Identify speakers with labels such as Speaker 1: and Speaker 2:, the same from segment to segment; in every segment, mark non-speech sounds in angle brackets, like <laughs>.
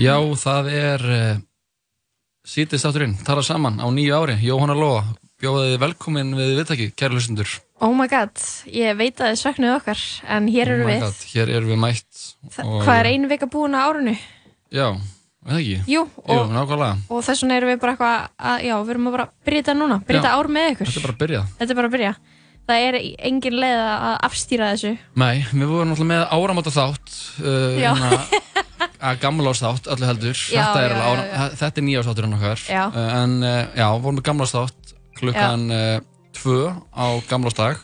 Speaker 1: Já, það er uh, sítistátturinn, tala saman á nýju ári, Jóhanna Lóa bjóðaði velkomin við viðtæki, kæra hlustundur
Speaker 2: Oh my god, ég veit að þið söknuðu okkar en hér
Speaker 1: Oh
Speaker 2: eru við
Speaker 1: Hér erum við mætt
Speaker 2: Þa- Hvað er einu vika búin á árinu?
Speaker 1: Já, veit ekki
Speaker 2: Jú,
Speaker 1: Jú,
Speaker 2: og,
Speaker 1: nákvæmlega,
Speaker 2: og þess vegna erum við bara eitthvað að, já, við erum að bara byrja þetta núna, byrja
Speaker 1: Já.
Speaker 2: þetta ár með ykkur
Speaker 1: þetta er bara að byrja
Speaker 2: Þetta er bara að byrja Það er engin leið að afstýra þessu
Speaker 1: Nei, við vorum náttúrulega með áramóta þátt uh,
Speaker 2: Já. <laughs>
Speaker 1: að gamla árs þátt, öllu heldur
Speaker 2: Já,
Speaker 1: þetta, er
Speaker 2: já,
Speaker 1: alveg ára,
Speaker 2: já,
Speaker 1: þetta er nýja ársátturinn okkar
Speaker 2: Já.
Speaker 1: uh, en uh, já, vorum með gamla árs þátt klukkan uh, tvö á gamla ársdag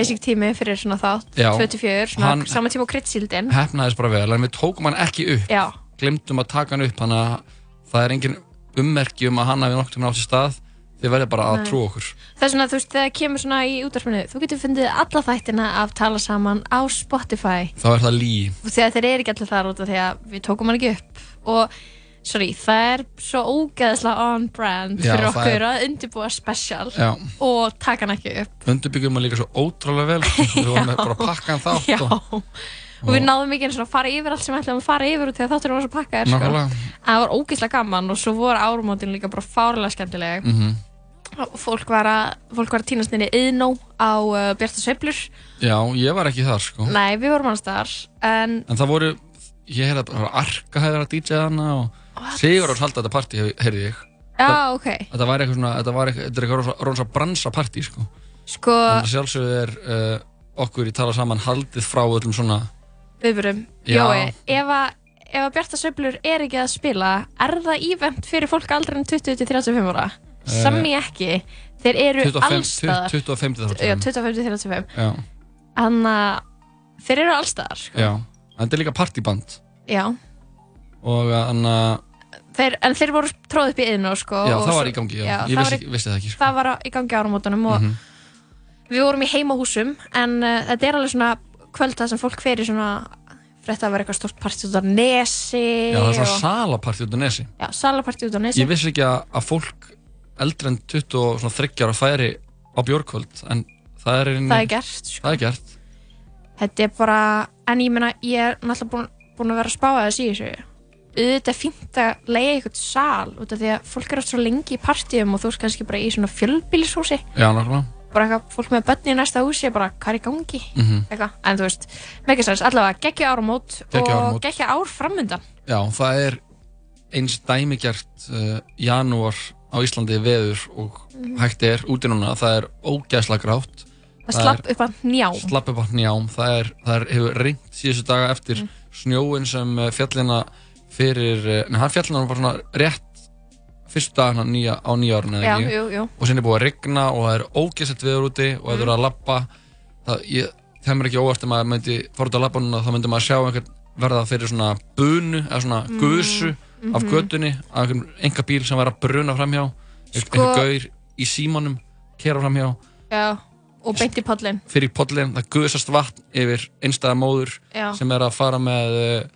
Speaker 2: Basic tími fyrir svona þátt,
Speaker 1: Já.
Speaker 2: 24, svona
Speaker 1: Hann-
Speaker 2: sama tíma og kryddsildin
Speaker 1: hefnaðist bara vel, en við tókum hann ekki upp
Speaker 2: Já,
Speaker 1: glemdum að taka hann upp þannig að það er engin ummerki um að hann hafi nokkur tíma átt í stað þið verður bara að
Speaker 2: Nei.
Speaker 1: trú okkur
Speaker 2: þess vegna þú veist, þegar kemur svona í útvarpinu Þú getur fundið alla þættina af tala saman á Spotify
Speaker 1: þá er það lí
Speaker 2: og þegar þeir eru ekki allir þar út af því að við tókum hann ekki upp og sorry, það er svo ógeðslega on brand
Speaker 1: Já,
Speaker 2: fyrir
Speaker 1: það
Speaker 2: okkur
Speaker 1: er-
Speaker 2: að undirbúa special
Speaker 1: Já,
Speaker 2: og taka hann ekki upp
Speaker 1: undurbyggjum að líka svo ótrúlega vel sko.
Speaker 2: <laughs>
Speaker 1: við vorum með bara að pakka hann þátt
Speaker 2: Já,
Speaker 1: og,
Speaker 2: og, við náðum ekki einu svona að fara yfir allt sem við ætlum að fara yfir út þegar þátturinn var svo pakkaður sko.
Speaker 1: nákvæmlega
Speaker 2: En það var ógeðslega gaman og svo voru árumótin líka bara fárlega skemmtileg
Speaker 1: mm
Speaker 2: og fólk var að, fólk var að týnast nýri yðnó á uh, Bjarta Sveiflur
Speaker 1: Já, ég var ekki þar sko
Speaker 2: Nei, við vorum hans þar en
Speaker 1: en það voru, ég heyrði að bara Arka hefði verið að DJ hana og Sigur og Salda þetta partí hef- heyrði ég
Speaker 2: Já, ok
Speaker 1: þetta var eitthvað svona, þetta var eitthvað, þetta er eitthvað rosa- rosa bransa partí sko
Speaker 2: Sko,
Speaker 1: en að sjálfsögðu er uh, okkur í tala saman haldið frá öllum svona
Speaker 2: viðburum
Speaker 1: Já.
Speaker 2: Jói, ef að ef að Bjarta Söflur er ekki að spila er það ívent fyrir fólk aldrei en 20-35 ára?
Speaker 1: Eh,
Speaker 2: Sammi ekki þeir eru
Speaker 1: 25,
Speaker 2: allstaðar
Speaker 1: 25
Speaker 2: já,
Speaker 1: þáttum
Speaker 2: 25-35
Speaker 1: Já,
Speaker 2: þannig að þeir eru allstaðar sko.
Speaker 1: já, en þetta er líka partyband
Speaker 2: já.
Speaker 1: og þannig að,
Speaker 2: Þeir, en þeir voru tróð upp í yðinu sko,
Speaker 1: já,
Speaker 2: og
Speaker 1: það
Speaker 2: svo-
Speaker 1: var í gangi, já,
Speaker 2: já,
Speaker 1: ég
Speaker 2: það
Speaker 1: vissi,
Speaker 2: var
Speaker 1: ekki- vissi það ekki, sko. Mhm.
Speaker 2: það var á- í gangi áramótunum og við vorum í heimahúsum en uh, þetta er alveg svona kvöld það sem fólk fer í svona frétta að vera eitthvað stórt partí út á nesi
Speaker 1: Já, það er svona
Speaker 2: og,
Speaker 1: salapartí út á nesi.
Speaker 2: já, salapartí út á nesi
Speaker 1: Ég vissi ekki að, að fólk eldri en 20 og svona 30 ára færi á björkvöld, en það er, inni,
Speaker 2: það er gert sko.
Speaker 1: það er gert.
Speaker 2: þetta er bara, en ég meina ég er náttúrulega búin, búin að vera að spá að þessi í þessu auðvitað er fínt að leiða eitthvað sal út af því að fólk er oft svo lengi í partíum og þú ert kannski bara í svona fjölbílishúsi
Speaker 1: Já, nákvæmlega.
Speaker 2: bara eitthvað, fólk með börn í næsta húsi er bara, hvað er í gangi?
Speaker 1: Mhm.
Speaker 2: eitthvað, en þú veist, megasens, allavega geggja áramót
Speaker 1: Geggjuð áramót.
Speaker 2: og geggja ár framundan
Speaker 1: Já, það er eins dæmigjart uh, janúar á Íslandi veður og hægt er úti núna, það er ógæsla grátt,
Speaker 2: Mhm. það
Speaker 1: Það
Speaker 2: slapp upp að njá
Speaker 1: slapp upp á njám, það, er, það er, hefur reynt síðustu daga eftir
Speaker 2: Mm.
Speaker 1: snjóin sem eh, fjallina fyrir, eh, nei, hann fjallina var svona rétt fyrstu dagana nýja, á nýjárun eða
Speaker 2: já,
Speaker 1: ekki,
Speaker 2: jú, jú, Mm.
Speaker 1: og sinni búið að rigna og það er ógæslegt veður úti og það er að labba, það, ég, það er ekki óvart ef maður myndi fór út að labba núna, þá myndi maður sjá einhvern verða fyrir svona bunu eða svona
Speaker 2: Mm,
Speaker 1: gusu af
Speaker 2: mhm.
Speaker 1: götunni af einhvern enga bíl sem var að bruna framhjá, sko,
Speaker 2: Sko-
Speaker 1: einhver gaur í símanum, kera framhjá
Speaker 2: já og beint í pollin,
Speaker 1: fyrir pollin, það guðsast vatn yfir einstæða móður
Speaker 2: já,
Speaker 1: sem er að fara með eh,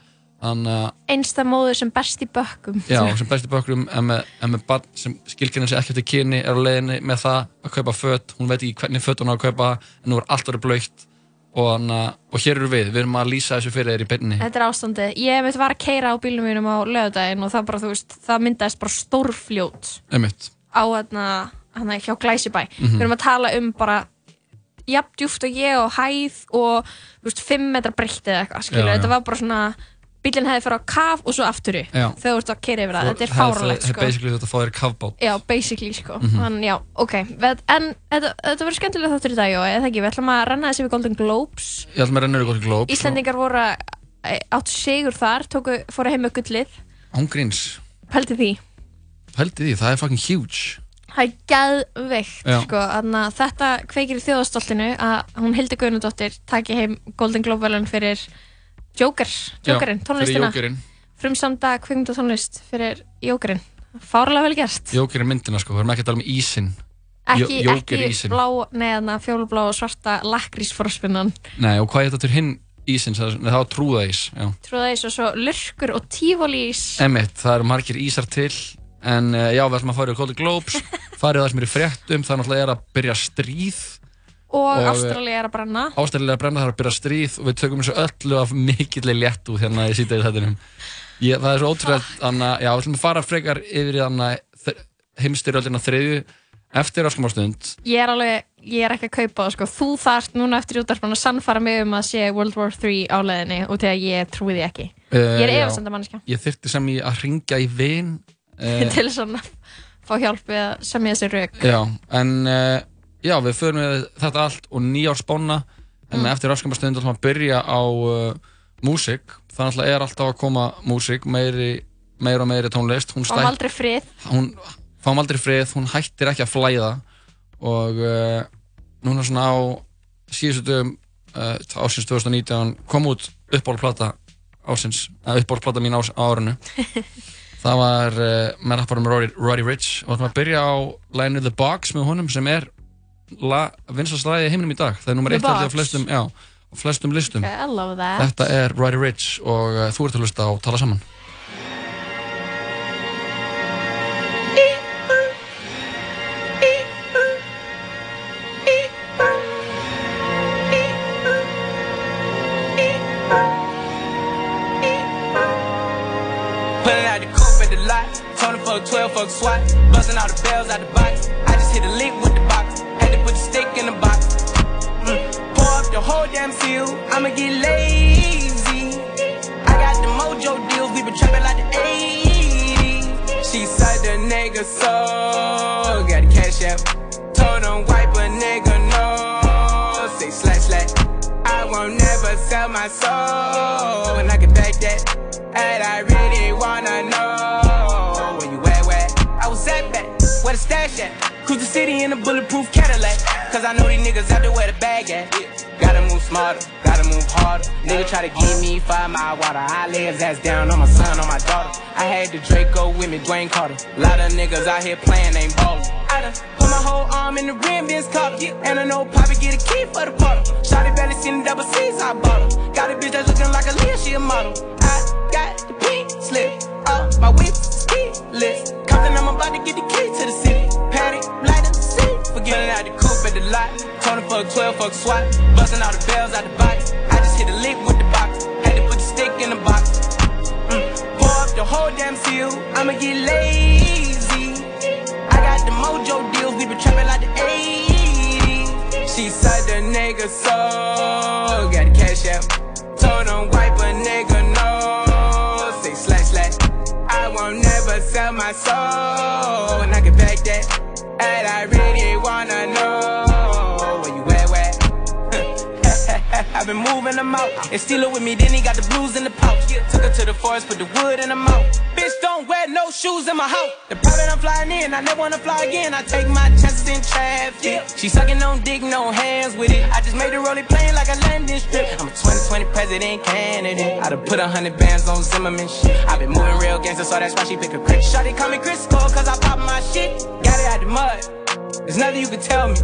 Speaker 1: hann
Speaker 2: einsta móður sem best í bökkum <laughs>
Speaker 1: já, sem besti bökrum en með, en með barn sem skilgjörnir sér ekki eftir kyni er á leiðinni með það að kaupa fött hún veit ekki hvernig fött hún á að kaupa en nú er allt verið blöytt og, hann, uh, og hér eru við, við erum að lýsa þessu fyrir þér í beinni
Speaker 2: Þetta er ástandið. Ég mitt var að keira á bílum mínum á lögadaginn og það bara, þú veist, það myndaðist bara stórfljót
Speaker 1: einmitt,
Speaker 2: á hérna, hérna hjá Glæsibæ.
Speaker 1: Mhm.
Speaker 2: Við erum að tala um bara jafn djúft og ég og hæð og, þú veist, 5 metra breytt eða eitthvað, skilur.
Speaker 1: Já, já.
Speaker 2: Þetta var bara svona, bílinn hefði fyrir á kaf og svo aftur í
Speaker 1: Já.
Speaker 2: þegar þú ert að keira yfir það. Þetta er
Speaker 1: Það-
Speaker 2: fáralegt,
Speaker 1: það er
Speaker 2: sko.
Speaker 1: basically Mhm. þetta að fá þér kafbát
Speaker 2: Já, basically, sko. Mm já, ok. Við- En þetta, þetta verður skemmtilega þáttur í dag, já, eða ekki? Við ætlum að renna þessi við Golden Globes.
Speaker 1: ég ætlum að renna ykkur glóp
Speaker 2: Íslendingar voru að- eh, áttu sigur þar, tóku, fóru heim með gullið
Speaker 1: ángríns,
Speaker 2: Pældi því
Speaker 1: hældi því, það er fucking huge
Speaker 2: það er geðveikt
Speaker 1: Já.
Speaker 2: sko, þannig að þetta kveikir í þjóðastoltinu að hún Hildi Guðnudóttir taki heim Golden Globe velun fyrir Joker, Jokerinn,
Speaker 1: Fyrir
Speaker 2: tónlistina
Speaker 1: jókerinn,
Speaker 2: frumsamda kvikmynda tónlist fyrir Jokerinn, fárlega vel gert
Speaker 1: jókerinn myndina sko, við erum ekki að tala um ísinn
Speaker 2: ekki,
Speaker 1: Jo-
Speaker 2: ekki
Speaker 1: Joker-ísinn.
Speaker 2: blá, neðan að fjólublá og svarta lakrísforspinnan
Speaker 1: Nei, og hvað er þetta til hinn ísinn, það það var trúða ís já.
Speaker 2: trúða þess og svo lurkur og tífólís
Speaker 1: Emmitt, það eru margir ísar til en eh, já, við ætlum að fara í Golden Globes farið það sem er í fréttum, það er náttúrulega er að byrja stríð,
Speaker 2: og
Speaker 1: og-
Speaker 2: Ástralja er að brenna
Speaker 1: ástæðilega að brenna það er að byrja stríð og við tökum þessu öllu af mikilli létt út hérna í síðdegið þettinum ég, það er svo ótrúlega, þannig að já, við ætlum að fara frekar yfir í þannig heimstyrjöldina þriðju eftir öskum ástund
Speaker 2: ég er alveg, ég er ekki að kaupa það sko. þú þarft núna eftir útarpan að sannfara mig um að sé World War 3 á leiðinni og þegar ég trúi því ekki
Speaker 1: Eh,
Speaker 2: ég er efasenda mannskja
Speaker 1: ég þyrfti sem ég að ringja í vin uh,
Speaker 2: <laughs> til þess að fá hjálp við að semja þessi rauk
Speaker 1: Já, en uh, já, við förum með þetta allt og nýjársbána en
Speaker 2: Mm.
Speaker 1: eftir raskamar stund ætlum við að byrja á uh, músík, þannig að er alltaf að koma músík, meiri, meiri og meiri tónlist, hún
Speaker 2: fáum
Speaker 1: stæk,
Speaker 2: aldrei frið
Speaker 1: hún fáum aldrei frið, hún hættir ekki að flæða og uh, núna svona á síðustu dögum uh, ásins 2019 kom út uppbólplata ásins, að uppbólplata mín ás, á
Speaker 2: <laughs>
Speaker 1: árinu það var uh, með rapparum Roddy, Roddy Rich og það var að byrja á læginu The Box með honum sem er vinsastlæði heiminum í dag, það er nummer
Speaker 2: The
Speaker 1: eitt held ég á
Speaker 2: Box.
Speaker 1: flestum, já, á flestum listum
Speaker 2: I love that
Speaker 1: Þetta er Roddy Rich og uh, þú ert að hlusta á Tala Saman
Speaker 3: Pulling out the coupe at the lot. Tony for a 12 for a swat. Buzzing all the bells out the box. I just hit a lick with the box. Had to put the stick in the box. Mm. Pour up the whole damn seal. I'ma get lazy. I got the mojo deals. We been trapping like the 80s. She said the nigga so. Got the cash out. Told him wipe a nigga no. Say slash slash. I won't never sell my soul. And I can back that. And I really wanna know where you at, where? I was at back. Where the stash at? Cruise the city in a bulletproof Cadillac. Cause I know these niggas out there where the bag at. Gotta move smarter, gotta move harder. Nigga try to give me five mile water. I lay his ass down on my son, on my daughter. I had the Draco with me, Dwayne Carter. Lot of niggas out here playing, ain't ballin'. I done put my whole arm in the rim, Vince Carter. And I know Poppy get a key for the bottle. Shotty barely seen the double C's, I bought her. Got a bitch that's looking like a Leah, she a model. I got the pink slip up my whip ski list. Compton, I'm about to get the key to the city. Patty, lighter, see. Forgetting out the coupe at the lot. Tony for a 12, fuck swat. Busting all the bells out the box. I just hit a lick with the box. Had to put the stick in the box. Mm. Pour up the whole damn seal. I'ma get lazy. I got the mojo deals. We been trapping like the 80s. She said the nigga so. Got the cash out. Told him wipe a nigga no. Say slash slash. I won't never sell my soul. And I can back that. And I really wanna know where you at, <laughs> where? <laughs> I've been moving them out. And steal it with me, then he got the blues in the pouch. Took her to the forest, put the wood in the mouth. Bitch, don't wear no shoes in my house. The private I'm flying in, I never wanna fly again. I take my chances in traffic. She sucking on dick, no hands with it. I just made the rolling plane like a landing strip. I'm a 2020 president candidate. I done put a hundred bands on Zimmerman shit. I been moving real gangster, so that's why she pick a crit. Shawty call me Chris Cole, cause I pop my shit. Got it out the mud. There's nothing you can tell me.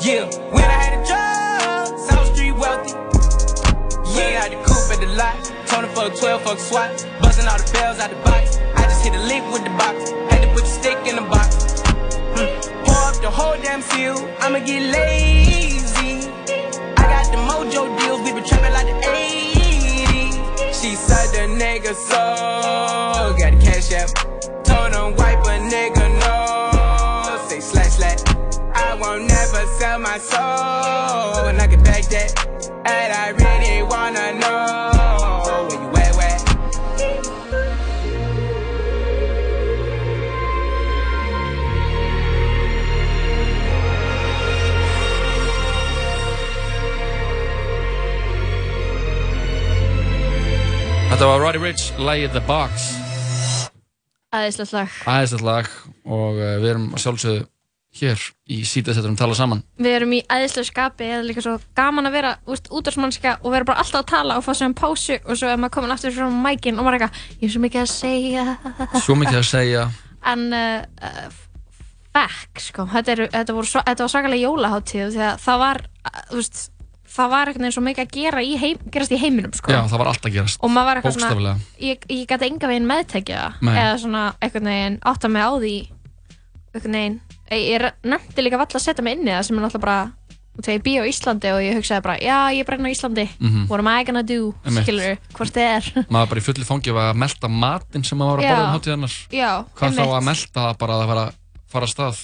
Speaker 3: Yeah, when I had a job, South Street wealthy. Yeah, out the coupe at the lot. Tony for a 12 fuck swat. Buzzing all the bells out the box. I just hit a lick with the box. Had to put the stick in the box. Mm. Pour up the whole damn seal. I'ma get lazy. I got the mojo deals. We been trapping like the 80s. She said the nigga so. Got the cash app. Told him wipe a nigga no. Say slash slash. I won't never sell my soul. And I can back that. And I really wanna know where you at, where?
Speaker 1: Þetta var Roddy Rich, lægið The Box
Speaker 2: Æðislegt lag.
Speaker 1: Æðislegt lag og uh, við erum að sjálfsögðu hér í sítasetturum tala saman
Speaker 2: Við erum í æðislega skapi eða líka svo gaman að vera úst, útarsmannska og vera bara alltaf að tala og fá sér um pásu og svo er maður komin aftur frá mækin og maður er eitthvað, ég er svo mikið að segja
Speaker 1: Svo mikið að segja
Speaker 2: en uh, uh, back sko, þetta, eru, þetta, voru, svo- þetta var svakalega jólaháttíð því að það var uh, þú veist, það var einhvern veginn svo mikið að gera í heim, gerast í heiminum sko
Speaker 1: Já, það var alltaf að gerast
Speaker 2: og maður var eitthvað svona
Speaker 1: Bókstaflega.
Speaker 2: ég, ég gæti enga veginn meðtekja það
Speaker 1: Nei.
Speaker 2: eða svona einhvern veginn átta mig á því einhvern veginn ég, ég nefndi líka valla að setja mig inn í það sem er náttúrulega bara og þegar ég býja á Íslandi og ég hugsaði bara já ég er bara inn á Íslandi what am I gonna do
Speaker 1: Einmitt.
Speaker 2: skilur hvort þið er
Speaker 1: Mhm.
Speaker 2: <laughs>
Speaker 1: Maður bara í fullu fangi var að melta matinn sem maður var að
Speaker 2: Já.
Speaker 1: borða um hátíðarnar
Speaker 2: já
Speaker 1: Hvað þá að melta það bara að fara, fara að stað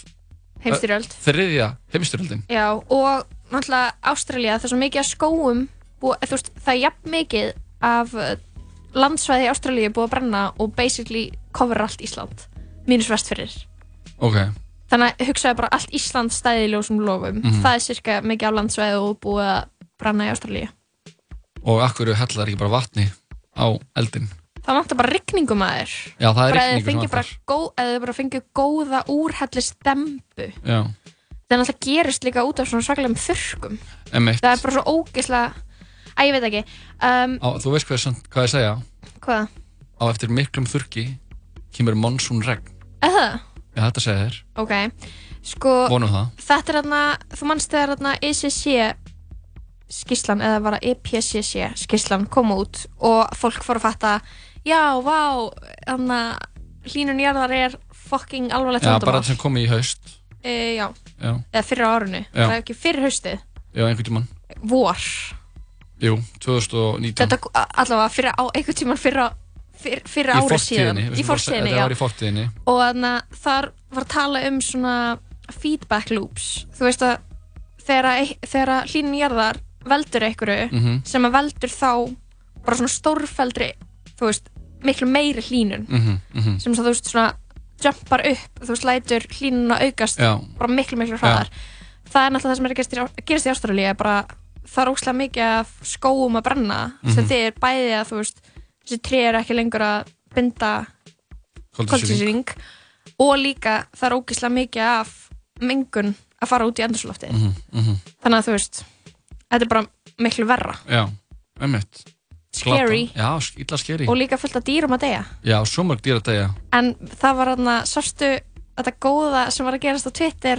Speaker 2: heimstyrjöld
Speaker 1: Þriðja heimstyröldin
Speaker 2: já og náttúrulega Ástralja það er svo mikið að skóum og, þú veist, það er jafn mikið af uh, landsvæði í Ástralíu búið að brenna og basically cover allt Ísland mínus vestfyrir
Speaker 1: Ok,
Speaker 2: þannig að hugsaðu bara allt Ísland stæði í ljósum lofum
Speaker 1: Mhm.
Speaker 2: það er cirka mikið á landsvæðu og búið að branna í Ástralíu
Speaker 1: og akkur hellar ekki bara vatni á eldin
Speaker 2: það vantar bara rigningum að þér
Speaker 1: Já, það er
Speaker 2: bara eða
Speaker 1: rigningu sem
Speaker 2: fengið
Speaker 1: var
Speaker 2: bara,
Speaker 1: þar.
Speaker 2: góð, eða bara fengið góða úrhellist dembu
Speaker 1: Já,
Speaker 2: þannig að það gerist líka út af svona svakalegum þurrkum
Speaker 1: emitt
Speaker 2: það er bara svo ógeðslega að ég veit ekki um,
Speaker 1: á, Þú veist hvað, ég- hvað ég segja
Speaker 2: hvað?
Speaker 1: Á eftir miklum þurki kemur monsun regn
Speaker 2: Eða?
Speaker 1: Já, þetta segja þér,
Speaker 2: ok sko
Speaker 1: vonum það
Speaker 2: þetta er þarna, þú manst þegar þarna ICC skýrslan eða var E að IPCC skýrslan kom út og fólk fór að fatta já, vá, þarna hlínun jarðar er fucking alvarlegt
Speaker 1: Já, bara
Speaker 2: vandamál
Speaker 1: þetta sem kom í haust
Speaker 2: e, já,
Speaker 1: Já,
Speaker 2: eða fyrir á árinu
Speaker 1: Já.
Speaker 2: það er ekki fyrir haustið,
Speaker 1: já einhvern tímann
Speaker 2: vor
Speaker 1: Jú, 2019
Speaker 2: þetta a- allavega fyrir á, einhvern tíman fyrir á fyrir, fyrir
Speaker 1: Í
Speaker 2: ári síðan
Speaker 1: fortíðinni, við
Speaker 2: í
Speaker 1: skulum bara segja-
Speaker 2: fórstíðinni,
Speaker 1: Þetta
Speaker 2: já
Speaker 1: var í fortíðinni
Speaker 2: og þannig að þar var að tala um svona feedback loops þú veist að þegar, að- þegar að hlýnun jarðar veldur einhverju
Speaker 1: Mhm.
Speaker 2: sem að veldur þá bara svona stórfeldri þú veist, miklu meiri hlýnun
Speaker 1: Mhm, mhm.
Speaker 2: sem svo, þú veist svona jumpar upp, þú veist, lætur hlýnuna aukast
Speaker 1: Já,
Speaker 2: bara miklu, miklu hraðar það er náttúrulega það sem er að gerast í Á- gerist í Ástralíu bara það er ókslega mikið af skóum að brenna sem
Speaker 1: Mhm.
Speaker 2: þið er bæði að þú veist þessi tré er ekki lengur að binda
Speaker 1: koldisýring
Speaker 2: koldísýring og líka það er ógislega mikið af mengun að fara út í endursloftið
Speaker 1: mm -hmm.
Speaker 2: þannig að þú veist, þetta er bara miklu verra
Speaker 1: Já, einmitt
Speaker 2: scary
Speaker 1: Glata. Já, sk- illa skeri
Speaker 2: og líka fullt af dýrum að deyja
Speaker 1: Já, svo mörg dýra degja
Speaker 2: en það var þarna, sástu þetta góða sem var að gerast á Twitter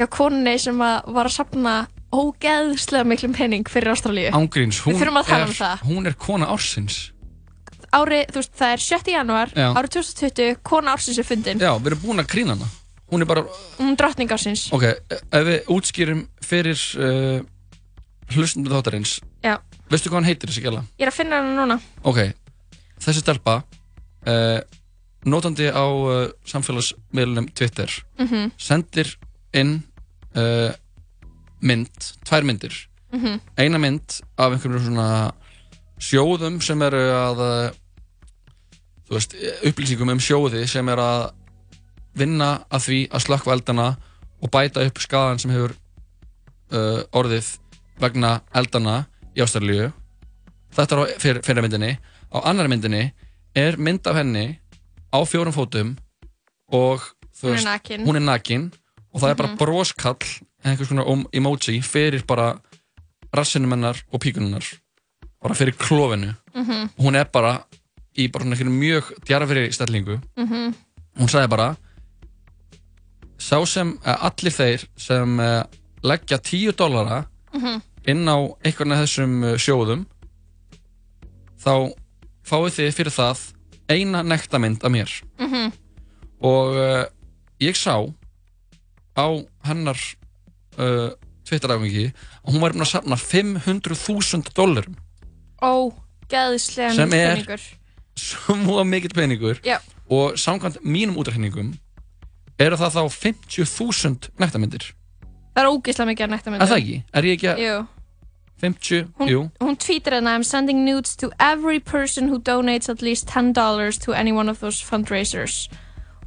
Speaker 2: hjá konunni sem að var að sapna ógeðslega miklu pening fyrir Ástralíu
Speaker 1: Ángríns, hún
Speaker 2: Við þurfum að tala
Speaker 1: er,
Speaker 2: um það.
Speaker 1: hún er kona ársins
Speaker 2: árið, þú veist, það er 7. janúar
Speaker 1: Já.
Speaker 2: árið 2020, kona ársins er fundin
Speaker 1: Já, við erum búin að grína hana Hún er bara,
Speaker 2: hún drottning ársins
Speaker 1: ok, ef við útskýrum fyrir uh, hlustnum þáttarins
Speaker 2: Já.
Speaker 1: Veistu hvað hann heitir þessi gæla?
Speaker 2: ég er að finna hana núna
Speaker 1: Ok, þessi stelpa uh, notandi á uh, samfélagsmiðlunum Twitter
Speaker 2: Mhm.
Speaker 1: sendir inn uh, mynd, tvær myndir
Speaker 2: Mhm.
Speaker 1: eina mynd af einhverjum svona sjóðum sem eru að uh, þú veist, upplýsingum um sjóði sem er að vinna að því að slökkva eldana og bæta upp skaðan sem hefur uh, orðið vegna eldana í Ástralíu þetta er á fyr, fyrra myndinni á annar myndinni er mynd af henni á fjórum fótum og þú
Speaker 2: hún
Speaker 1: veist
Speaker 2: er nakin Mhm.
Speaker 1: hún er nakin og það er bara broskall eða einhvers konar om- emoji fyrir bara rassinum hennar og píkununnar bara fyrir klófinu
Speaker 2: Mhm.
Speaker 1: og hún er bara í bara svona einhverjum mjög djarfri stellingu
Speaker 2: Mhm.
Speaker 1: hún sagði bara sá sem eh, allir þeir sem eh, leggja 10 dollara
Speaker 4: Mm-hmm.
Speaker 2: Mhm.
Speaker 1: inn á einhvern af þessum eh, sjóðum þá fáið þið fyrir það eina nektamynd af mér
Speaker 2: Mhm.
Speaker 1: og uh, ég sá á hennar uh, Twitter-afengi að hún var búin að safna 500.000 <laughs> dólarum
Speaker 2: ógeðslega
Speaker 1: Sem
Speaker 2: mikill
Speaker 1: er-
Speaker 2: peningur.
Speaker 1: sem var mikill peningur
Speaker 2: Já.
Speaker 1: og samkvæmt mínum útræningum eru það þá 50.000 nektarmyndir
Speaker 2: það er ógeðslega mikið að nætta
Speaker 1: er það ekki? Er ég ekki að
Speaker 2: Jú,
Speaker 1: 50?
Speaker 2: hún,
Speaker 1: Jú,
Speaker 2: hún tweetir hérna I'm sending nudes to every person who donates at least $10 to any one of those fundraisers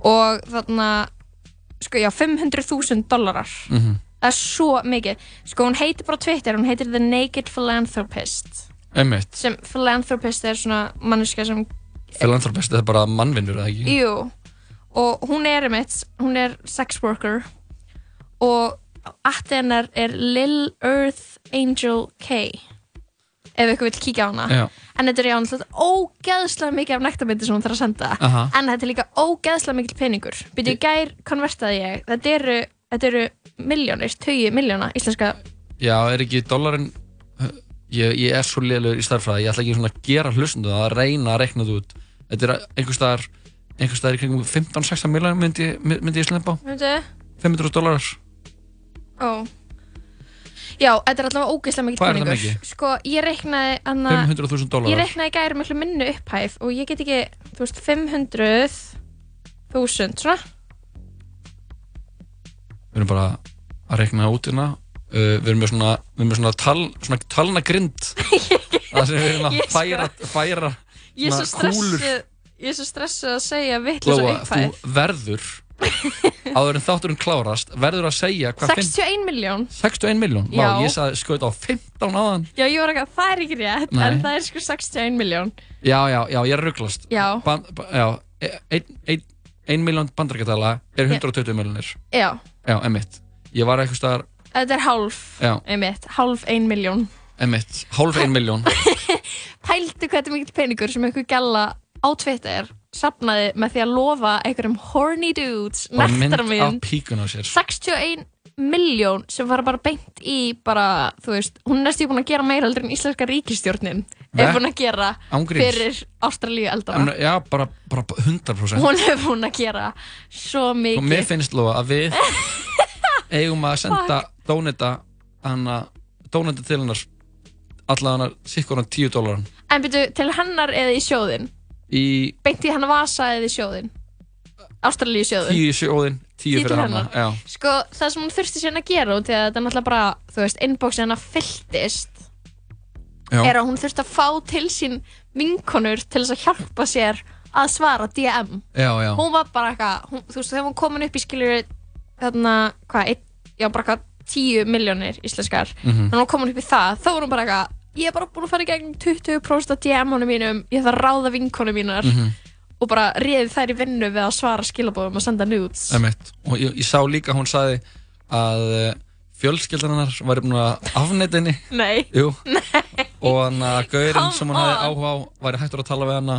Speaker 2: og þarna sko já, 500.000 dólarar
Speaker 1: Mhm.
Speaker 2: það er svo mikið sko hún heitir bara á Twitter, hún heitir The Naked Philanthropist
Speaker 1: einmitt
Speaker 2: sem philanthropist er svona manneska sem
Speaker 1: Philanthropist, þetta er bara mannvinnur, eða ekki?
Speaker 2: Jú, og hún er einmitt, hún er sex worker og atti hennar er Lil Earth Angel K ef ykkur vill kíkja á hana
Speaker 1: Já.
Speaker 2: en þetta er já náttúrulega ógeðslega mikið af nektarmyndir sem hún þarf að senda
Speaker 1: Aha.
Speaker 2: en þetta er líka ógeðslega mikil peningur byrju í gær konvertaði ég þetta eru, þetta eru miljónir, tugi miljóna íslenska
Speaker 1: Já, er ekki dólarinn ég, ég er svo liðlegur í starffræði Ég ætla ekki svona að gera hlustundu að reyna að rekna þetta út Þetta er einhvers staðar einhvers staðar í kringum 15-16 miljonir myndi, myndi ég slempa á
Speaker 2: myndu,
Speaker 1: 500 dólarar
Speaker 2: ó já, þetta er allavega ógeðslega mikil
Speaker 1: Hvað er það
Speaker 2: peningur
Speaker 1: mikið?
Speaker 2: sko, ég reiknaði anna,
Speaker 1: 500.000
Speaker 2: ég
Speaker 1: dólarar
Speaker 2: reiknaði í gær miklu minnu upphæf og ég get ekki, þú veist, 500.000 svona
Speaker 1: Við erum bara að rekna út hérna Uh, við erum með svona, við erum með svona, tal, svona talna grind
Speaker 2: <laughs>
Speaker 1: það sem við erum að
Speaker 2: Ég sko-
Speaker 1: færa, færa
Speaker 2: ég er svo
Speaker 1: Svona kúlur.
Speaker 2: stressuð ég er svo stressuð að segja um vitlega
Speaker 1: Lóa,
Speaker 2: upphæf
Speaker 1: þú
Speaker 2: <laughs>
Speaker 1: verður áður en þátturinn klárast verður að segja hvað fimm-
Speaker 2: 61 miljón
Speaker 1: 61 miljón,
Speaker 2: Já.
Speaker 1: vá, ég sagði skaut á 15 áðan
Speaker 2: Já, ég var ekki að það er ekki rétt,
Speaker 1: Nei.
Speaker 2: en það er sko 61 miljón.
Speaker 1: Já, já, já, ég er rugglast
Speaker 2: Já.
Speaker 1: Ban, ba, já, e- 1 miljón bandarækjadala er 120 miljónir
Speaker 2: Já,
Speaker 1: Já, emitt Ég var eitthvað staðar,
Speaker 2: þetta er hálf,
Speaker 1: Já.
Speaker 2: einmitt, hálf 1 miljón.
Speaker 1: emitt, hálf 1
Speaker 2: <laughs>
Speaker 1: miljón
Speaker 2: Pældu hvað þetta er mikill peningur sem einhver gæla á Twitter safnaði með því að lofa einhverjum horny dudes,
Speaker 1: Bara mynd á
Speaker 2: nektarmynd,
Speaker 1: píkun á sér
Speaker 2: 61 miljón sem var bara beint í bara, þú veist, hún er næstu búin að gera meira heldur en íslenska ríkistjórnin
Speaker 1: Nei.
Speaker 2: er búin að gera
Speaker 1: Ángríns.
Speaker 2: fyrir Ástralíu eldana.
Speaker 1: En, Já, bara, bara 100%
Speaker 2: Hún er búin að gera svo
Speaker 1: Og mér
Speaker 2: mikið.
Speaker 1: finnst Lóa að
Speaker 2: <laughs>
Speaker 1: við eigum að senda dónita hana, dónita til hennar allan hana, sikkur hann 10 dólaran
Speaker 2: En byrju, til hennar eða í sjóðinn?
Speaker 1: í
Speaker 2: beint í hann vasa eða í sjóðin Ástralíu sjóðin
Speaker 1: 10 sjóðin, 10
Speaker 2: Tíu til
Speaker 1: fyrir hana
Speaker 2: hennar.
Speaker 1: Já,
Speaker 2: sko, það sem hún þurfti síðan að gera út í að þetta er náttúrulega bara, þú veist, inboxið hennar fylltist
Speaker 1: já,
Speaker 2: er að hún þurfti að fá til sín vinkonur til þess að hjálpa sér að svara DM
Speaker 1: já, já.
Speaker 2: hún var bara eitthvað, hún- þú veist, þegar hún komin upp í skiljur þarna, hvað, einn, já, bara eitthvað tíu miljónir íslenskar
Speaker 1: Mhm.
Speaker 2: þannig að hún komin upp í það, þá var hún bara eitthvað ég er bara búin að fara í gegn 20% af DM-unum mínum, ég þarf að ráða vinkonum mínar
Speaker 1: Mhm.
Speaker 2: og bara réði þær í vinnu við að svara skilabóðum og senda nudes
Speaker 1: Emitt. Og ég, ég sá líka að hún sagði að eh, fjölskyldan hennar væri búin að afneita henni
Speaker 2: Nei, <laughs>
Speaker 1: Jú. og hann að gaurinn
Speaker 2: Come
Speaker 1: sem hún hefði
Speaker 2: on.
Speaker 1: áhuga á væri hættur að tala við hana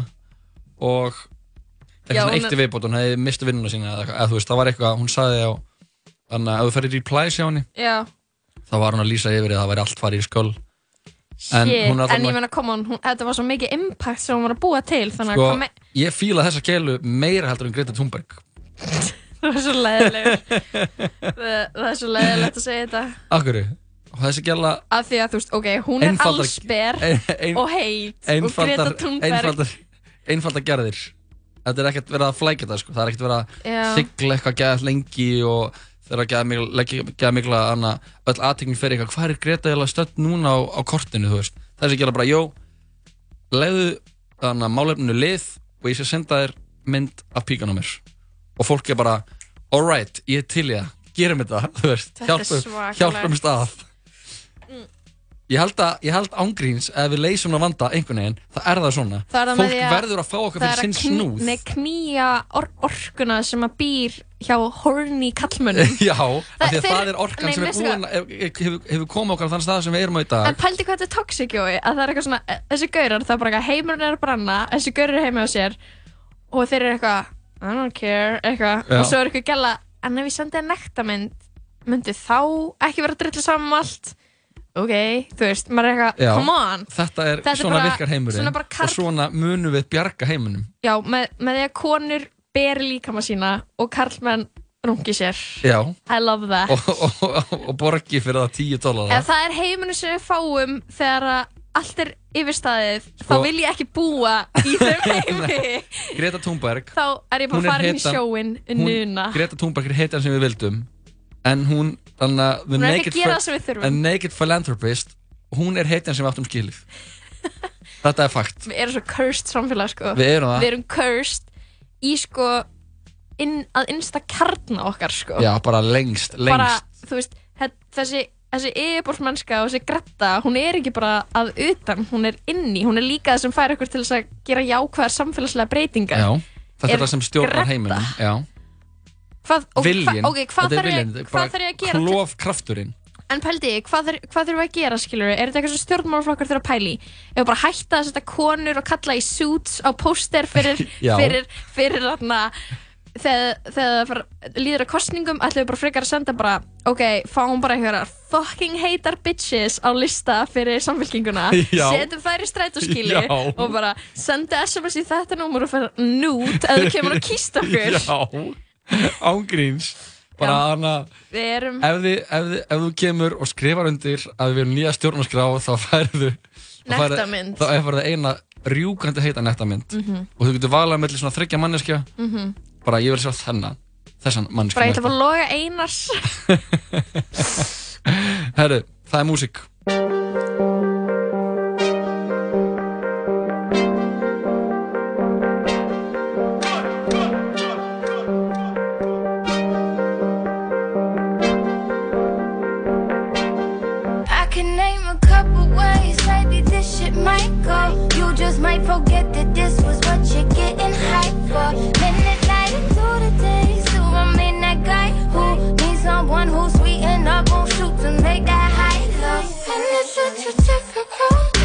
Speaker 1: og
Speaker 2: Já,
Speaker 1: eitthvað svona
Speaker 2: hún-
Speaker 1: eitt í viðbót hún hefði mistu vinnuna sína eða, eitthvað. eða þú veist, það var eitthvað hún sagði á þannig að ef þú ferði í reply hjá henni
Speaker 2: já,
Speaker 1: þá var hún að lýsa yfir að það væri allt farið í sköll
Speaker 2: shit, en,
Speaker 1: hún er alltaf
Speaker 2: ég
Speaker 1: með-
Speaker 2: meina, come on, hún, þetta var svo mikið impact sem hún var að búa til, þannig að
Speaker 1: sko,
Speaker 2: kom, <laughs>
Speaker 1: ég fíla þessa keilu meira heldur en Greta Thunberg
Speaker 2: það var svo
Speaker 1: <laughs>
Speaker 2: leiðilegur það, það er svo leiðilegt að segja þetta
Speaker 1: Akkur, og þessi keila
Speaker 2: af því að, þú veist, ok, hún er
Speaker 1: Einfaldar-
Speaker 2: allsber
Speaker 1: <laughs> ein, ein,
Speaker 2: og heit og Greta
Speaker 1: einfaldar,
Speaker 2: Thunberg
Speaker 1: einfaldar, einfaldar gerðir þetta er ekkert verið að flækja þetta sko. það er ekkert verið
Speaker 2: Já.
Speaker 1: að sigla eitthvað geðað lengi og þeirra geða mikla, leggja- geða mikla anna, öll aðtekning fyrir eitthvað hvað er Greta eða stödd núna á, á kortinu þú veist? þessi gera bara, jó leiðu anna, málefninu lið og ég sé senda þér mynd af píkan á mér og fólk er bara alright, ég er til í það, gerum þetta <laughs> þú veist,
Speaker 2: Þetta er
Speaker 1: hjálpum,
Speaker 2: svakalegt.
Speaker 1: hjálpum stað
Speaker 5: Mm.
Speaker 1: Ég held að, ég held ángríns ef við leysum að vanda einhvern veginn, það er það svona.
Speaker 2: Það er það með
Speaker 1: Fólk
Speaker 2: því að-
Speaker 1: verður að fá okkur
Speaker 2: það
Speaker 1: fyrir
Speaker 2: er
Speaker 1: sinn
Speaker 2: að kný,
Speaker 1: snúð.
Speaker 2: nei, knýja or orkuna sem að býr hjá horny kallmönnum
Speaker 1: <laughs> Já, af því að
Speaker 2: þeir-
Speaker 1: það er orkan
Speaker 2: nei,
Speaker 1: sem er
Speaker 2: veistu
Speaker 1: búin, að- hefur hefur komið okkur á þann stað sem við erum á í dag.
Speaker 2: En pældi hvað þetta er toxic, jói, að það er eitthvað svona, e, þessi gaurar, það er bara eitthvað, heimurinn er að branna, þessi gaurar er heima á sér og þeir eru eitthvað, I don't care, eitthvað,
Speaker 1: Já.
Speaker 2: og svo er eitthvað gæla, en ef ég sendi þér nektarmynd, myndi þá ekki vera að drilla saman um allt, ok, þú veist, maður er eitthvað,
Speaker 1: Já.
Speaker 2: come on,
Speaker 1: Þetta er,
Speaker 2: Þetta er
Speaker 1: svona
Speaker 2: bara-
Speaker 1: virkar heimurinn
Speaker 2: svona bara karl-
Speaker 1: og svona munum við bjarga heiminum.
Speaker 2: já, með, með því að konur beri líkama sína og karlmenn rungi sér,
Speaker 1: Já,
Speaker 2: I love that.
Speaker 1: og, og, og, og borgi fyrir það 10 dólarar.
Speaker 2: Ef það er heimurinn sem við fáum þegar að allt er yfirstaðið, þá
Speaker 1: Sko-
Speaker 2: vil ég ekki búa í þeim
Speaker 1: <laughs>
Speaker 2: heimi.
Speaker 1: Greta Thunberg,
Speaker 2: þá er ég bara
Speaker 1: Hún er
Speaker 2: farin í
Speaker 1: heita-
Speaker 2: sjóin núna
Speaker 1: Greta Thunberg er heitan sem við vildum, en hún, þannig að the
Speaker 2: hún er ekki
Speaker 1: naked
Speaker 2: að gera
Speaker 1: fir-
Speaker 2: það sem við
Speaker 1: A
Speaker 2: þurfum
Speaker 1: naked philanthropist Hún er heitjan sem við
Speaker 2: <laughs>
Speaker 1: áttum skilið Þetta er fakt
Speaker 2: við erum svo cursed samfélag sko
Speaker 1: Við erum það
Speaker 2: Við erum cursed í sko inn, að innsta kjarna okkar sko
Speaker 1: Já, bara lengst, lengst
Speaker 2: bara þú veist þe- þessi þessi yfirbórsmennska og þessi gretta hún er ekki bara að utan, hún er inni hún er líka það sem fær okkur til þess að gera jákvæðar samfélagslega breytingar
Speaker 1: Já, Þetta
Speaker 2: Er
Speaker 1: er það sem stjórnar
Speaker 2: gretta.
Speaker 1: heiminum Já,
Speaker 2: Hvað, og,
Speaker 1: viljinn
Speaker 2: hva, ok, hvað þarf
Speaker 1: Þetta er
Speaker 2: ég,
Speaker 1: viljinn, þetta er
Speaker 2: hvað
Speaker 1: bara
Speaker 2: þarf ég að gera til,
Speaker 1: Klofkrafturinn
Speaker 2: en pældi, ég, hvað þarf- hvað þurfum við að gera skilur, er þetta eitthvað sem stjórnmálaflokkar þurfa að pæli ef við bara hætta að setja konur og kalla í suits á póster fyrir
Speaker 1: <laughs> Já.
Speaker 2: fyrir, fyrir þarna þegar, þegar það fara, líður að kostningum ætlum við bara frekar að senda bara ok, fáum bara einhverjar fucking hater bitches á lista fyrir samfélkinguna
Speaker 1: <laughs> Já.
Speaker 2: setjum þær í strætóskíli
Speaker 1: Já.
Speaker 2: og bara sendu sms í þetta númur og fyrir nút ef þú kemur og kýst okkur
Speaker 1: <laughs> Já, ángríns Bara
Speaker 2: Já.
Speaker 1: hana
Speaker 2: við erum
Speaker 1: ef, þið, ef, þið, ef þú kemur og skrifar undir að við erum nýja stjórnarskrá þá færðu þá færðu-
Speaker 2: Nektarmynd.
Speaker 1: Þá er það eina rjúkandi heita nettamynd
Speaker 2: Mhm.
Speaker 1: Og þú getur valað mellir svona þryggja manneskja Bara ég vil sjá þennan Þessan manneskja
Speaker 2: bara ég ætla bara að loga einars
Speaker 1: Herru, það er músík <laughs>
Speaker 4: I can name a couple ways, maybe this shit might go. You just might forget that this was what you're getting hyped for. Minute later through the days, to I mean that guy who needs someone who's sweet and up on shoot to make that high low. And it's such a different world.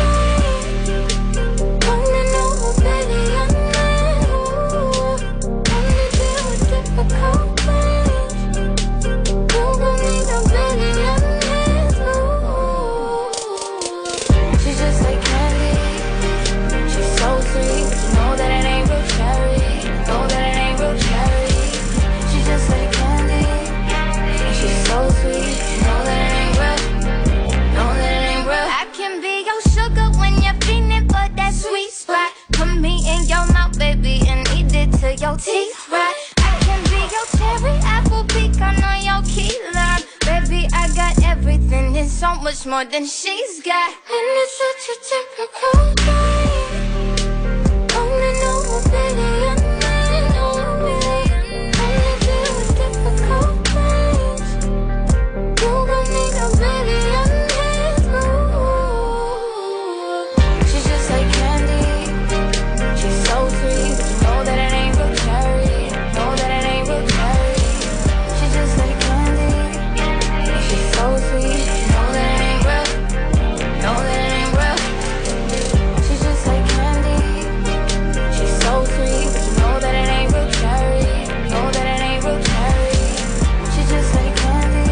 Speaker 4: Wanna know who baby I know. Wanna deal with difficult things. She's just like candy. She's so sweet. You know that it ain't real cherry. Know that it ain't real cherry. She's just like candy. And she's so sweet. You know that it ain't real. Know that it ain't real. I can be your sugar when you're feeling for that sweet spot. Put me in your mouth, baby, and eat it till your teeth rot. I can be your cherry apple pecan on your key lime. Baby, I got everything and so much more than she's got. And it's such a typical thing. Only know what really I need. Only deal with difficult things. You gon' need a baby, I need you. She's just like candy. She's so sweet. You know that it ain't real cherry. Know that it ain't real cherry. She's just like candy. She's so sweet. You know that it ain't real. Know that it ain't real. She's just like candy. She's so sweet. You know that it ain't real cherry. Know that it ain't real cherry. She's just like candy.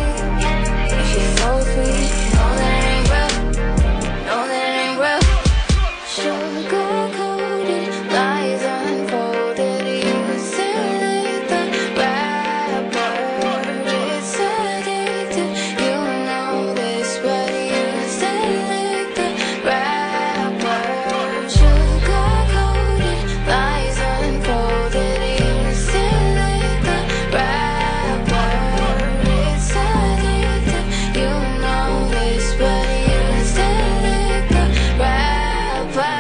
Speaker 4: She's so sweet. You know that it ain't real. Know that it ain't real. Sugar-coated lies unfolded. You silly the rapper. It's addictive. You know this, but you silly the rapper. Sugar-coated lies unfolded. You silly the rapper. It's addictive. You know this, but you silly the rapper.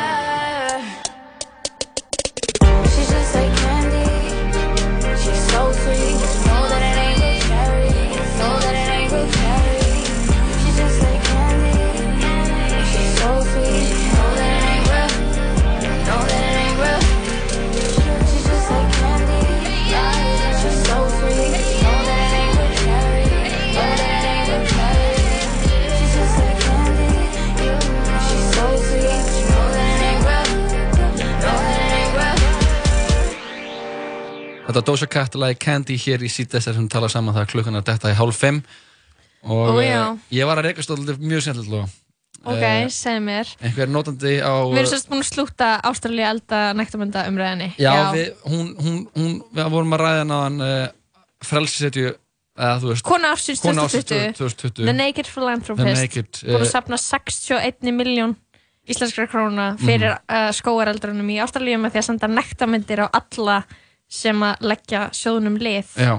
Speaker 4: She's just like candy. She's so sweet. Know that it ain't real cherry. Know that it ain't real cherry. She's just like candy. She's so sweet. Know that it ain't real. Know that it ain't real. She's just like candy. She's so sweet. Know that it ain't real cherry. Know that it ain't real cherry. She's just like candy. She's so sweet. Know that it ain't real. Know that it ain't real.
Speaker 1: Þetta Doja Cat lagi Candy hér í sítið þessar sem tala saman það er klukkan að detta í hálf fimm og
Speaker 2: Ó,
Speaker 1: eh,
Speaker 2: já.
Speaker 1: ég var að reykast alltaf mjög sennlega
Speaker 2: ok,
Speaker 1: Eh,
Speaker 2: segð mér
Speaker 1: einhver notandi á eh,
Speaker 2: Við erum sérst búin að slúta Ástralja elda nektamönda umræðinni
Speaker 1: já, Við, hún, hún, hún, við vorum að ræða náðan uh, frelsisetju eða þú veist
Speaker 2: Kona ársins
Speaker 1: kona ársins
Speaker 2: 2020 The
Speaker 1: 2020
Speaker 2: Naked
Speaker 1: The
Speaker 2: Philanthropist
Speaker 1: Naked
Speaker 2: Búin að
Speaker 1: eh,
Speaker 2: sapna 61 miljón íslenskra króna fyrir
Speaker 1: Mhm.
Speaker 2: mm. uh, skóareldrunum í Ástralju með því að senda nektamyndir á alla sem að leggja sjóðunum lið
Speaker 1: já,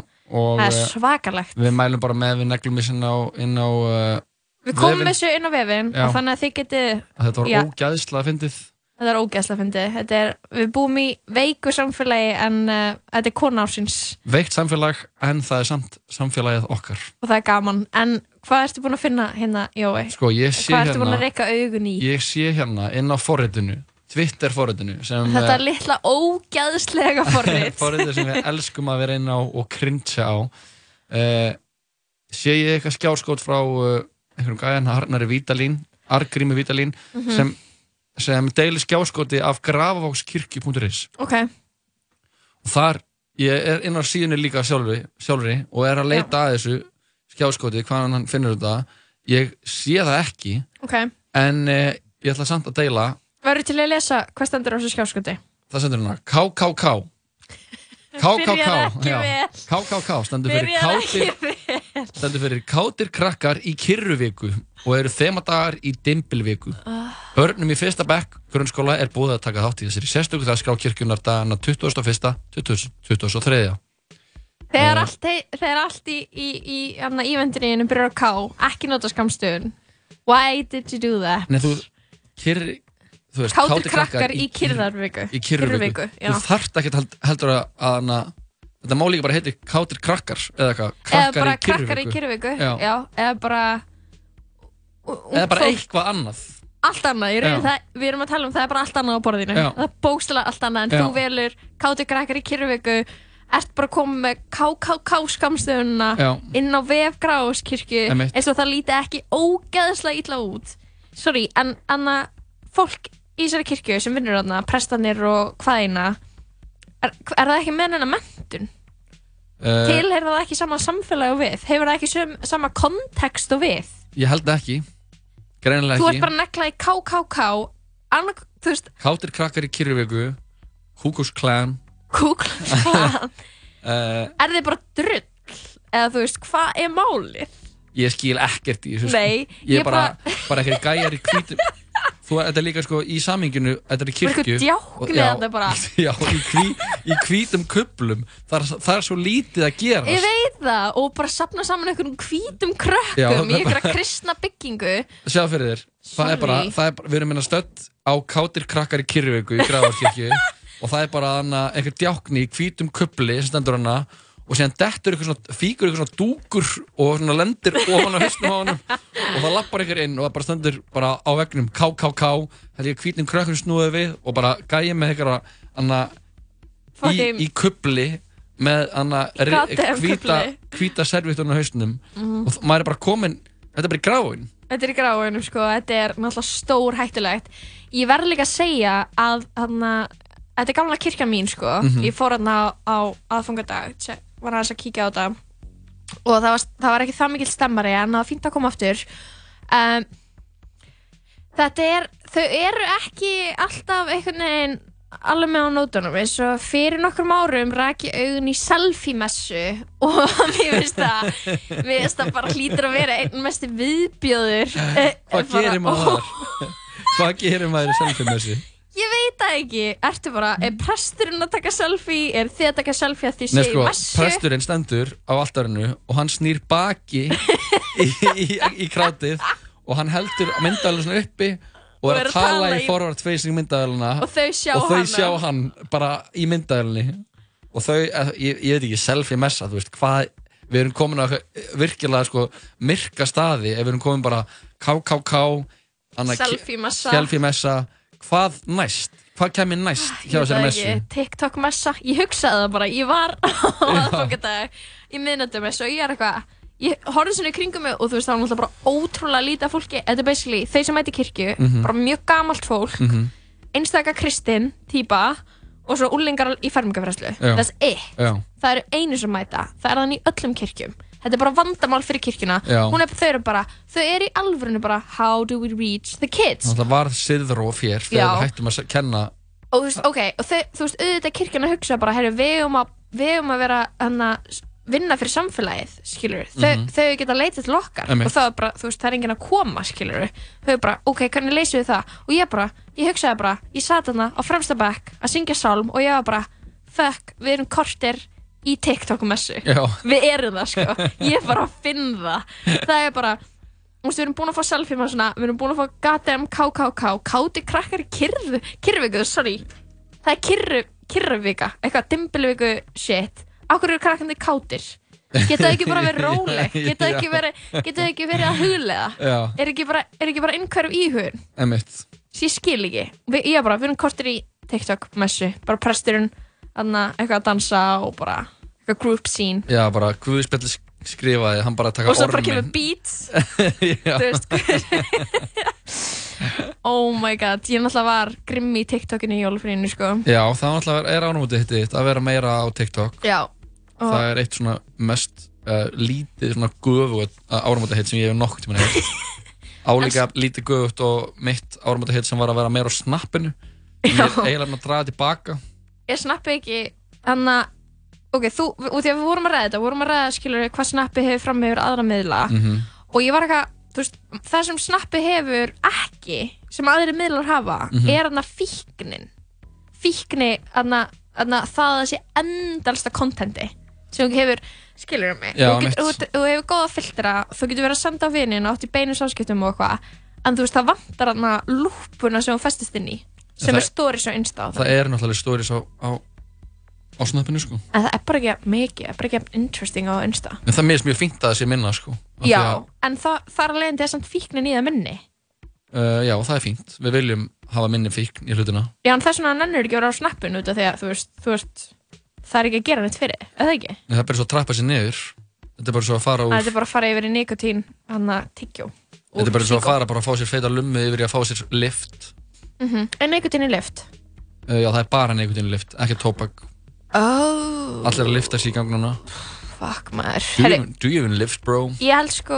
Speaker 2: Það
Speaker 1: og
Speaker 2: er
Speaker 1: eh,
Speaker 2: svakalegt
Speaker 1: við mælum bara með við neglum þess inn á, inn á uh,
Speaker 2: Við komum
Speaker 1: vefinn.
Speaker 2: þessu inn á vefin
Speaker 1: Já.
Speaker 2: og þannig að þið getið
Speaker 1: þetta var
Speaker 2: Já.
Speaker 1: ógæðsla að fyndið
Speaker 2: Þetta er ógæðslega fyndið. Þetta er, við búum í veiku samfélagi en uh, þetta er kona ársins
Speaker 1: veikt samfélag en það er samt samfélagið okkar
Speaker 2: og það er gaman. En hvað ertu búin að finna hérna, Jói?
Speaker 1: sko ég sé
Speaker 2: Hvað ertu búin að
Speaker 1: hérna
Speaker 2: reyka augun í?
Speaker 1: ég sé hérna inn á forritinu Twitter forritinu sem
Speaker 2: Þetta
Speaker 1: eh,
Speaker 2: litla ógæðslega forrið
Speaker 1: <laughs> forritið sem við elskum að vera inn á og krinsa á uh, sé ég eitthvað skjáskot frá uh, einhverjum gæðan Arnari Vítalín Argrími Vítalín sem, sem deilir skjáskoti af grafavókskirkju.is
Speaker 2: Ok,
Speaker 1: og þar, ég er inn á síðunni líka sjálfri, sjálfri og er að leita að þessu skjáskoti, hvaðan hann finnur þetta ég sé það ekki
Speaker 2: ok
Speaker 1: en uh, ég ætla samt að deila
Speaker 2: Verður til að lesa hvað stendur á þessu skjáskoti?
Speaker 1: það hérna, sendur hann að KKK
Speaker 2: <laughs>
Speaker 1: KKK
Speaker 2: Byrjar ekki
Speaker 1: já.
Speaker 2: vel.
Speaker 1: KKK stendur fyrir
Speaker 2: Byrjar
Speaker 1: kátir
Speaker 2: ekki við
Speaker 1: stendur fyrir kátir krakkar í kyrruviku og eru þemadagar í dimbilviku. Börnum í fyrsta bekk grunnskóla er búið að taka þátt í þessari sérstöku þaðskrá kirkjunar dagana 21. 20. 23.
Speaker 2: Þegar allt, þegar allt í, í, í anna, íventininu byrjar á K ekki nota skamstöðun Why did you do that?
Speaker 1: Nei, þú, kyrr, þú veist,
Speaker 2: Kátir krakkar í
Speaker 1: kyrr-
Speaker 2: kyrðarviku
Speaker 1: í kyrruviku.
Speaker 2: já.
Speaker 1: Þú þarft ekki held, heldur að, að hana, þetta má líka bara heiti kátir krakkar eða eitthvað,
Speaker 2: Eða
Speaker 1: krakkar
Speaker 2: bara
Speaker 1: í
Speaker 2: krakkar í
Speaker 1: kyrruviku.
Speaker 2: kyrðarviku
Speaker 1: Já.
Speaker 2: já, eða bara Ung
Speaker 1: Eða bara
Speaker 2: fólk.
Speaker 1: eitthvað annað.
Speaker 2: allt annað, ég reyni
Speaker 1: Já.
Speaker 2: það, við erum að tala um það er bara allt annað á borðinu,
Speaker 1: Já.
Speaker 2: það er bókstala allt annað en
Speaker 1: Já.
Speaker 2: þú velur kátu krakkar í kyrfiku ert bara komið með KKK skamstöðuna
Speaker 1: Já.
Speaker 2: inn á vef gráskirkju
Speaker 1: Einmitt.
Speaker 2: eins og það líti ekki ógeðslega illa út sorry, en, en að fólk í þessari kirkju sem vinnur þarna, prestanir og hvaðina er, er það ekki með hennar mentun?
Speaker 1: Uh,
Speaker 2: Tilheyrða það ekki sama samfélagi og við? Hefur það ekki söm, sama kontekst og við?
Speaker 1: Ég held ekki. Greinilega ekki.
Speaker 2: Þú ert bara neklaði KKK annað, þú veist,
Speaker 1: Kátir krakkar í Kyrruvíku Kúkús Klan
Speaker 2: Google
Speaker 1: <laughs>
Speaker 2: Plan
Speaker 1: uh,
Speaker 2: Er þið bara drull? Eða þú veist, hvað er málið?
Speaker 1: Ég skil ekkert í þessu sko.
Speaker 2: Nei,
Speaker 1: Ég
Speaker 2: ég
Speaker 1: er bara, bara ekkert gæjar í hvítu Þú, þetta er líka sko í saminginu Þetta er
Speaker 2: Bara
Speaker 1: í kirkju
Speaker 2: eitthvað djákn
Speaker 1: Og-
Speaker 2: við
Speaker 1: já,
Speaker 2: þetta bara.
Speaker 1: <laughs> Já, í, hví, í hvítum kuplum það er, það er svo lítið að
Speaker 2: Ég
Speaker 1: gerast
Speaker 2: veit það og bara sapna saman einhverjum hvítum
Speaker 1: Já,
Speaker 2: krökkum
Speaker 1: það
Speaker 2: í
Speaker 1: er
Speaker 2: einhverja kristna byggingu
Speaker 1: Sjá fyrir þér það
Speaker 2: Sorry.
Speaker 1: er bara, það er bara, Við erum minna stödd á kátir krakkar í Kyrruvíku Í Grafarkirkju
Speaker 2: <laughs>
Speaker 1: Og það er bara hana, einhver djákni í hvítum kupli sem stendur hana og síðan dettur ykkur svona, fíkur ykkur svona dúkur og svona lendir ofan á hausnum á honum og það lappar ykkur inn og það bara stendur bara á veggnum KKK það er líka hvítum krökkum snúið við og bara gæja með ykkur hana, í,
Speaker 2: Fucking-
Speaker 1: í kupli með hana
Speaker 2: goddamn
Speaker 1: hvíta,
Speaker 2: kufli.
Speaker 1: hvíta servitun á hausnum og þ- maður er bara komin þetta er bara í gráin
Speaker 2: Þetta er í gráinum sko, þetta er náttúrulega stór hættulegt Ég verð líka að segja að hana, þetta er gamla kirkja mín sko
Speaker 1: Mhm.
Speaker 2: Ég fór hann á, á aðfangadag, tse- var aðeins að kíkja á þetta og það var, það var ekki það mikill stemmari en það var fínt að koma aftur um, Þetta er, þau eru ekki alltaf einhvern veginn alveg með á nótunum eins og fyrir nokkrum árum rak ég augun í selfie-messu og <laughs> mér finnst það mér finnst það bara hlýtur að vera einn mest viðbjóður eh,
Speaker 1: Hvað
Speaker 2: bara-
Speaker 1: gerir maður þar? Hvað gerir maður í selfie-messi?
Speaker 2: Ég veit það ekki, ertu bara, er presturinn að taka selfie, er þið að taka selfie að þið
Speaker 1: Nei
Speaker 2: séu í
Speaker 1: sko,
Speaker 2: messu
Speaker 1: presturinn stendur á altarinu og hann snýr baki í, í, í krátið og hann heldur myndavælun svona uppi og er að tala í forvartfeysing myndavæluna
Speaker 2: og þau sjá
Speaker 1: og þau
Speaker 2: hana
Speaker 1: sjá hann bara í myndavælunni og þau, eh, ég, ég veit ekki, selfie-messa, þú veist, hvað við erum komin að virkilega sko myrka staði ef við erum komin bara KKK annað-
Speaker 2: Selfie-messa.
Speaker 1: selfie-messa, hvað næst? Hvað kemur næst
Speaker 2: Ég
Speaker 1: hjá
Speaker 2: veit
Speaker 1: þessari
Speaker 2: það
Speaker 1: messu?
Speaker 2: ekki, TikTok messa, ég hugsaði það bara, ég var
Speaker 1: <laughs>
Speaker 2: á aðfangadag í miðnættum og ég er eitthvað, ég horfði svona í kringum mig og þú veist það var náttúrulega bara ótrúlega lítið af fólki, þetta er basically þau sem mæti kirkju,
Speaker 1: Mhm.
Speaker 2: bara mjög gamalt fólk, einstaka kristin, típa og svo úlingar í fermingafræslu,
Speaker 1: Já.
Speaker 2: that's it
Speaker 1: Já,
Speaker 2: það eru einu sem mæta, það er þannig í öllum kirkjum þetta er bara vandamál fyrir kirkjuna
Speaker 1: Já.
Speaker 2: Hún er, þau eru bara, þau eru í alvörinu bara how do we reach the kids
Speaker 1: þannig að það varð siðróf hér
Speaker 2: Já.
Speaker 1: þegar við hættum að se- kenna
Speaker 2: og þú veist, ok, og þau, þú veist, auðvitað kirkjana hugsa bara, herru, við um að, við um að vera hann að vinna fyrir samfélagið, skilur, þau, þau geta leitað til okkar
Speaker 1: Mhm. Einmitt.
Speaker 2: og það er bara, þú veist, það er enginn að koma, skilur þau er bara, ok, hvernig leysum við það og ég bara, ég hugsaði bara, ég sat hana á fremsta bekk að syngja sálm og ég var bara fuck, við erum kortir í TikTok-messu
Speaker 1: Já.
Speaker 2: við erum það sko, ég er bara að finna það það er bara Þú veist, við erum búin að fá selfie með svona, við erum búin að fá goddamn KKK, káti krakkar í kyrðu, kyrruvíku, sorry það er kyrru, kyrruvíka, eitthvað dimbilvíku shit, okkur eru krakkandi kátir geta þau ekki bara verið
Speaker 1: <laughs>
Speaker 2: róleg geta þau ekki verið, geta þau ekki verið að huglega
Speaker 1: Já.
Speaker 2: er ekki bara, er ekki bara innhverf íhugun
Speaker 1: emitt
Speaker 2: Svo ég skil ekki Vi, Ég bara, við erum kortir í TikTok-messu Bara presturinn, þarna eitthvað að dansa Og bara eitthvað group scene
Speaker 1: Já, bara Guðspjall skrifaði, hann bara að taka
Speaker 2: Og svo bara
Speaker 1: orminn.
Speaker 2: kemur beats <laughs>
Speaker 1: <laughs> Já.
Speaker 2: Þú veist hver- Oh my god Ég náttúrulega var grimmi í TikTokinu í jólfrínu sko
Speaker 1: Já, það náttúrulega er ánumúti hitt þitt að vera meira á TikTok.
Speaker 2: Já og,
Speaker 1: Það er eitt svona mest uh, lítið svona guðvögt ánumúti hitt sem ég hef nokkuð tíma
Speaker 2: <laughs>
Speaker 1: hitt. Álíka lítið guðvögt og mitt ánumúti hitt sem var að vera meira á snappinu. Ég er
Speaker 2: Já.
Speaker 1: eiginlega búinn að draga tilbaka.
Speaker 2: Ég snappi ekki Þannig að Ok, þú, út í að við vorum að ræða þetta, vorum að ræða skilur hvað snappi hefur fram yfir aðra miðla
Speaker 1: Mhm.
Speaker 2: og ég var eitthvað, þú veist, það sem snappi hefur ekki, sem aðri miðlar hafa,
Speaker 1: Mhm.
Speaker 2: er þarna fíknin fíkni, þarna þarna það að það sé endalsta kontenti sem þú hefur, skilur mig
Speaker 1: Já,
Speaker 2: þú, get,
Speaker 1: mitt.
Speaker 2: þú, þú hefur góða filtra, þú getur verið að senda á vinin og átt í beinu sáskiptum og eitthvað en þú veist, það vantar þarna lúpuna sem þú festist inn í, sem
Speaker 1: það-
Speaker 2: er stories og insta og
Speaker 1: Það er náttúrulega stóris á, á, á snappinu, sko.
Speaker 2: en það er bara ekki jafn mikið, það er bara ekki jafn interesting á Insta
Speaker 1: En það meðist mjög fínt að það sé minna, sko. Af því
Speaker 2: Já,
Speaker 1: Að,
Speaker 2: en það, þar alveg þetta er samt fíknin í það minni
Speaker 1: uh, já, það er fínt. Við viljum hafa minni fíkn í hlutina.
Speaker 2: Já, en það er svona að nennur ekki að vera á snappinu út af því að þú veist, þú veist það er ekki að gera neitt fyrir, eða ekki?
Speaker 1: En það er bara svo að trappa sér niður. Þetta er bara svo að fara úr...
Speaker 2: Að þetta er bara að fara yfir í nikotín, hann að tyggjó
Speaker 1: Þetta er bara svo að fara bara að fá sér feita lummi yfir í að fá sér lift.
Speaker 2: En nikotín er lift
Speaker 1: Uh, já, það er bara neikutin lift, ekki tóbak.
Speaker 2: Oh,
Speaker 1: Allir að lifta sér í gang núna.
Speaker 2: fuck maður
Speaker 1: Do you,
Speaker 2: Herri,
Speaker 1: even, do you even lift, bro?
Speaker 2: Ég held sko,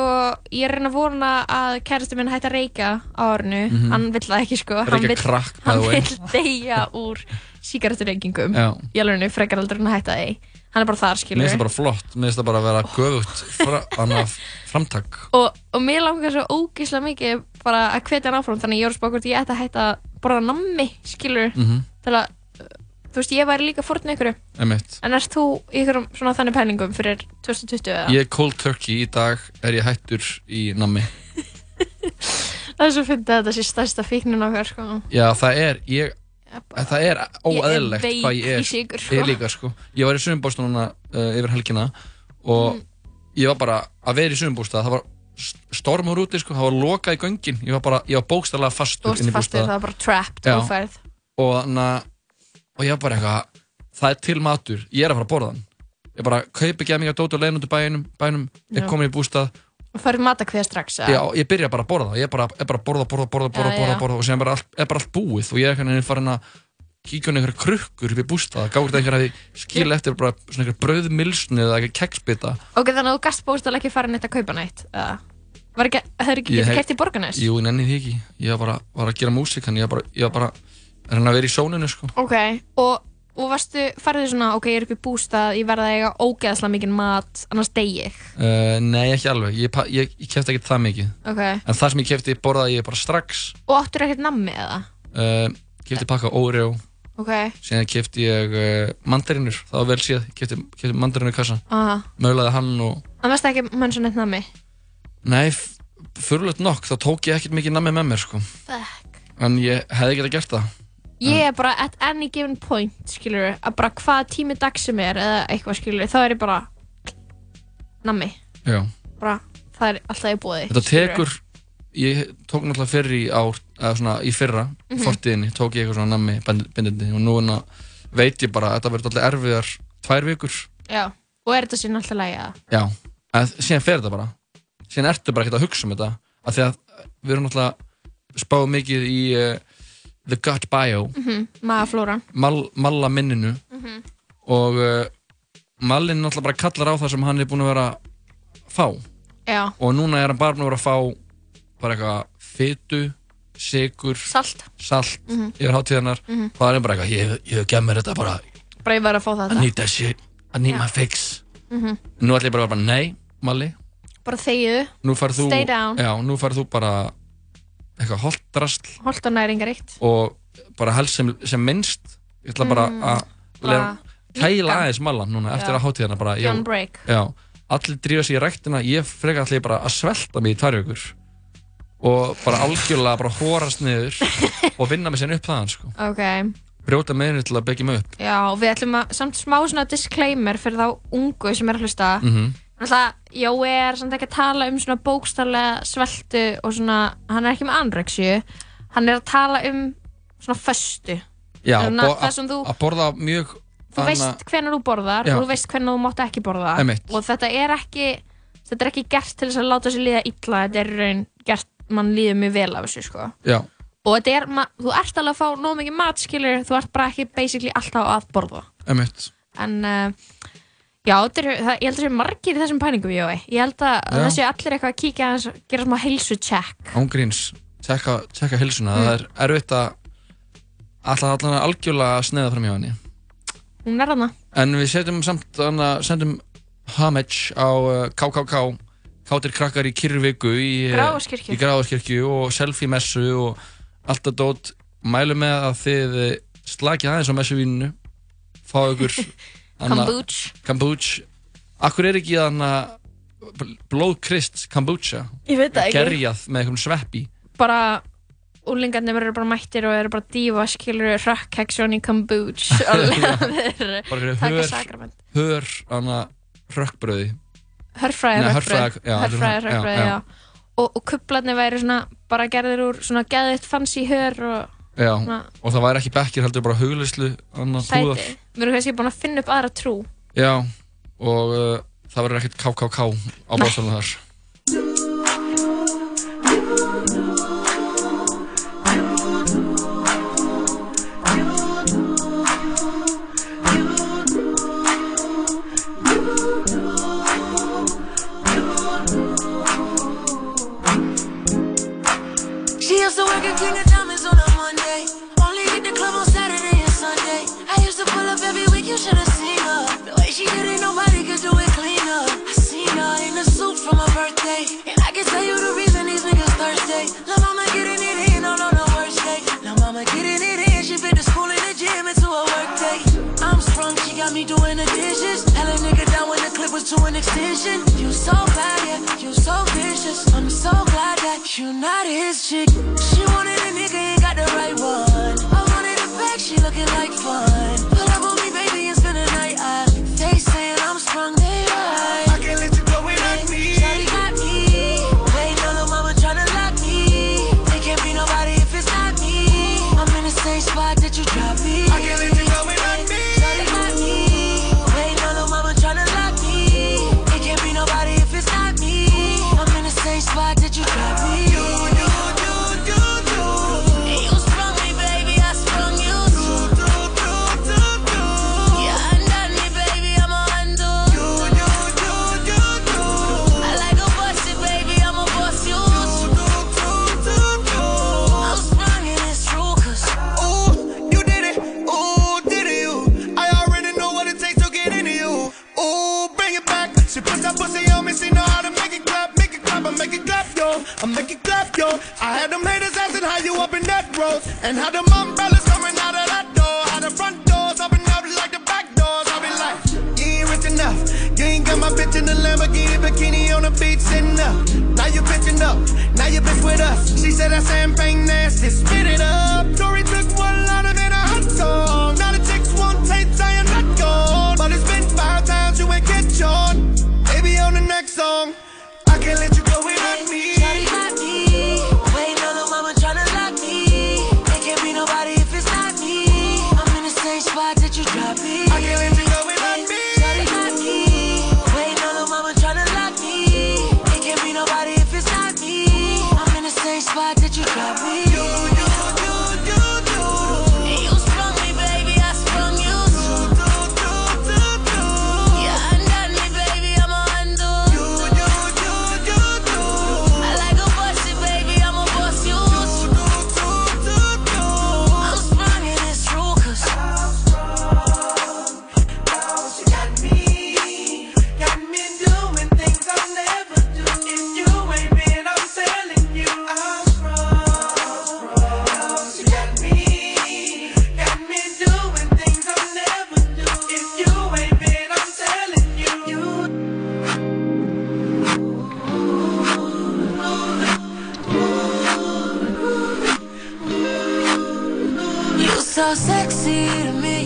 Speaker 2: ég er að reyna að vona að kæristu minn hætti að reyka á árinu Hann vill það ekki sko Hann
Speaker 1: Reykja
Speaker 2: vill-
Speaker 1: crack, Mhm. by
Speaker 2: Hann
Speaker 1: the way.
Speaker 2: vill deyja úr sígarettureykingum
Speaker 1: Já.
Speaker 2: í alveg frekar aldrei en að hætta því hann er bara þar
Speaker 1: Mér
Speaker 2: skilur
Speaker 1: finnst það bara flott, mér finnst það bara að vera
Speaker 2: Oh.
Speaker 1: göfugt fra,
Speaker 2: <laughs>
Speaker 1: annað framtak.
Speaker 2: og, og mér langar svo ógeðslega mikið bara að hvetja hann áfram þannig að ég voru spákvort ég ætti að hætta að borða nammi skilur mm
Speaker 1: Mhm.
Speaker 2: til að uh, þú veist ég væri líka fórn ykkur
Speaker 1: Einmitt.
Speaker 2: en erst þú í ykkur svona þannig pælingum fyrir 2020 eða?
Speaker 1: Ég er cold turkey í dag, er ég hættur í nammi.
Speaker 2: það er svo fyndið að þetta sé stærsta fíknin okkar sko
Speaker 1: Já, það er, ég, það er óæðilegt
Speaker 2: veik
Speaker 1: hvað ég
Speaker 2: í
Speaker 1: er.
Speaker 2: sykur, sko.
Speaker 1: Ég líka, sko. Ég var í sumbústa núna uh, yfir helgina
Speaker 2: Mm.
Speaker 1: og ég var bara að vera í sumbústa, það var st- stormur úti, sko, það var lokað í göngin. Ég var bara, ég var bókstallega
Speaker 2: þú
Speaker 1: fastur
Speaker 2: veist
Speaker 1: inn í
Speaker 2: fastur
Speaker 1: bústaða.
Speaker 2: það er bara trapped
Speaker 1: Já.
Speaker 2: og færð
Speaker 1: og þannig að og ég var bara eitthvað, það er til matur ég er að fara að borða hann ég bara kaupi ekki að mig að dóta og leiðin út úr bænum, bænum ég
Speaker 2: Já.
Speaker 1: komin í bústað
Speaker 2: og færð matakveð strax eða?
Speaker 1: ég, ég byrja bara að borða, ég er bara, er bara að borða, borða, borða, borða,
Speaker 2: Já,
Speaker 1: borða,
Speaker 2: já.
Speaker 1: borða og sem er bara allt, er bara allt búið og ég er hvernig farin að kíkja hann einhverja krukkur upp í bústað gáður það einhverja að skila eftir bara svona einhverja brauðmilsni eða eitthvað keksbita
Speaker 2: ok þannig að þú gast bóðstæðlega ekki fara neitt að kaupa neitt eða? var ekki, það er ekki
Speaker 1: Ég
Speaker 2: getið
Speaker 1: hef-
Speaker 2: kert í borgarnes
Speaker 1: jú, ég nenni því ekki, ég var bara, var að gera músík hann, ég var bara, ég var bara að reyna að vera í sóninu sko.
Speaker 2: Ok, og, og varstu, farðu svona, ok, ég er upp í bústað, ég verða að eiga ógeðslega mikinn mat, annars dey ég.
Speaker 1: uh, nei, ekki alveg, ég, pa- ég, ég kefti ekki það mikið
Speaker 2: Ok.
Speaker 1: en það sem ég kefti borðaði ég bara strax
Speaker 2: Og áttur ekkert nammi eða?
Speaker 1: uh, kefti pakka Oreo
Speaker 2: Ok.
Speaker 1: síðan kefti ég uh, mandarinur það var vel síðan, kefti, kefti mandarinur í kassa
Speaker 2: Aha.
Speaker 1: möglaði hann og
Speaker 2: Það varst ekki mönn svo neitt nammi.
Speaker 1: nei, fyrirlegt nokk þá tók ég ekkert mikið nammi með mér sko
Speaker 2: Fuck.
Speaker 1: en ég hefði getað gert það
Speaker 2: Ég er bara at any given point, skilur, að bara hvaða tími dag sem er eða eitthvað, skilur, þá er ég bara nammi.
Speaker 1: Já.
Speaker 2: Bara, það er alltaf í bóði.
Speaker 1: þetta tekur ég tók náttúrulega fyrir í ár eða svona í fyrra, mm fortíðinni tók ég eitthvað svona nammi bindindi og núna veit ég bara að þetta verður alltaf erfiðar tvær vikur
Speaker 2: Já. Og er þetta sín alltaf lægi eða?
Speaker 1: Já, að síðan fer þetta bara síðan ertu bara ekkert að hugsa um þetta af því að við erum náttúrulega spáð mikið í uh, The Gut Bio,
Speaker 2: Magaflóran.
Speaker 1: mal, malla minninu og uh, mallin náttúrulega bara kallar á það sem hann er búin að vera að fá
Speaker 2: Já.
Speaker 1: og núna er hann bara búin að vera að fá bara eitthvað fytu, sykur
Speaker 2: Salt. Mhm.
Speaker 1: salt yfir hátíðarnar og það er bara eitthvað, ég, ég hef gemið þetta bara
Speaker 2: Bara ég verð að fá
Speaker 1: I
Speaker 2: þetta. Mhm.
Speaker 1: need that shit, I need my fix nú ætla ég bara að vera bara, nei, malli
Speaker 2: Bara þegiðu,
Speaker 1: nú farið þú,
Speaker 2: Stay down.
Speaker 1: já, nú farið þú bara eitthvað holdrasl
Speaker 2: holt og næringaríkt.
Speaker 1: og bara helst sem, sem minnst ég ætla bara að
Speaker 2: Mm. bara
Speaker 1: lega- kæla
Speaker 2: minnka.
Speaker 1: aðeins mallan núna eftir
Speaker 2: Já.
Speaker 1: að hátíðana bara,
Speaker 2: John
Speaker 1: já,
Speaker 2: Break.
Speaker 1: já, allir drífa sig í ræktina, ég frekar allir bara að svelta mig í tvær vikur og bara algjörlega bara hórast
Speaker 2: <laughs>
Speaker 1: niður og vinna mig sér upp þaðan sko.
Speaker 2: Ok.
Speaker 1: brjóta meðinu til að byggja mig upp
Speaker 2: Já, og við ætlum að samt smá svona disclaimer fyrir þá ungu sem er að hlusta
Speaker 1: Mhm.
Speaker 2: Náttúrulega, Jói er samt ekki að tala um svona bókstarlega sveltu og svona, hann er ekki með anreksju hann er að tala um svona föstu
Speaker 1: Já,
Speaker 2: Þannig að
Speaker 1: bo-
Speaker 2: það sem þú-
Speaker 1: að borða mjög
Speaker 2: þú veist hvenær þú borðar
Speaker 1: Já.
Speaker 2: og þú veist hvenær þú mátt ekki borða
Speaker 1: Einmitt.
Speaker 2: og þetta er ekki þetta er ekki gert til þess að láta sér líða illa þetta er í raun gert, mann líður mjög vel af þessu sko.
Speaker 1: Já,
Speaker 2: og þetta er, ma- þú ert alveg að fá nóg mikið mat skilur, þú ert bara ekki basically alltaf að borða
Speaker 1: emitt
Speaker 2: en uh, já, þetta er, það, ég held að sé margir í þessum pæningum Jói, ég held að
Speaker 1: Já.
Speaker 2: þessi allir eitthvað að kíkja aðeins, gera smá heilsu check
Speaker 1: Ángríns, tjekka, tjekka hilsuna
Speaker 2: Mm.
Speaker 1: Það er erfitt að alltaf allan að algjörlega sneiða fram hjá henni
Speaker 2: hún er hana,
Speaker 1: En við setjum samt, þannig að sendum homage á uh, KKK Kátir krakkar í Kyrviku í, eh,
Speaker 2: Grafarvogskirkju.
Speaker 1: í Gráðarskirkju og selfie messu og allt að dót mælu með að þið eh, slakið aðeins á messuvíninu fá ykkur
Speaker 2: <laughs>
Speaker 1: annað-
Speaker 2: kombuch
Speaker 1: Kombucha Akkur er ekki þannig blóðkrist kombucha
Speaker 2: ég veit það
Speaker 1: gerjað með einhverjum sveppi
Speaker 2: bara úlingarnir eru bara mættir og eru bara að dífa skilur rökkheksjón í
Speaker 1: <laughs>
Speaker 2: kombuch og leður
Speaker 1: bara einhverju
Speaker 2: taka
Speaker 1: hör,
Speaker 2: sakrament
Speaker 1: hör annað rökkbröði
Speaker 2: hörfræði
Speaker 1: Nei,
Speaker 2: rökkbröð
Speaker 1: hörfræði- já,
Speaker 2: hörfræði
Speaker 1: já,
Speaker 2: rökkbröð,
Speaker 1: já.
Speaker 2: já og, og kublarnir væri svona bara gerðir úr svona geðitt fancy hör og
Speaker 1: Já,
Speaker 2: svona
Speaker 1: og það væri ekki bekkir heldur bara hugleyslu annað púðar
Speaker 2: sæti við erum kannski búin að finna upp aðra trú
Speaker 1: Já, og uh, það verður ekkert KKK á bóðsalunum þar
Speaker 5: She used to work at King of Diamonds on a Monday. Only hit the club on Saturday and Sunday. I used to pull up every week, you should have seen her. The way she did it, nobody could do it cleaner. I seen her in a suit for my birthday. And I can tell you the reason these niggas thirsty. La mama getting it in on on the worst day. La mama getting it in, she fit the school and the gym into a work day. I'm sprung, she got me doing the dishes. Hella nigga down when the clip was to an extension. You so bad, yeah, you so vicious. I'm so glad that you not his chick. She wanted a nigga and got the right one. I wanted a bag, she looking like fun. Pull up on me, baby, and spend the night. I, they saying I'm sprung, they right. I can't let you go without me. Shawty got me. They know the mama tryna lock me. They can't be nobody if it's not me. I'm in the same spot that you dropped me. I can't let you go without me. Shawty got me. They know the mama tryna lock me. It can't be nobody if it's not me. I'm in the same spot that you dropped me. You, you, you, you, you. And you sprung me, baby. I sprung you. too. You undone me, baby. I'ma undo. I like a busted, baby. I'ma bust you. I'm sprung and it's true, 'cause
Speaker 6: Ooh, you did it. Ooh, did it you? I already know what it takes to get into you. Ooh, bring it back. She puts that pussy on me. She know how to make it clap, make it clap, I make it clap, yo. I make it clap, yo. I had them haters asking how you up in that road, and how them umbrellas coming out of that door, how the front doors open up like the back doors. I be like, you ain't rich enough. You ain't got my bitch in the Lamborghini bikini on the beach sitting up. Now you bitching up. Now you bitch with us. She said that champagne nasty. Spit it up. Tory took one line of it a hot song. Now the chicks want tapes. I am not gone. But it's been five times you ain't get yours. Baby on the next song. I can't let you go without me.
Speaker 5: Shawty got me. Waiting on the mama tryna lock me. It can't be nobody if it's not me. I'm in the same spot that you dropped me.
Speaker 6: I can't let you go without me.
Speaker 5: Shawty got me. Waiting on the mama tryna lock me. It can't be nobody if it's not me. I'm in the same spot that you dropped me. You, you, you, you, you. And you sprung me, baby. I sprung you. too. You undone me, baby. I'ma undo. I like a busted, baby. I'ma bust you. I'm sprung and it's true, 'cause You so sexy to me,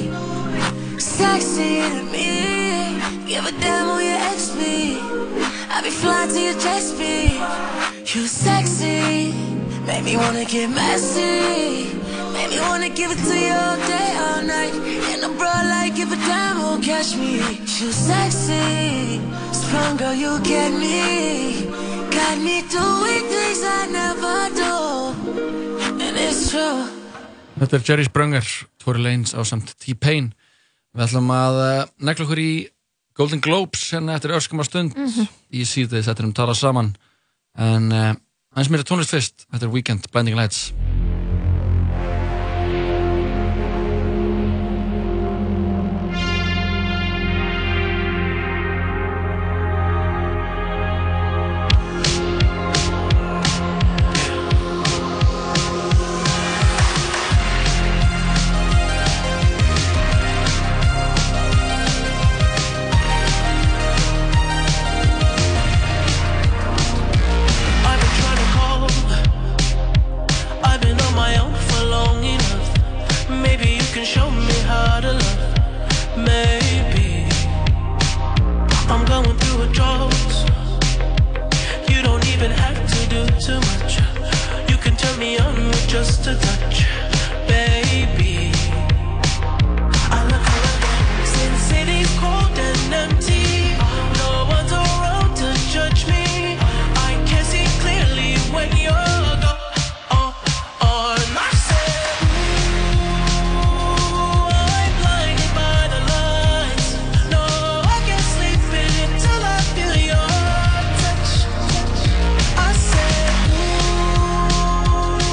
Speaker 5: sexy to me. Give a damn who your ex be. I be flying to your chest be. You sexy,
Speaker 7: Made me wanna get messy. Made me wanna give it to you all day, all night. And a bra like give a damn won't catch me. You sexy, strong girl, you get me. Got me doing things I never do, and it's true.
Speaker 1: Þetta er Jerry Sprunger, Tory Lanez á samt T-Pain. Við ætlum að eh, negla okkur í Golden Globes hérna eftir öskuma stund í síðið þetta um tala saman. En uh, eins meira tónlist fyrst, þetta er Weekend Blinding Lights.
Speaker 7: I've been trying to call. I've been on my own for long enough. Maybe you can show me how to love. Maybe I'm going through a drought. You don't even have to do too much. You can turn me on with just a touch, baby. I look around. Since city's cold and empty, no one's around to judge me. I can see clearly when you're gone. Oh, On myself, I'm blinded by the lights. No, I can't sleep until I feel your touch. I said, I'm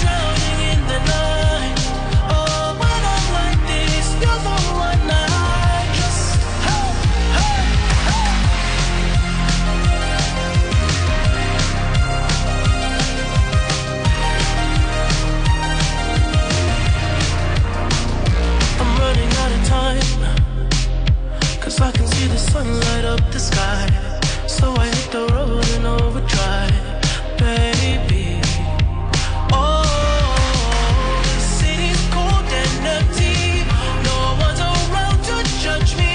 Speaker 7: drowning in the night. Oh, when I'm like this, you're the one I trust. Hey, hey, hey. I'm running out of time. Cause I can see the sun light up the sky. So I hit the road and overdrive, baby. Oh, the city's cold and empty. No one's around to judge me.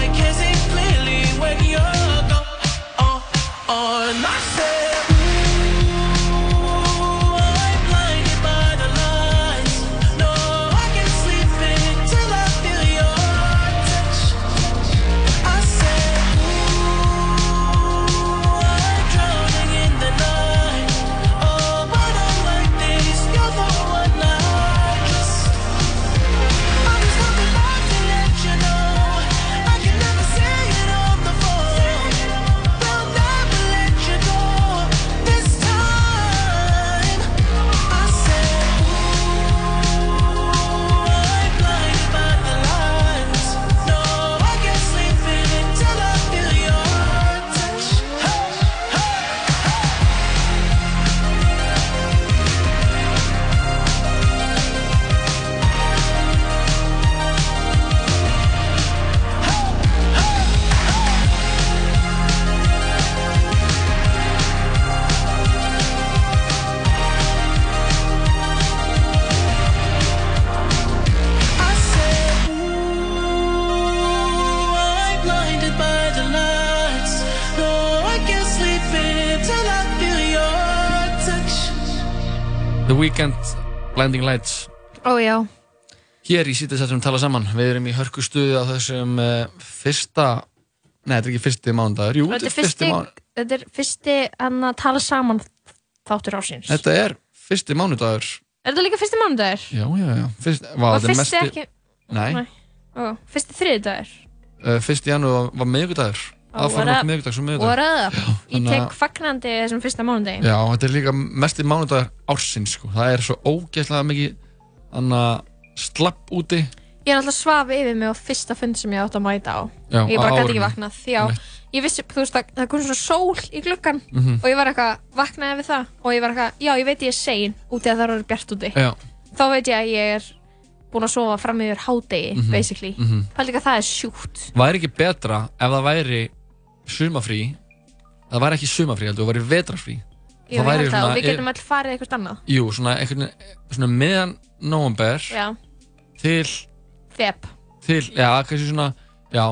Speaker 7: I can see clearly when you're gone. Oh, on myself. I'm blinded by the lights. No, I can't sleep until I feel your touch. I said, I'm drowning in the night. Oh, when I'm like this, you're the one I trust. I'm just walking by to let you know I can never say it on the phone. They'll never let you go this time. I said, I'm blinded by the lights. No, I can't sleep until I feel your touch. Hey, hey, hey. I said, ooh, I'm blinded by the lights. No, I can't sleep until I feel your touch.
Speaker 1: The Weekend Blinding Lights
Speaker 2: Ó já,
Speaker 1: hér í síðið þetta um tala saman. Við erum í hörkustuði á þessum uh, fyrsta, nei þetta er ekki fyrsti mándagur, jú
Speaker 2: þetta er fyrsti,
Speaker 1: mánudagur.
Speaker 2: þetta er fyrsti hann að tala saman þáttur ásins. Er
Speaker 1: Þetta er fyrsti mánudagur.
Speaker 2: þetta líka fyrsti mánudagur?
Speaker 1: Já, já, já. Fyrst, vá,
Speaker 2: Var
Speaker 1: þetta er
Speaker 2: fyrsti
Speaker 1: mesti-
Speaker 2: ekki,
Speaker 1: Nei.
Speaker 2: Nei. ó, fyrsti þriðdagur?
Speaker 1: uh, fyrst í janúar var miðvikudagur
Speaker 2: Á,
Speaker 1: aðfara
Speaker 2: what
Speaker 1: upp
Speaker 2: up?
Speaker 1: miðvikudags og
Speaker 2: Og
Speaker 1: miðvikudag
Speaker 2: röða, ég
Speaker 1: þannig að-
Speaker 2: tek fagnandi þessum fyrsta mánudagi.
Speaker 1: já, þetta er líka mest í mánudagar ársins sko. það er svo ógeðslega mikið þannig að slapp úti
Speaker 2: Ég er alltaf svaf yfir mig á fyrsta fund sem ég átt að mæta á.
Speaker 1: já,
Speaker 2: ég bara
Speaker 1: á
Speaker 2: gæti ekki
Speaker 1: árinu.
Speaker 2: vaknað því að
Speaker 1: Einmitt.
Speaker 2: ég vissi, þú veist, það, það kom svona sól í gluggan
Speaker 1: Mhm.
Speaker 2: og ég var eitthvað, vaknaði við það og ég var eitthvað, já, ég veit ég er sein úti að það eru bjart úti
Speaker 1: já,
Speaker 2: þá veit ég að ég er búin að sofa fram yfir hádegi,
Speaker 1: Mhm.
Speaker 2: basically mm -hmm. það það er sjúkt
Speaker 1: væri ekki betra ef það væri sumafrí það væri ekki sumafrí, heldur, það væri vetrafrí
Speaker 2: Jú, ég
Speaker 1: væri
Speaker 2: held það,
Speaker 1: svona-
Speaker 2: og við getum alltaf farið eitthvað annað
Speaker 1: jú, svona, einhvern, svona meðan november
Speaker 2: já,
Speaker 1: til,
Speaker 2: þep,
Speaker 1: til, já, kannski svona já,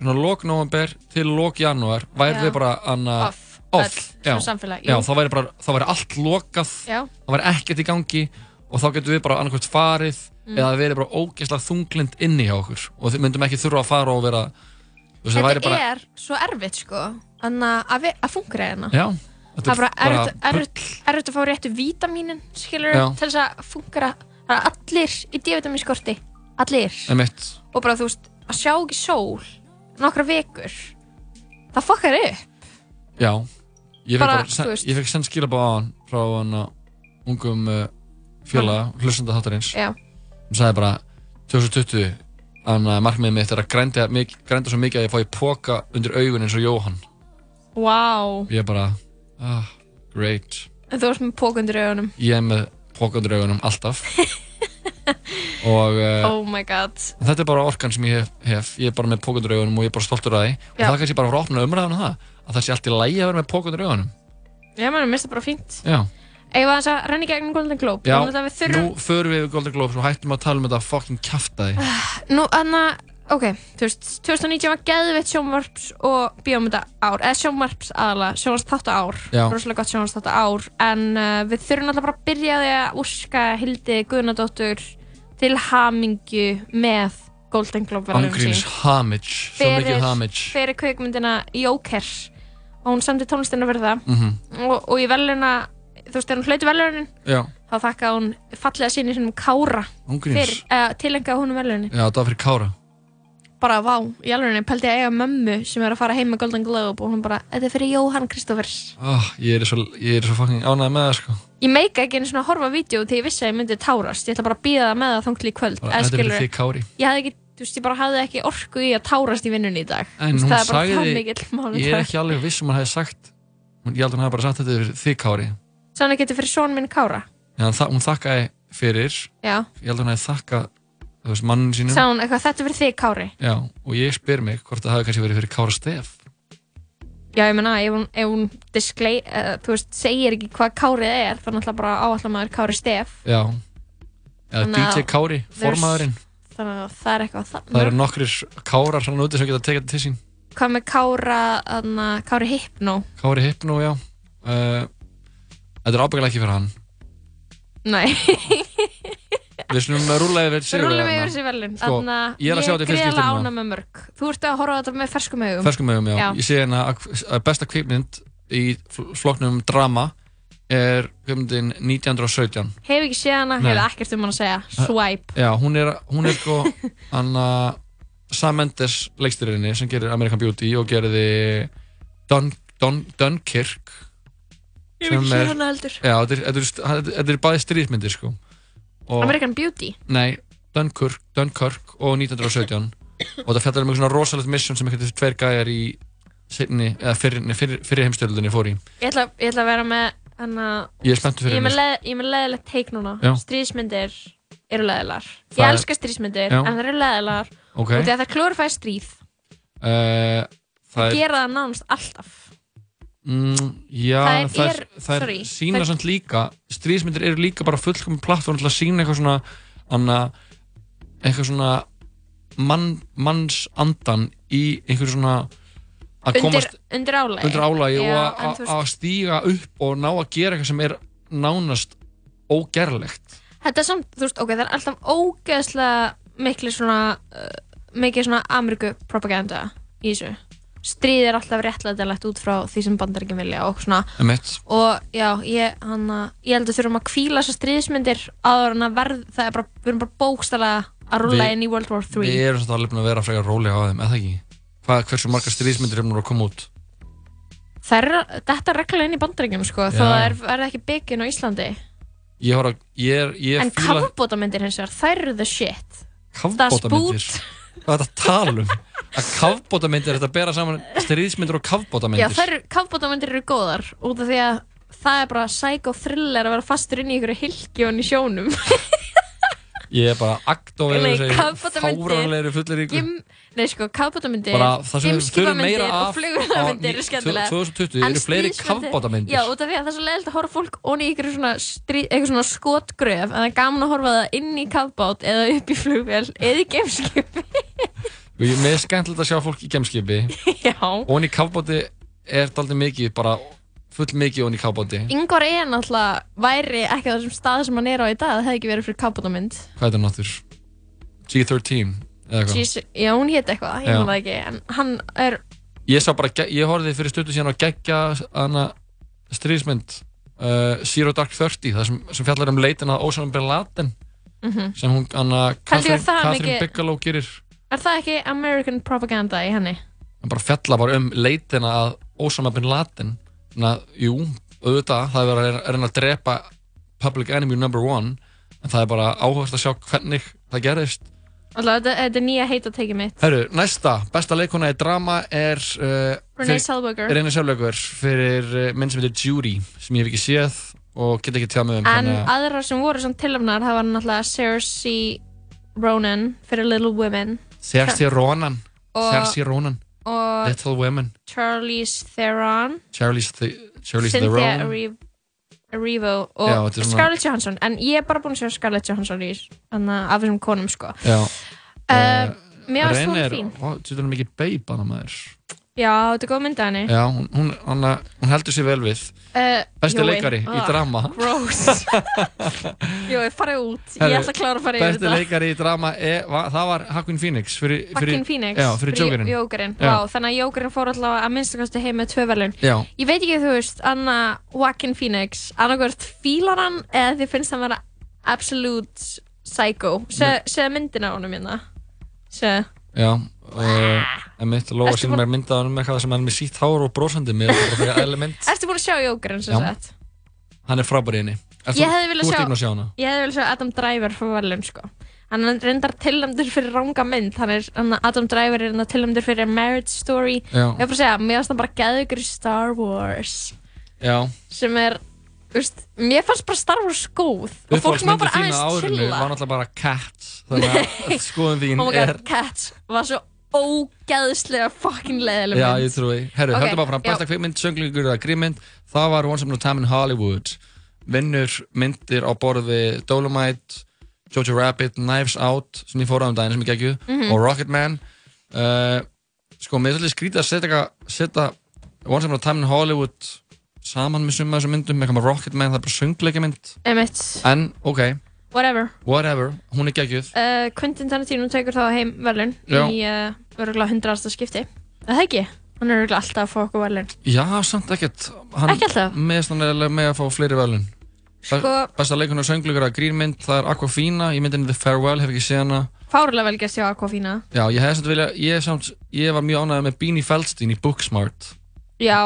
Speaker 1: svona lok november til lok janúar væri
Speaker 2: Já.
Speaker 1: við bara anna,
Speaker 2: off,
Speaker 1: off,
Speaker 2: öll
Speaker 1: Já.
Speaker 2: svona samfélag
Speaker 1: Já,
Speaker 2: Jú.
Speaker 1: þá væri, bara, þá væri allt lokað,
Speaker 2: Já.
Speaker 1: þá væri ekkert í gangi og þá getum við bara annarkvæmt farið
Speaker 2: Mm.
Speaker 1: eða það verið bara ógeðslega þunglind inni hjá okkur og við myndum ekki þurfa að fara og vera þú veist, það
Speaker 2: Þetta
Speaker 1: væri bara
Speaker 2: er svo erfitt sko Þannig að, að, vi- að fungra hérna
Speaker 1: Já,
Speaker 2: Það
Speaker 1: þetta
Speaker 2: er bara erfitt, erfitt,
Speaker 1: bull.
Speaker 2: erfitt að fá réttu vítamínin skilur
Speaker 1: Já.
Speaker 2: til þess að fungra Það er allir í D-vitaminskorti Allir
Speaker 1: Einmitt.
Speaker 2: Og bara þú veist, að sjá ekki sól nokkra vikur Það fokkar upp
Speaker 1: Já, ég fekk,
Speaker 2: Bara,
Speaker 1: bara, sen,
Speaker 2: þú veist.
Speaker 1: ég fekk send skilabá á hann frá hann ungum uh, fjöla, hlustanda þáttarins
Speaker 2: Já,
Speaker 1: hún sagði bara 2020 þannig að markmiðið mitt er að grænda, mik- grænda svo mikið að ég fái póka undir augun eins og Jóhann
Speaker 2: wow
Speaker 1: ég bara, ah, great
Speaker 2: En þú varst með pókundur í augunum
Speaker 1: ég er með póka undir augunum
Speaker 2: <laughs>
Speaker 1: alltaf og uh,
Speaker 2: Oh my god
Speaker 1: þetta er bara orkan sem ég hef, hef ég er bara með póka undir augunum og ég er bara stoltur að því og
Speaker 2: Já.
Speaker 1: það er kannski bara að fara að opna umræðan á það að það sé allt í lægi að vera með póka undir augunum
Speaker 2: Já, maður mista bara fínt
Speaker 1: já,
Speaker 2: Eða þess að renni gegn Golden Globe
Speaker 1: já,
Speaker 2: Þannig að við þurfum
Speaker 1: nú förum við yfir Golden Globes og hættum að tala um þetta fucking kjaftaði
Speaker 2: Nú, anna, ok, þú veist, 2019 var geðvitt sjónvarps og bíómynda ár, eða sjónvarps aðalega, sjónvarps þáttu ár,
Speaker 1: Já.
Speaker 2: rosalega gott sjónvarps þáttu ár, en uh, við þurfum alltaf bara að byrja á því að úrska Hildi Guðnadóttur til hamingju með Golden Globe verðlaun
Speaker 1: ángríns
Speaker 2: sín.
Speaker 1: hamage, svo mikið hamage
Speaker 2: um fyrir kveikmyndina Joker og hún samdi tónlistina fyrir það
Speaker 1: Mhm.
Speaker 2: og, og í veluna, þú veist, þegar hún hlauti velunin,
Speaker 1: já,
Speaker 2: þá þakkaði hún fallega sinni sem Kára
Speaker 1: ángríns
Speaker 2: fyrir, eða tilengaði hún velunin
Speaker 1: já, það var fyrir Kára
Speaker 2: bara vá, í alveg pældi ég að eiga mömmu sem er að fara heim með Golden Globe og hún bara, þetta er fyrir Jóhann Kristófers
Speaker 1: Oh, ég er svo, ég er svo fucking ánægð með það sko
Speaker 2: ég meika ekki einu svona að horfa á vídeo þegar ég vissi að ég myndi tárast, ég ætla bara að býða það með það þangtil í kvöld,
Speaker 1: Bara,
Speaker 2: eða
Speaker 1: Þetta er fyrir
Speaker 2: skilur
Speaker 1: þig Kári
Speaker 2: ég hafði ekki, þú veist, ég bara hafði ekki orku í að tárast í vinnunni í dag
Speaker 1: En
Speaker 2: Þú veist,
Speaker 1: hún
Speaker 2: það er bara
Speaker 1: sagði-
Speaker 2: það mikill mánudag
Speaker 1: Ég er ekki alveg viss um hann hefði sagt hún- Ég held að hann hefði bara sagt þetta er fyrir þig Kári
Speaker 2: svona getur fyrir son minn Kára
Speaker 1: En hann, þa- hún þakkaði fyrir
Speaker 2: já,
Speaker 1: Ég held að hann hefði þakkað þú veist, manninu sínum
Speaker 2: sagði hún eitthvað, þetta er fyrir þig Kári
Speaker 1: Já, og ég spyr mig hvort það hafi kannski verið fyrir Kára Stef
Speaker 2: já, ég menna, ef hún, ef hún display, uh, þú veist, segir ekki hvað Kárið er, þannig að bara áallar maður Kári Stef
Speaker 1: Já Eða
Speaker 2: Þannig að
Speaker 1: DJ Kári,
Speaker 2: there's-
Speaker 1: formaðurinn
Speaker 2: þannig að það er eitthvað þarna.
Speaker 1: Það eru nokkrir Kárar hann úti sem geta tekið þetta til sín
Speaker 2: hvað með Kára, þarna, Kári Hypno
Speaker 1: Kári Hypno, já uh, Þetta er ábyggilega ekki fyrir hann
Speaker 2: Nei,
Speaker 1: Við slumum rúla yfir sigur
Speaker 2: rúlum við yfir þessi velun
Speaker 1: Sko, ég er að sjá þetta í fyrsta skipti
Speaker 2: greiðlega
Speaker 1: núna.
Speaker 2: ána með mörg Þú ert að horfa á þetta með ferskum augum
Speaker 1: ferskum augum, já.
Speaker 2: Já.
Speaker 1: Ég sé hérna að að besta kvikmynd í fl- flokknum drama er kvikmyndin 1917.
Speaker 2: Hef ekki séð hana,
Speaker 1: Nei.
Speaker 2: hef ekkert um hana að segja Swipe
Speaker 1: Já, hún er, hún er
Speaker 2: <laughs>
Speaker 1: sko Anna Sam Mendes leikstyrinni sem gerir American Beauty og gerði Dun, Dun, Dunkirk
Speaker 2: Hef ekki
Speaker 1: sem
Speaker 2: séð
Speaker 1: er-
Speaker 2: hana heldur
Speaker 1: Já, þetta er- þetta er st- þetta- þetta eru bæði stríðmyndir sko og,
Speaker 2: American Beauty
Speaker 1: Nei, Dunkirk, Dunkirk og 1917 og þetta fjallar um einhver svona rosalegt mission sem eitthvað tveir gæjar í sinni, eða fyrir, fyrir, fyrir heimstöldinni fór í
Speaker 2: Ég ætla, ég ætla að vera með hana,
Speaker 1: Ég er spenntur
Speaker 2: Ég
Speaker 1: fyrir
Speaker 2: er með
Speaker 1: henni
Speaker 2: leð- ég er með leðilegt teik núna
Speaker 1: Já.
Speaker 2: Stríðismyndir eru leðilar Ég
Speaker 1: Það er-
Speaker 2: elska stríðismyndir,
Speaker 1: Já.
Speaker 2: en það eru leðilar okay.
Speaker 1: Ok.
Speaker 2: Og þegar það klórfæði stríð
Speaker 1: Eh, það er,
Speaker 2: Gera það nánast alltaf
Speaker 1: mm, já,
Speaker 2: það er-
Speaker 1: það er,
Speaker 2: er-
Speaker 1: það er
Speaker 2: sorry,
Speaker 1: sína
Speaker 2: það-
Speaker 1: samt líka stríðismyndir eru líka bara fullkomin plattform til að sína eitthvað svona anna, eitthvað svona mann, manns andan í einhver svona að
Speaker 2: Undir,
Speaker 1: komast
Speaker 2: undir álagi
Speaker 1: undir álagi
Speaker 2: Já,
Speaker 1: og
Speaker 2: en
Speaker 1: að-
Speaker 2: þú
Speaker 1: að- að stíga upp og ná að gera eitthvað sem er nánast ógerlegt
Speaker 2: Þetta er samt, þú veist, ok, það er alltaf ógeðslega miklu svona uh, mikið svona Ameríku propaganda í þessu. Stríð er alltaf réttlætilegt út frá því sem bandar ekki vilja og svona,
Speaker 1: Emmett,
Speaker 2: og já, ég, hana, ég held að þurfum að kvíla þessar stríðismyndir áður en að verð, það er bara, við erum bara bókstala að rúla
Speaker 1: Við-
Speaker 2: inn í World War
Speaker 1: við
Speaker 2: 3.
Speaker 1: erum samt alveg búin að vera frekar rólega á þeim, eða ekki? Hvað, hversu margar stríðismyndir eru nú að koma út?
Speaker 2: Það er, þetta er reglulega inn í bandaríkjum, sko,
Speaker 1: Já.
Speaker 2: þó það er, er ekki byggin á Íslandi.
Speaker 1: Ég, horf að- ég, er- ég
Speaker 2: En
Speaker 1: fíla-
Speaker 2: kafbótamyndir hins vegar, þær eru the shit.
Speaker 1: kafbótamyndir
Speaker 2: Það
Speaker 1: hvað er þetta að tala um að kafbótamyndir er þetta að bera saman stríðismyndir og
Speaker 2: Já,
Speaker 1: kafbótamyndir
Speaker 2: þær, kafbótamyndir eru góðar út af því að það er bara psycho-thriller að vera fastur inn í ykkur hilkjón í sjónum.
Speaker 1: ég er bara
Speaker 2: Nei,
Speaker 1: aktóvegur
Speaker 2: kafbátamyndir.
Speaker 1: fáranlegri fullir ykkur
Speaker 2: Gim, nei, sko, kafbótamyndir,
Speaker 1: bara það sem við þurfum meira
Speaker 2: geimskipamyndir og
Speaker 1: af
Speaker 2: flugurmyndir eru skemmtilega.
Speaker 1: 2020
Speaker 2: En
Speaker 1: eru fleiri
Speaker 2: stríðsmyndir-
Speaker 1: kafbótamyndir
Speaker 2: Já, út af því að það er svo leiðilegt að horfa fólk onni í ykkur svona, strí, ykkur svona skotgröf en það er gaman að horfa það inn í kafbót eða upp í flugvél eða í geimskipi.
Speaker 1: og ég með skemmtilegt að sjá fólk í gemskipi
Speaker 2: <laughs> Já,
Speaker 1: og í kafbóti er þetta aldrei mikið bara full mikið ofan í kábáti
Speaker 2: Ingvar er náttúrulega væri ekki á þessum stað sem hann er á í dag það hefði ekki verið fyrir kapotamynd
Speaker 1: Hvað er það náttúr? G13 eða hvað?
Speaker 2: Jeez, já, hún hétt eitthvað, ég
Speaker 1: Já.
Speaker 2: man það ekki en hann er,
Speaker 1: Ég sá bara, ge- ég horfði fyrir stundu síðan á geggja hana stríðismynd uh, Zero Dark Thirty það sem, sem fjallar um leitina að Osama Bin Laden sem hún, hana,
Speaker 2: Heldur
Speaker 1: Catherine,
Speaker 2: það hann
Speaker 1: Catherine
Speaker 2: ekki-
Speaker 1: Bigelow gerir
Speaker 2: mhm. er það ekki American propaganda í henni?
Speaker 1: hann bara fjallar bara um leitina að Osama Bin Laden þannig að, jú, auðvitað það er verið að reyna- reyna að drepa public enemy number one en það er bara áhverst að sjá hvernig það gerðist
Speaker 2: Alltaf, þetta, þetta er nýja heitatekið mitt
Speaker 1: Herru, næsta, besta leikona í drama er uh,
Speaker 2: Renee Zellweger
Speaker 1: Reina Sjálflaugur fyrir uh, minn sem heitir Jury sem ég hef ekki séð og get ekki tjáð mig um
Speaker 2: En
Speaker 1: þannig að
Speaker 2: aðrar sem voru samt tilöfnar það var náttúrulega Cersei Ronan fyrir Little Women
Speaker 1: Cersei Ronan
Speaker 2: Og-
Speaker 1: Cersei Ronan,
Speaker 2: og
Speaker 1: Little Women
Speaker 2: Charlize Theron
Speaker 1: Charlize the, Charlize the
Speaker 2: Cynthia
Speaker 1: Ronan
Speaker 2: Erivo, Erivo
Speaker 1: Já,
Speaker 2: og
Speaker 1: þetta er svona-
Speaker 2: Scarlett Johansson en ég er bara búin að sjá Scarlett Johansson í þannig að af þessum konum sko
Speaker 1: Já, Eh,
Speaker 2: uh, Mér varst hún
Speaker 1: Reina er
Speaker 2: fín
Speaker 1: tjóðlega mikið beib hana maður
Speaker 2: Já, þetta er góð mynd að henni
Speaker 1: Já, hún, hún, hana, hún heldur sér vel við
Speaker 2: uh,
Speaker 1: Besti
Speaker 2: Jói.
Speaker 1: leikari í
Speaker 2: Ah,
Speaker 1: drama <laughs>
Speaker 2: Gross Jói, farið út Ég
Speaker 1: Herru,
Speaker 2: ætla að klára að fara yfir
Speaker 1: Besti
Speaker 2: þetta
Speaker 1: leikari í drama er, va, það var Hakun Phoenix fyrir,
Speaker 2: Fucking Phoenix
Speaker 1: Já, fyrir Jokerinn
Speaker 2: Jokerinn,
Speaker 1: Já.
Speaker 2: vá, þannig að Jokerinn fór allavega að minnstakosti heim með tvö velun
Speaker 1: Já,
Speaker 2: Ég veit ekki, þú veist, Anna Joaquin Phoenix annarkvært fílar hann eða þið finnst hann vera absolute psycho Segðu myndin á honum hérna Segðu
Speaker 1: já uh, Emitt, Lóa
Speaker 2: Ertu
Speaker 1: sínum
Speaker 2: búin-
Speaker 1: mér myndað hann með eitthvað sem hann er með sítt hár og brosandi mér er bara fyrir eðli mynd
Speaker 2: Ertu búin að sjá Jokerinn sem
Speaker 1: Já.
Speaker 2: sagt?
Speaker 1: hann er frábær í henni er
Speaker 2: Ég hefði viljað
Speaker 1: Þú
Speaker 2: sjá-
Speaker 1: ert ekki að sjá hana
Speaker 2: Ég hefði vel sjá Adam Driver fyrir velun, sko Hann er reyndar tilnæmdur fyrir ranga mynd hann er, hann, Adam Driver er reyndar tilnæmdur fyrir Marriage Story
Speaker 1: Já.
Speaker 2: Ég er bara að segja, mér finnst hann bara geðugur í Star Wars
Speaker 1: Já,
Speaker 2: sem er þú veist, mér fannst bara Star Wars góð og fólk má
Speaker 1: uppáhaldsmyndin
Speaker 2: bara
Speaker 1: þín á
Speaker 2: aðeins
Speaker 1: árinu
Speaker 2: chilla
Speaker 1: var náttúrulega bara Cats
Speaker 2: <laughs>
Speaker 1: þannig að skoðum þín
Speaker 2: oh my
Speaker 1: er
Speaker 2: god, Cats var svo ógeðslega fucking leiðileg
Speaker 1: Já,
Speaker 2: mynd
Speaker 1: ég trúi
Speaker 2: Ok,
Speaker 1: Herru, okay, höldum bara fram
Speaker 2: já.
Speaker 1: Besta kvikmynd, sönglingur eða grímynd Það var Once Upon a Time in Hollywood Vinnur myndir á borð við Dolomite Jojo Rabbit, Knives Out sem ég fór á um daginn sem ég geggju
Speaker 2: Mhm.
Speaker 1: og Rocketman uh, Sko, mér er svolítið skrítið að setja, eitthvað- setja Once Upon a Time in Hollywood saman með summa þessum myndum með eitthvað með Rocketman, það er bara söngleikamind
Speaker 2: Emmett,
Speaker 1: En, ok,
Speaker 2: whatever
Speaker 1: whatever, hún er geggjuð
Speaker 2: uh, Quentin Tarantino tekur þá heim velun
Speaker 1: Já.
Speaker 2: í uh, örgulega hundraðasta skipti Er það ekki? Hann er örgulega alltaf að fá okkur velun
Speaker 1: Já, samt ekkert hann,
Speaker 2: Ekki alltaf?
Speaker 1: Meðstannlega með að fá fleiri velun
Speaker 2: Sko,
Speaker 1: Besta leikun og sönglugur að grínmynd Það er Aquafina, ég myndinni The Farewell Hef ekki séð hana
Speaker 2: fárulega vel gæst hjá Aquafina
Speaker 1: Já, ég hef samt vilja, ég, samt, ég var mjög ánægð með Beanie Feldstein í Booksmart
Speaker 2: Já,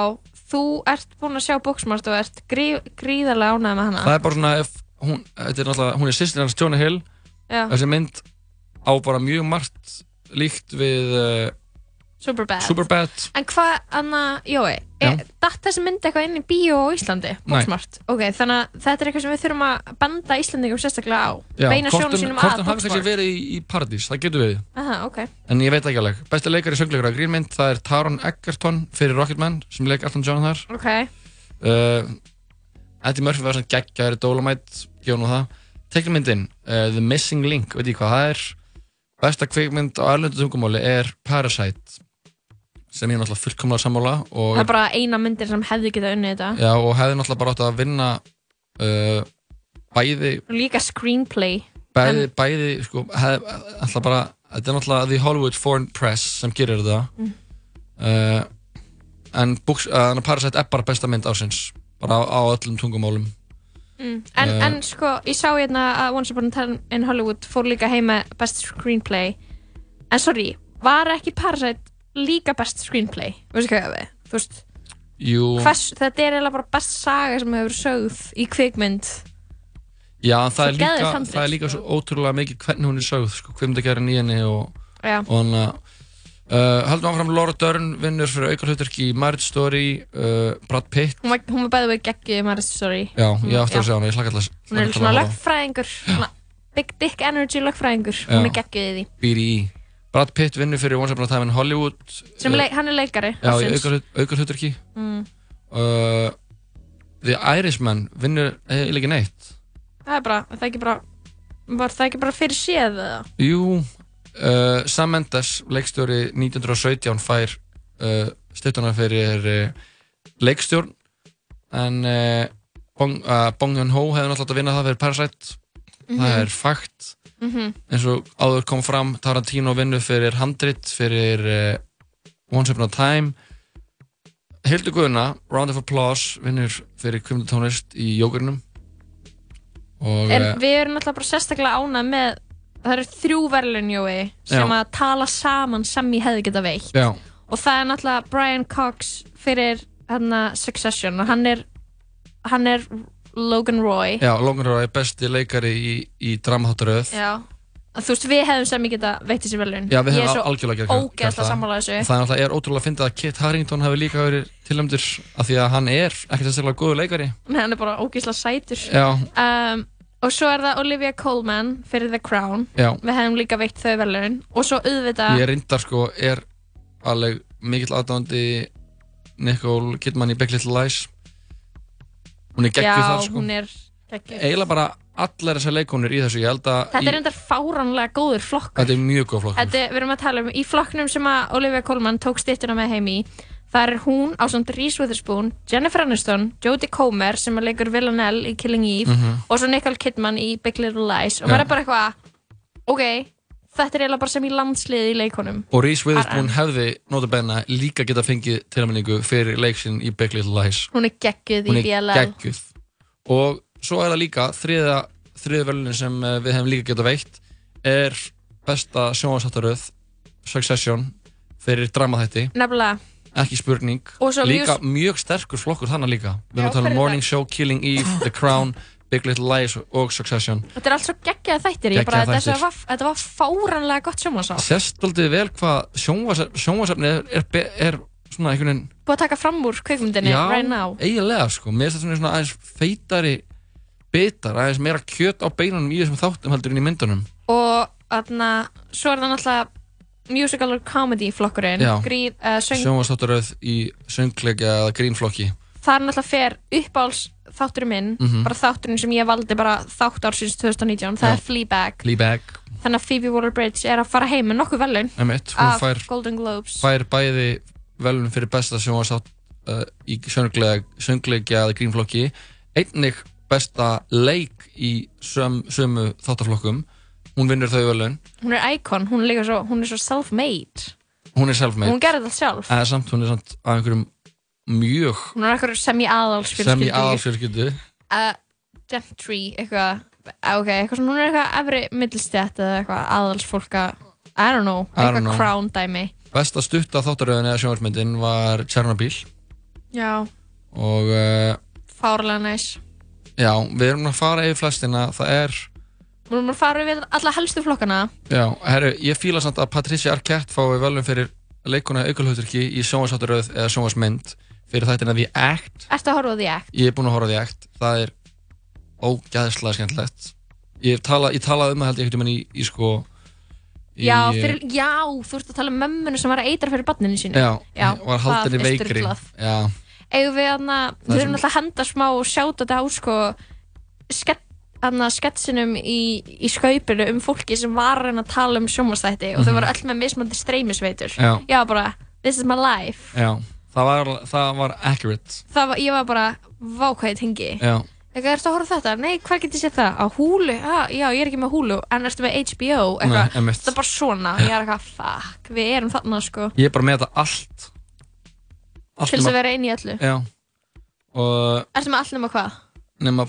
Speaker 2: þú ert búin að sjá Booksmart og ert grí gríðarlega ánægð með hana
Speaker 1: Það er bara svona, ef, hún, þetta er náttúrulega Hún er sýstir hans Jonah Hill
Speaker 2: Já,
Speaker 1: Þessi mynd á bara mjög margt Líkt við uh,
Speaker 2: Superbad
Speaker 1: Superbad
Speaker 2: En hvað, Anna, Jói, er, datt þessi mynd eitthvað inn í bíó á Íslandi? Bóksmart. Ok, þannig að þetta er eitthvað sem við þurfum að banda Íslandingum sérstaklega á.
Speaker 1: Já,
Speaker 2: Beina
Speaker 1: hvort
Speaker 2: sjónu
Speaker 1: hún-
Speaker 2: sínum
Speaker 1: Hvort
Speaker 2: að
Speaker 1: hann hafi kannski
Speaker 2: Bóksmart.
Speaker 1: verið í, í Paradís, það getur verið
Speaker 2: Aha, ok.
Speaker 1: En ég veit ekki alveg. Besti leikari söngleikara í grínmynd, það er Taron Egerton fyrir Rocketman sem leik Elton John þar.
Speaker 2: Ok,
Speaker 1: Uh, Eddie Murphy var svona geggjaður í Dolomite, gjó nú það. Teknimyndin, uh, The Missing Link, veit ég hvað það er. Besta kvikmynd á erlendu tungumáli er Parasite sem ég er náttúrulega fullkomlega sammála og,
Speaker 2: það er bara eina myndir sem hefði getað unnið þetta.
Speaker 1: já, og hefði náttúrulega bara átt að vinna uh, bæði
Speaker 2: Og líka screenplay.
Speaker 1: bæði, bæði sko, hef, alltaf bara, þetta er náttúrulega The Hollywood Foreign Press sem gerir það
Speaker 2: Mm.
Speaker 1: uh, en books, uh, Parasite er bara besta mynd ásins bara á, á öllum tungumálum
Speaker 2: Mm. En,
Speaker 1: Eh.
Speaker 2: en sko, ég sá hérna að Once Upon a Time in Hollywood fór líka heim með best screenplay. En sorry, var ekki Parasite líka best screenplay? Veistu hvað ég á við? Þú veist,
Speaker 1: Jú,
Speaker 2: hvers, þetta er eiginlega bara best saga sem hefur verið sögð í kvikmynd.
Speaker 1: já, en það,
Speaker 2: svo
Speaker 1: er líka,
Speaker 2: geðveik handrit,
Speaker 1: það er líka
Speaker 2: sko.
Speaker 1: svo ótrúlega mikið hvernig hún er sögð sko, hvernig það gerir nýjenni og,
Speaker 2: Já.
Speaker 1: og hann að Uh, haldum áfram Laura Dern vinnur fyrir aukarhauturk í Marriage Story uh, Brad Pitt
Speaker 2: Hún var, hún var bæðið við geggið í Marist Story.
Speaker 1: já, ég
Speaker 2: já.
Speaker 1: átti að segja hana, ég hlakka alltaf
Speaker 2: Hún er svona lögfræðingur, svona big dick energy lögfræðingur. Hún er geggið í því.
Speaker 1: býri í Brad Pitt vinnur fyrir Once Upon a Time in Hollywood
Speaker 2: Sem
Speaker 1: Eh,
Speaker 2: leik, hann er leikari.
Speaker 1: Já, í
Speaker 2: ársins.
Speaker 1: aukar- aukarhlutverki mm. uh, The Irishman vinnur eh, eiginlega ekki neitt
Speaker 2: Það er bara, það er ekki bara, var það ekki bara fyrir séð eða?
Speaker 1: Jú uh, Sam Mendes, leikstjóri 1917 fær uh, stuttunar fyrir uh, leikstjórn en uh, Bong, uh, Bong Joon-ho hefði náttúrulega átt að vinna það fyrir Parasite það er fakt eins og áður kom fram Tarantino vinnu fyrir Handrit fyrir uh, Once Upon a Time Hildur Guðuna Round of Applause vinnur fyrir kvimdutónlist í jógurnum og
Speaker 2: En
Speaker 1: eh,
Speaker 2: við erum alltaf bara sérstaklega ánað með það eru þrjú verðlunjói sem
Speaker 1: Já.
Speaker 2: að tala saman sem ég hefði geta veitt
Speaker 1: já,
Speaker 2: og það er náttúrulega Brian Cox fyrir hérna Succession og hann er hann er Logan Roy
Speaker 1: já, Logan Roy besti leikari í, í dramaháttaröð
Speaker 2: Já. Að Þú veist, við hefðum sem ég geta veitt þessi verðlun
Speaker 1: Já, við
Speaker 2: Ég er
Speaker 1: hefum
Speaker 2: svo
Speaker 1: algjörlega gert það.
Speaker 2: ógeðslega sammála þessu
Speaker 1: Það er alltaf, er ótrúlega að finna að Kit Harington hefur líka verið tilnæmdur af því að hann er ekkert sérstaklega góður leikari.
Speaker 2: Nei, hann er bara ógeðslega sætur
Speaker 1: Já,
Speaker 2: um, og svo er það Olivia Colman fyrir The Crown
Speaker 1: já.
Speaker 2: við hefðum líka veitt þau verðlun og svo auðvitað
Speaker 1: Ég reyndar sko, er alveg mikill aðdáðandi Nicole Kidman í Big Little Lies. Hún er geggjuð
Speaker 2: Já,
Speaker 1: þar sko.
Speaker 2: hún er geggjuð
Speaker 1: Eiginlega bara allar þessar leikonur í þessu, ég held að...
Speaker 2: Þetta er
Speaker 1: í-
Speaker 2: endar fáránlega góður flokkur
Speaker 1: Þetta er mjög góð flokkur.
Speaker 2: Þetta, er- við erum að tala um, í flokknum sem að Olivia Colman tók stittuna með heim í þar er hún á samt Reese Witherspoon Jennifer Aniston, Jodie Comer sem að leikur Villanelle í Killing Eve
Speaker 1: Mhm.
Speaker 2: og svo Nicole Kidman í Big Little Lies og maður er bara eitthvað, ok þetta er eiginlega bara sem í landsliði í leikunum
Speaker 1: Og Reese Witherspoon hefði, notabenna, líka geta fengið tilnæmningu fyrir leiksin í Big Little Lies.
Speaker 2: hún er geggjuð
Speaker 1: hún
Speaker 2: í
Speaker 1: er
Speaker 2: BLL
Speaker 1: geggjuð og svo er það líka þriða, þriða velunin sem eh, við hefum líka geta veitt er besta sjónvarsáttaröð Succession fyrir dramaþætti,
Speaker 2: nefnilega,
Speaker 1: ekki spurning
Speaker 2: Og svo
Speaker 1: líka mjög, sterkur flokkur þannig líka við erum
Speaker 2: Já,
Speaker 1: að
Speaker 2: hver
Speaker 1: tala
Speaker 2: er
Speaker 1: um Morning Show, Killing
Speaker 2: <gasps>
Speaker 1: Eve, The Crown Big Little Lies og Succession
Speaker 2: þetta er allt svo geggjað þættir ég bara,
Speaker 1: Geggjaðir
Speaker 2: þessu
Speaker 1: þættir.
Speaker 2: var, þetta var fáránlega gott sjómasá
Speaker 1: sérst aldrei vel hvað sjónvarsafni er, er, be- er svona einhvern veginn
Speaker 2: búið að taka fram úr kveikmyndinni right now
Speaker 1: eiginlega sko, mér finnst þetta svona aðeins feitari bitar, aðeins meira kjöt á beinunum í þessum þáttum heldur en í myndunum
Speaker 2: og þarna, svo er það náttúrulega musical or comedy flokkurinn
Speaker 1: Já.
Speaker 2: grín, uh, söng,
Speaker 1: sjónvarsþáttaröð í söngleika eða grínflokki
Speaker 2: það er náttúrulega fer uppáhalds þátturinn minn, bara þátturinn sem ég valdi bara þátt ársins 2019, það
Speaker 1: Mhm. Já.
Speaker 2: er Fleabag
Speaker 1: Fleabag,
Speaker 2: þannig að Phoebe Waller-Bridge er að fara heim með nokkuð velun
Speaker 1: emitt, hún
Speaker 2: af
Speaker 1: sko, fær,
Speaker 2: Golden Globes
Speaker 1: fær bæði velun fyrir besta sjónvarsþátt uh, í söngleika, söngleika eða grínflokki einnig besta leik í söm, sömu þáttaflokkum hún vinnur þau velun
Speaker 2: hún er icon, hún er líka svo, hún er svo self-made
Speaker 1: hún er self-made,
Speaker 2: hún gerði það sjálf
Speaker 1: eða samt hún er samt af einhverjum mjög
Speaker 2: hún er eitthvað sem í
Speaker 1: sem í
Speaker 2: aðalsfjölskyldu
Speaker 1: aðalfjölskyldu
Speaker 2: uh, gentry, eitthvað ah, ok, eitthvað svona, hún er eitthvað efri middlstjætt eða eitthvað aðalsfólka I don't know,
Speaker 1: I don't
Speaker 2: eitthvað
Speaker 1: know.
Speaker 2: crown dæmi
Speaker 1: Besta stutta þáttaröðin eða sjónvarsmyndin var Tjernobyl
Speaker 2: Já,
Speaker 1: og uh,
Speaker 2: fárlega næs
Speaker 1: já, við erum að fara yfir flestina, það er
Speaker 2: Við erum að fara við alla helstu flokkana
Speaker 1: já, herru, ég fíla samt að Patricia Arquette fái velum fyrir leikuna aukulhauturki í sjónvarsáttaröð eða sjónvarsmynd fyrir þættina The Act
Speaker 2: Ertu að horfa á því ekki?
Speaker 1: ég er búin að horfa á The Act, það er ógæðslega skemmtilegt ég tala, ég tala um það held ég einhvern veginn í, í sko í, eh,
Speaker 2: Já, fyrir, já, þú ert að tala um mömmunu sem var að eitra fyrir barninu sínu
Speaker 1: já,
Speaker 2: Já,
Speaker 1: var
Speaker 2: það
Speaker 1: haldinni
Speaker 2: er
Speaker 1: veikri
Speaker 2: sturlað.
Speaker 1: já,
Speaker 2: Eigum við hann að,
Speaker 1: Það
Speaker 2: við
Speaker 1: sem-
Speaker 2: erum alltaf að henda smá og sjáta þetta á sko skett Þannig sketsinum í, í skaupinu um fólki sem var að reyna að tala um sjónvastætti og þau voru öll með mismandi streymisveitur.
Speaker 1: Mhm. Já.
Speaker 2: Ég var bara, this is my life.
Speaker 1: já það var, það var accurate
Speaker 2: Það var, ég var bara, vá hvað ég tengi.
Speaker 1: já,
Speaker 2: Eitthvað, ertu að horfa á þetta? Nei, hvað getur ég séð það? Á húlu? Ah, já, ég er ekki með húlu, en ertu með HBO?
Speaker 1: Nei,
Speaker 2: Eitthvað,
Speaker 1: einmitt.
Speaker 2: þetta er bara svona. Ég er eitthvað, fuck, við erum þarna, sko.
Speaker 1: ég er bara með þetta allt allt
Speaker 2: Til þess
Speaker 1: nema-
Speaker 2: að vera inn í öllu.
Speaker 1: Já Og
Speaker 2: Ertu með allt nema hvað?
Speaker 1: nema,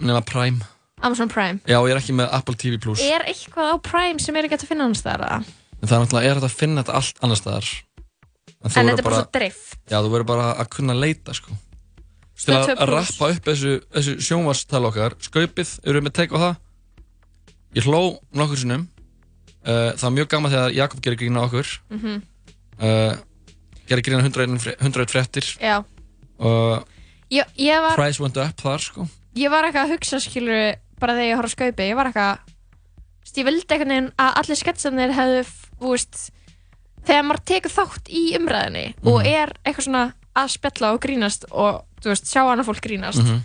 Speaker 1: nema Prime
Speaker 2: Amazon Prime.
Speaker 1: Já, ég er ekki með Apple TV Plus
Speaker 2: Er eitthvað á Prime sem er ekki hægt að finna annars þar?
Speaker 1: En það er náttúrulega, er þetta að finna þetta allt annars staðar En þú
Speaker 2: En þetta
Speaker 1: verður
Speaker 2: er bara
Speaker 1: bara,
Speaker 2: svo drift.
Speaker 1: já, þú verður bara að kunna leita sko Til
Speaker 2: Stöð
Speaker 1: að
Speaker 2: 2 plus.
Speaker 1: rappa upp þessu, þessu sjónvarstal okkar Skaupið, eru við með teik á það Ég hló nokkur sinnum uh, Það var mjög gaman þegar Jakob gerir grína okkur mm
Speaker 2: Mhm.
Speaker 1: -hmm. uh, Gerir grína 101 fréttir
Speaker 2: Já.
Speaker 1: uh,
Speaker 2: Ég, ég, var,
Speaker 1: Price went up þar sko
Speaker 2: ég var eitthvað að hugsa, skilur, bara þegar ég horf á skaupi. Ég var eitthvað, þú veist, ég vildi einhvern veginn að allir sketsanir hefðu, þú veist, þegar maður tekur þátt í umræðinni
Speaker 1: Mhm.
Speaker 2: og er eitthvað svona að spjalla og grínast og þú veist, sjá annað fólk grínast
Speaker 1: Mhm.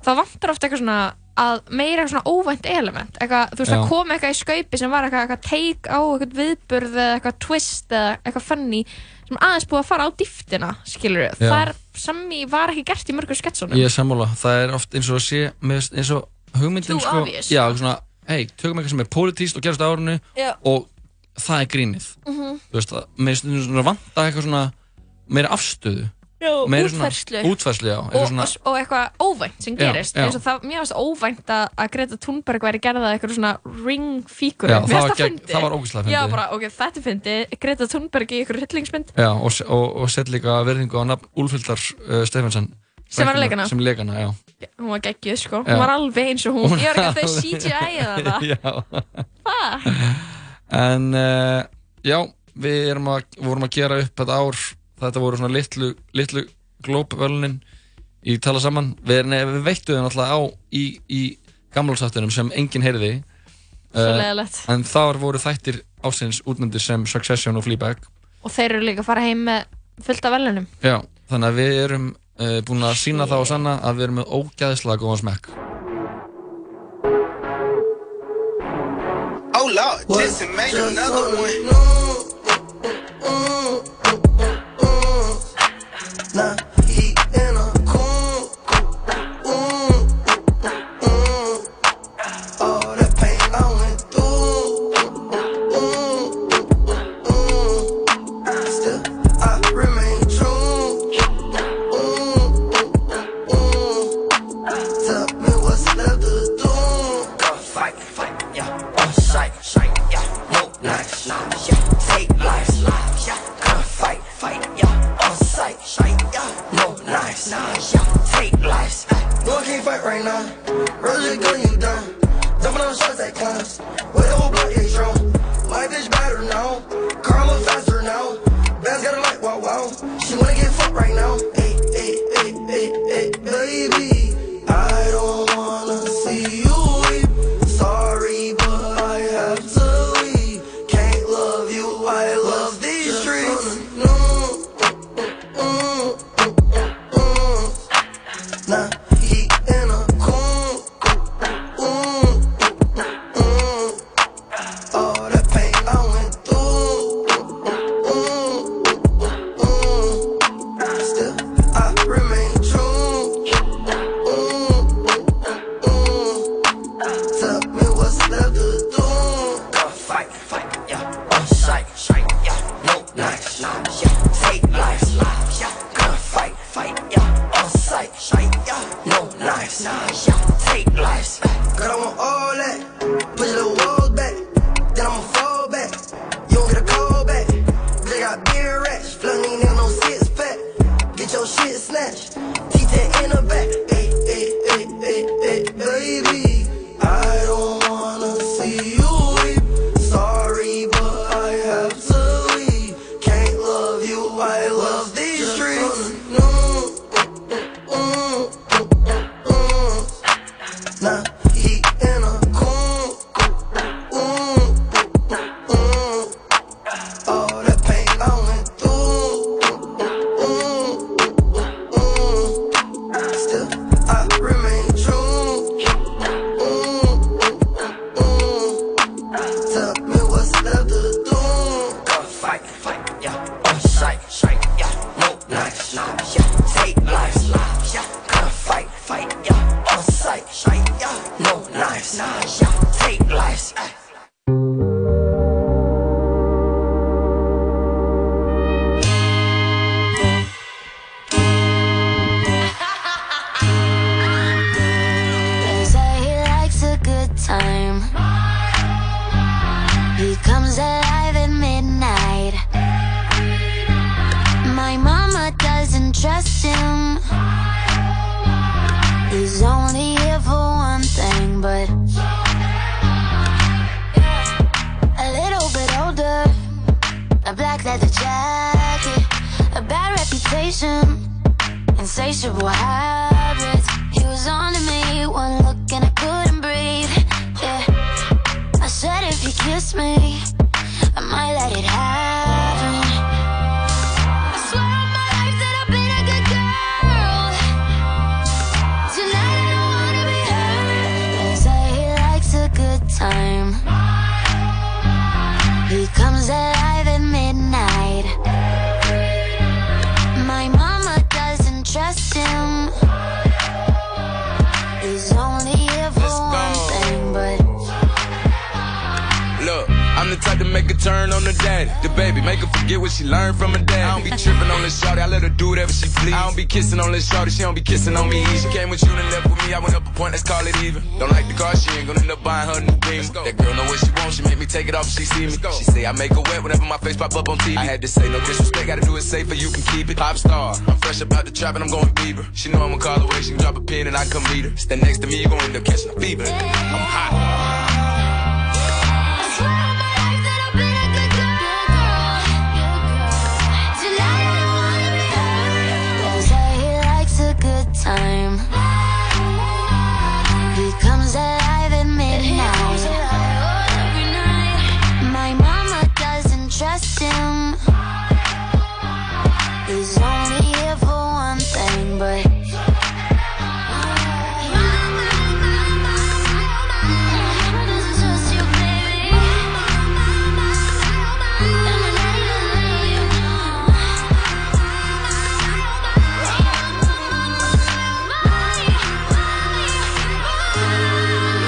Speaker 2: þá vantar ofta eitthvað svona að meira eitthvað svona óvænt element eitthvað, þú veist,
Speaker 1: Já.
Speaker 2: að koma eitthvað í skaupi sem var eitthvað, eitthvað take á eitthvað viðburð eða eitthvað twist eða eitthvað funny sem er aðeins búið að fara á dýftina skilur við,
Speaker 1: Já.
Speaker 2: það er sami var ekki gert í mörgum sketsunum
Speaker 1: Ég er sammála, það er oft eins og að sé með, eins og hugmyndin
Speaker 2: Too
Speaker 1: sko,
Speaker 2: obvious.
Speaker 1: Já, svona, hei, tökum eitthvað sem er pólitíst og gerast á árinu
Speaker 2: Já. Mhm.
Speaker 1: og það er grínið Þú veist, það, með stundum svona vanta eitthvað svona meira afstöðu
Speaker 2: og
Speaker 1: meira
Speaker 2: útferðslu
Speaker 1: svona, Útfærslu, já
Speaker 2: og,
Speaker 1: eitthvað svona,
Speaker 2: og, og eitthvað óvænt sem
Speaker 1: Já,
Speaker 2: gerist
Speaker 1: já.
Speaker 2: eins og það, mér finnst óvænt að, að Greta Thunberg væri gerða eitthvað svona ring fígur
Speaker 1: Já,
Speaker 2: mér
Speaker 1: það
Speaker 2: finnst
Speaker 1: var
Speaker 2: það
Speaker 1: gegn-
Speaker 2: fyndi
Speaker 1: það var ógeðslega fyndið.
Speaker 2: já, bara, ok, þetta er fyndi, Greta Thunberg í ykkur hryllingsmynd
Speaker 1: Já, og, se- og, og sett líka verðingu á nafn Úlfildar uh, Stefansson
Speaker 2: Sem var að leika hana.
Speaker 1: Sem leikana, já
Speaker 2: hún var geggjuð, sko,
Speaker 1: Já.
Speaker 2: hún var alveg eins og hún, ég
Speaker 1: <laughs>
Speaker 2: var ekki að þau CGI eða það
Speaker 1: Já,
Speaker 2: Fuck.
Speaker 1: en uh, já, við erum að, vorum að gera upp þetta ár Þetta voru svona litlu, litlu glópvölunin í tala saman Við, nei, við veittu þeim alltaf á í, í gamlásáttunum sem enginn heyrði
Speaker 2: svo
Speaker 1: Eh,
Speaker 2: leðilegt
Speaker 1: En þar voru þættir ásins útnendir sem Succession og Fleabag
Speaker 2: og þeir eru líka að fara heim með fullt af velunum
Speaker 1: Já, þannig að við erum uh, búin að sína það og sanna að við erum með ógæðislega góðan smekk
Speaker 6: Oh Lord, Jason made another one.
Speaker 8: Now he in a coon. All that pain I went through. Still, I remain true. Tell me what's left to do.
Speaker 7: fight, fight, yeah. On sight, sight, yeah. No life, life, yeah. Take life, life, yeah. Come fight, fight, yeah. On sight, sight, yeah. No life, life, yeah. Take life, eh.
Speaker 8: No, I can't fight right now. Roll your gun, you done. Jumping on shots at clowns. With the whole block is strong. My bitch better now. Karma faster now. Bands got a light, wow, wow. She wanna get fucked right now. Eh, Hey, hey, hey, hey, hey, eh, baby. I don't wanna see you weep. Sorry, but I have to leave. Can't love you, I love these streets. Now he in a coon. Mm, mm, mm. All that pain I went through. Mm, mm, mm, mm. Still, I remain true. Mm, mm, mm, mm. Tell me what's left to do.
Speaker 7: Come fight, fight, yeah. On sight, sight, yeah. No life, life, yeah. Take life, life, yeah. Come fight, fight, yeah. On sight, sight, yeah. No life, life, yeah. Take life, eh.
Speaker 8: Girl, I want all that. Push the walls back. Then I'ma fall back. You don't get a call back. They got beer racks. Flooding ain't in no six pack. Get your shit snatched. Keep that in the back. Eh, Hey, hey, hey, hey, hey, eh, baby. I don't wanna see you weep. Sorry, but I have to leave. Can't love you. I love these streets. No, mm, mm, mm, mm. Now he in a coon. Mm, mm, mm. All that pain I went through. Mm, mm, mm, mm. Still, I remain true. Mm, mm, mm, mm. Tell me what's left to do.
Speaker 7: Come fight, fight, yeah. On sight, sight, yeah. No life, life, yeah. Take life, life, yeah. Come fight, fight, yeah. On sight, sight, yeah. No life, life, yeah. Take life, eh.
Speaker 9: They say he likes a good time. He comes alive at midnight. My mama doesn't trust him. He's only here for one thing, but a little bit older. A black leather jacket, a bad reputation insatiable habits. He was on to me, one look and I couldn't breathe. Yeah, I said if you kiss me, I might let it happen. I swear on my life that I've been a good girl. Tonight I don't wanna be hurt. They say he likes a good time. He comes alive at midnight.
Speaker 10: I'm the type to make a turn on the daddy. The baby, make her forget what she learned from her dad. I don't be tripping on this shorty, I let her do whatever she please. I don't be kissing on this shorty, she don't be kissing on me. She came with you and left with me, I went up a point, let's call it even. Don't like the car, she ain't gonna end up buying her new beam. That girl know what she wants, she make me take it off if she see me. She say I make her wet whenever my face pop up on TV. I had to say no disrespect, gotta do it safer, you can keep it. Pop star, I'm fresh about the trap and I'm going Bieber. She know I'm a call away, she can drop a pin and I come meet her. Stand next to me, you gon' end up catching a fever. I'm hot.
Speaker 5: They say he likes a good time. He comes alive at midnight. My mama doesn't trust him. He's only here for one thing, but.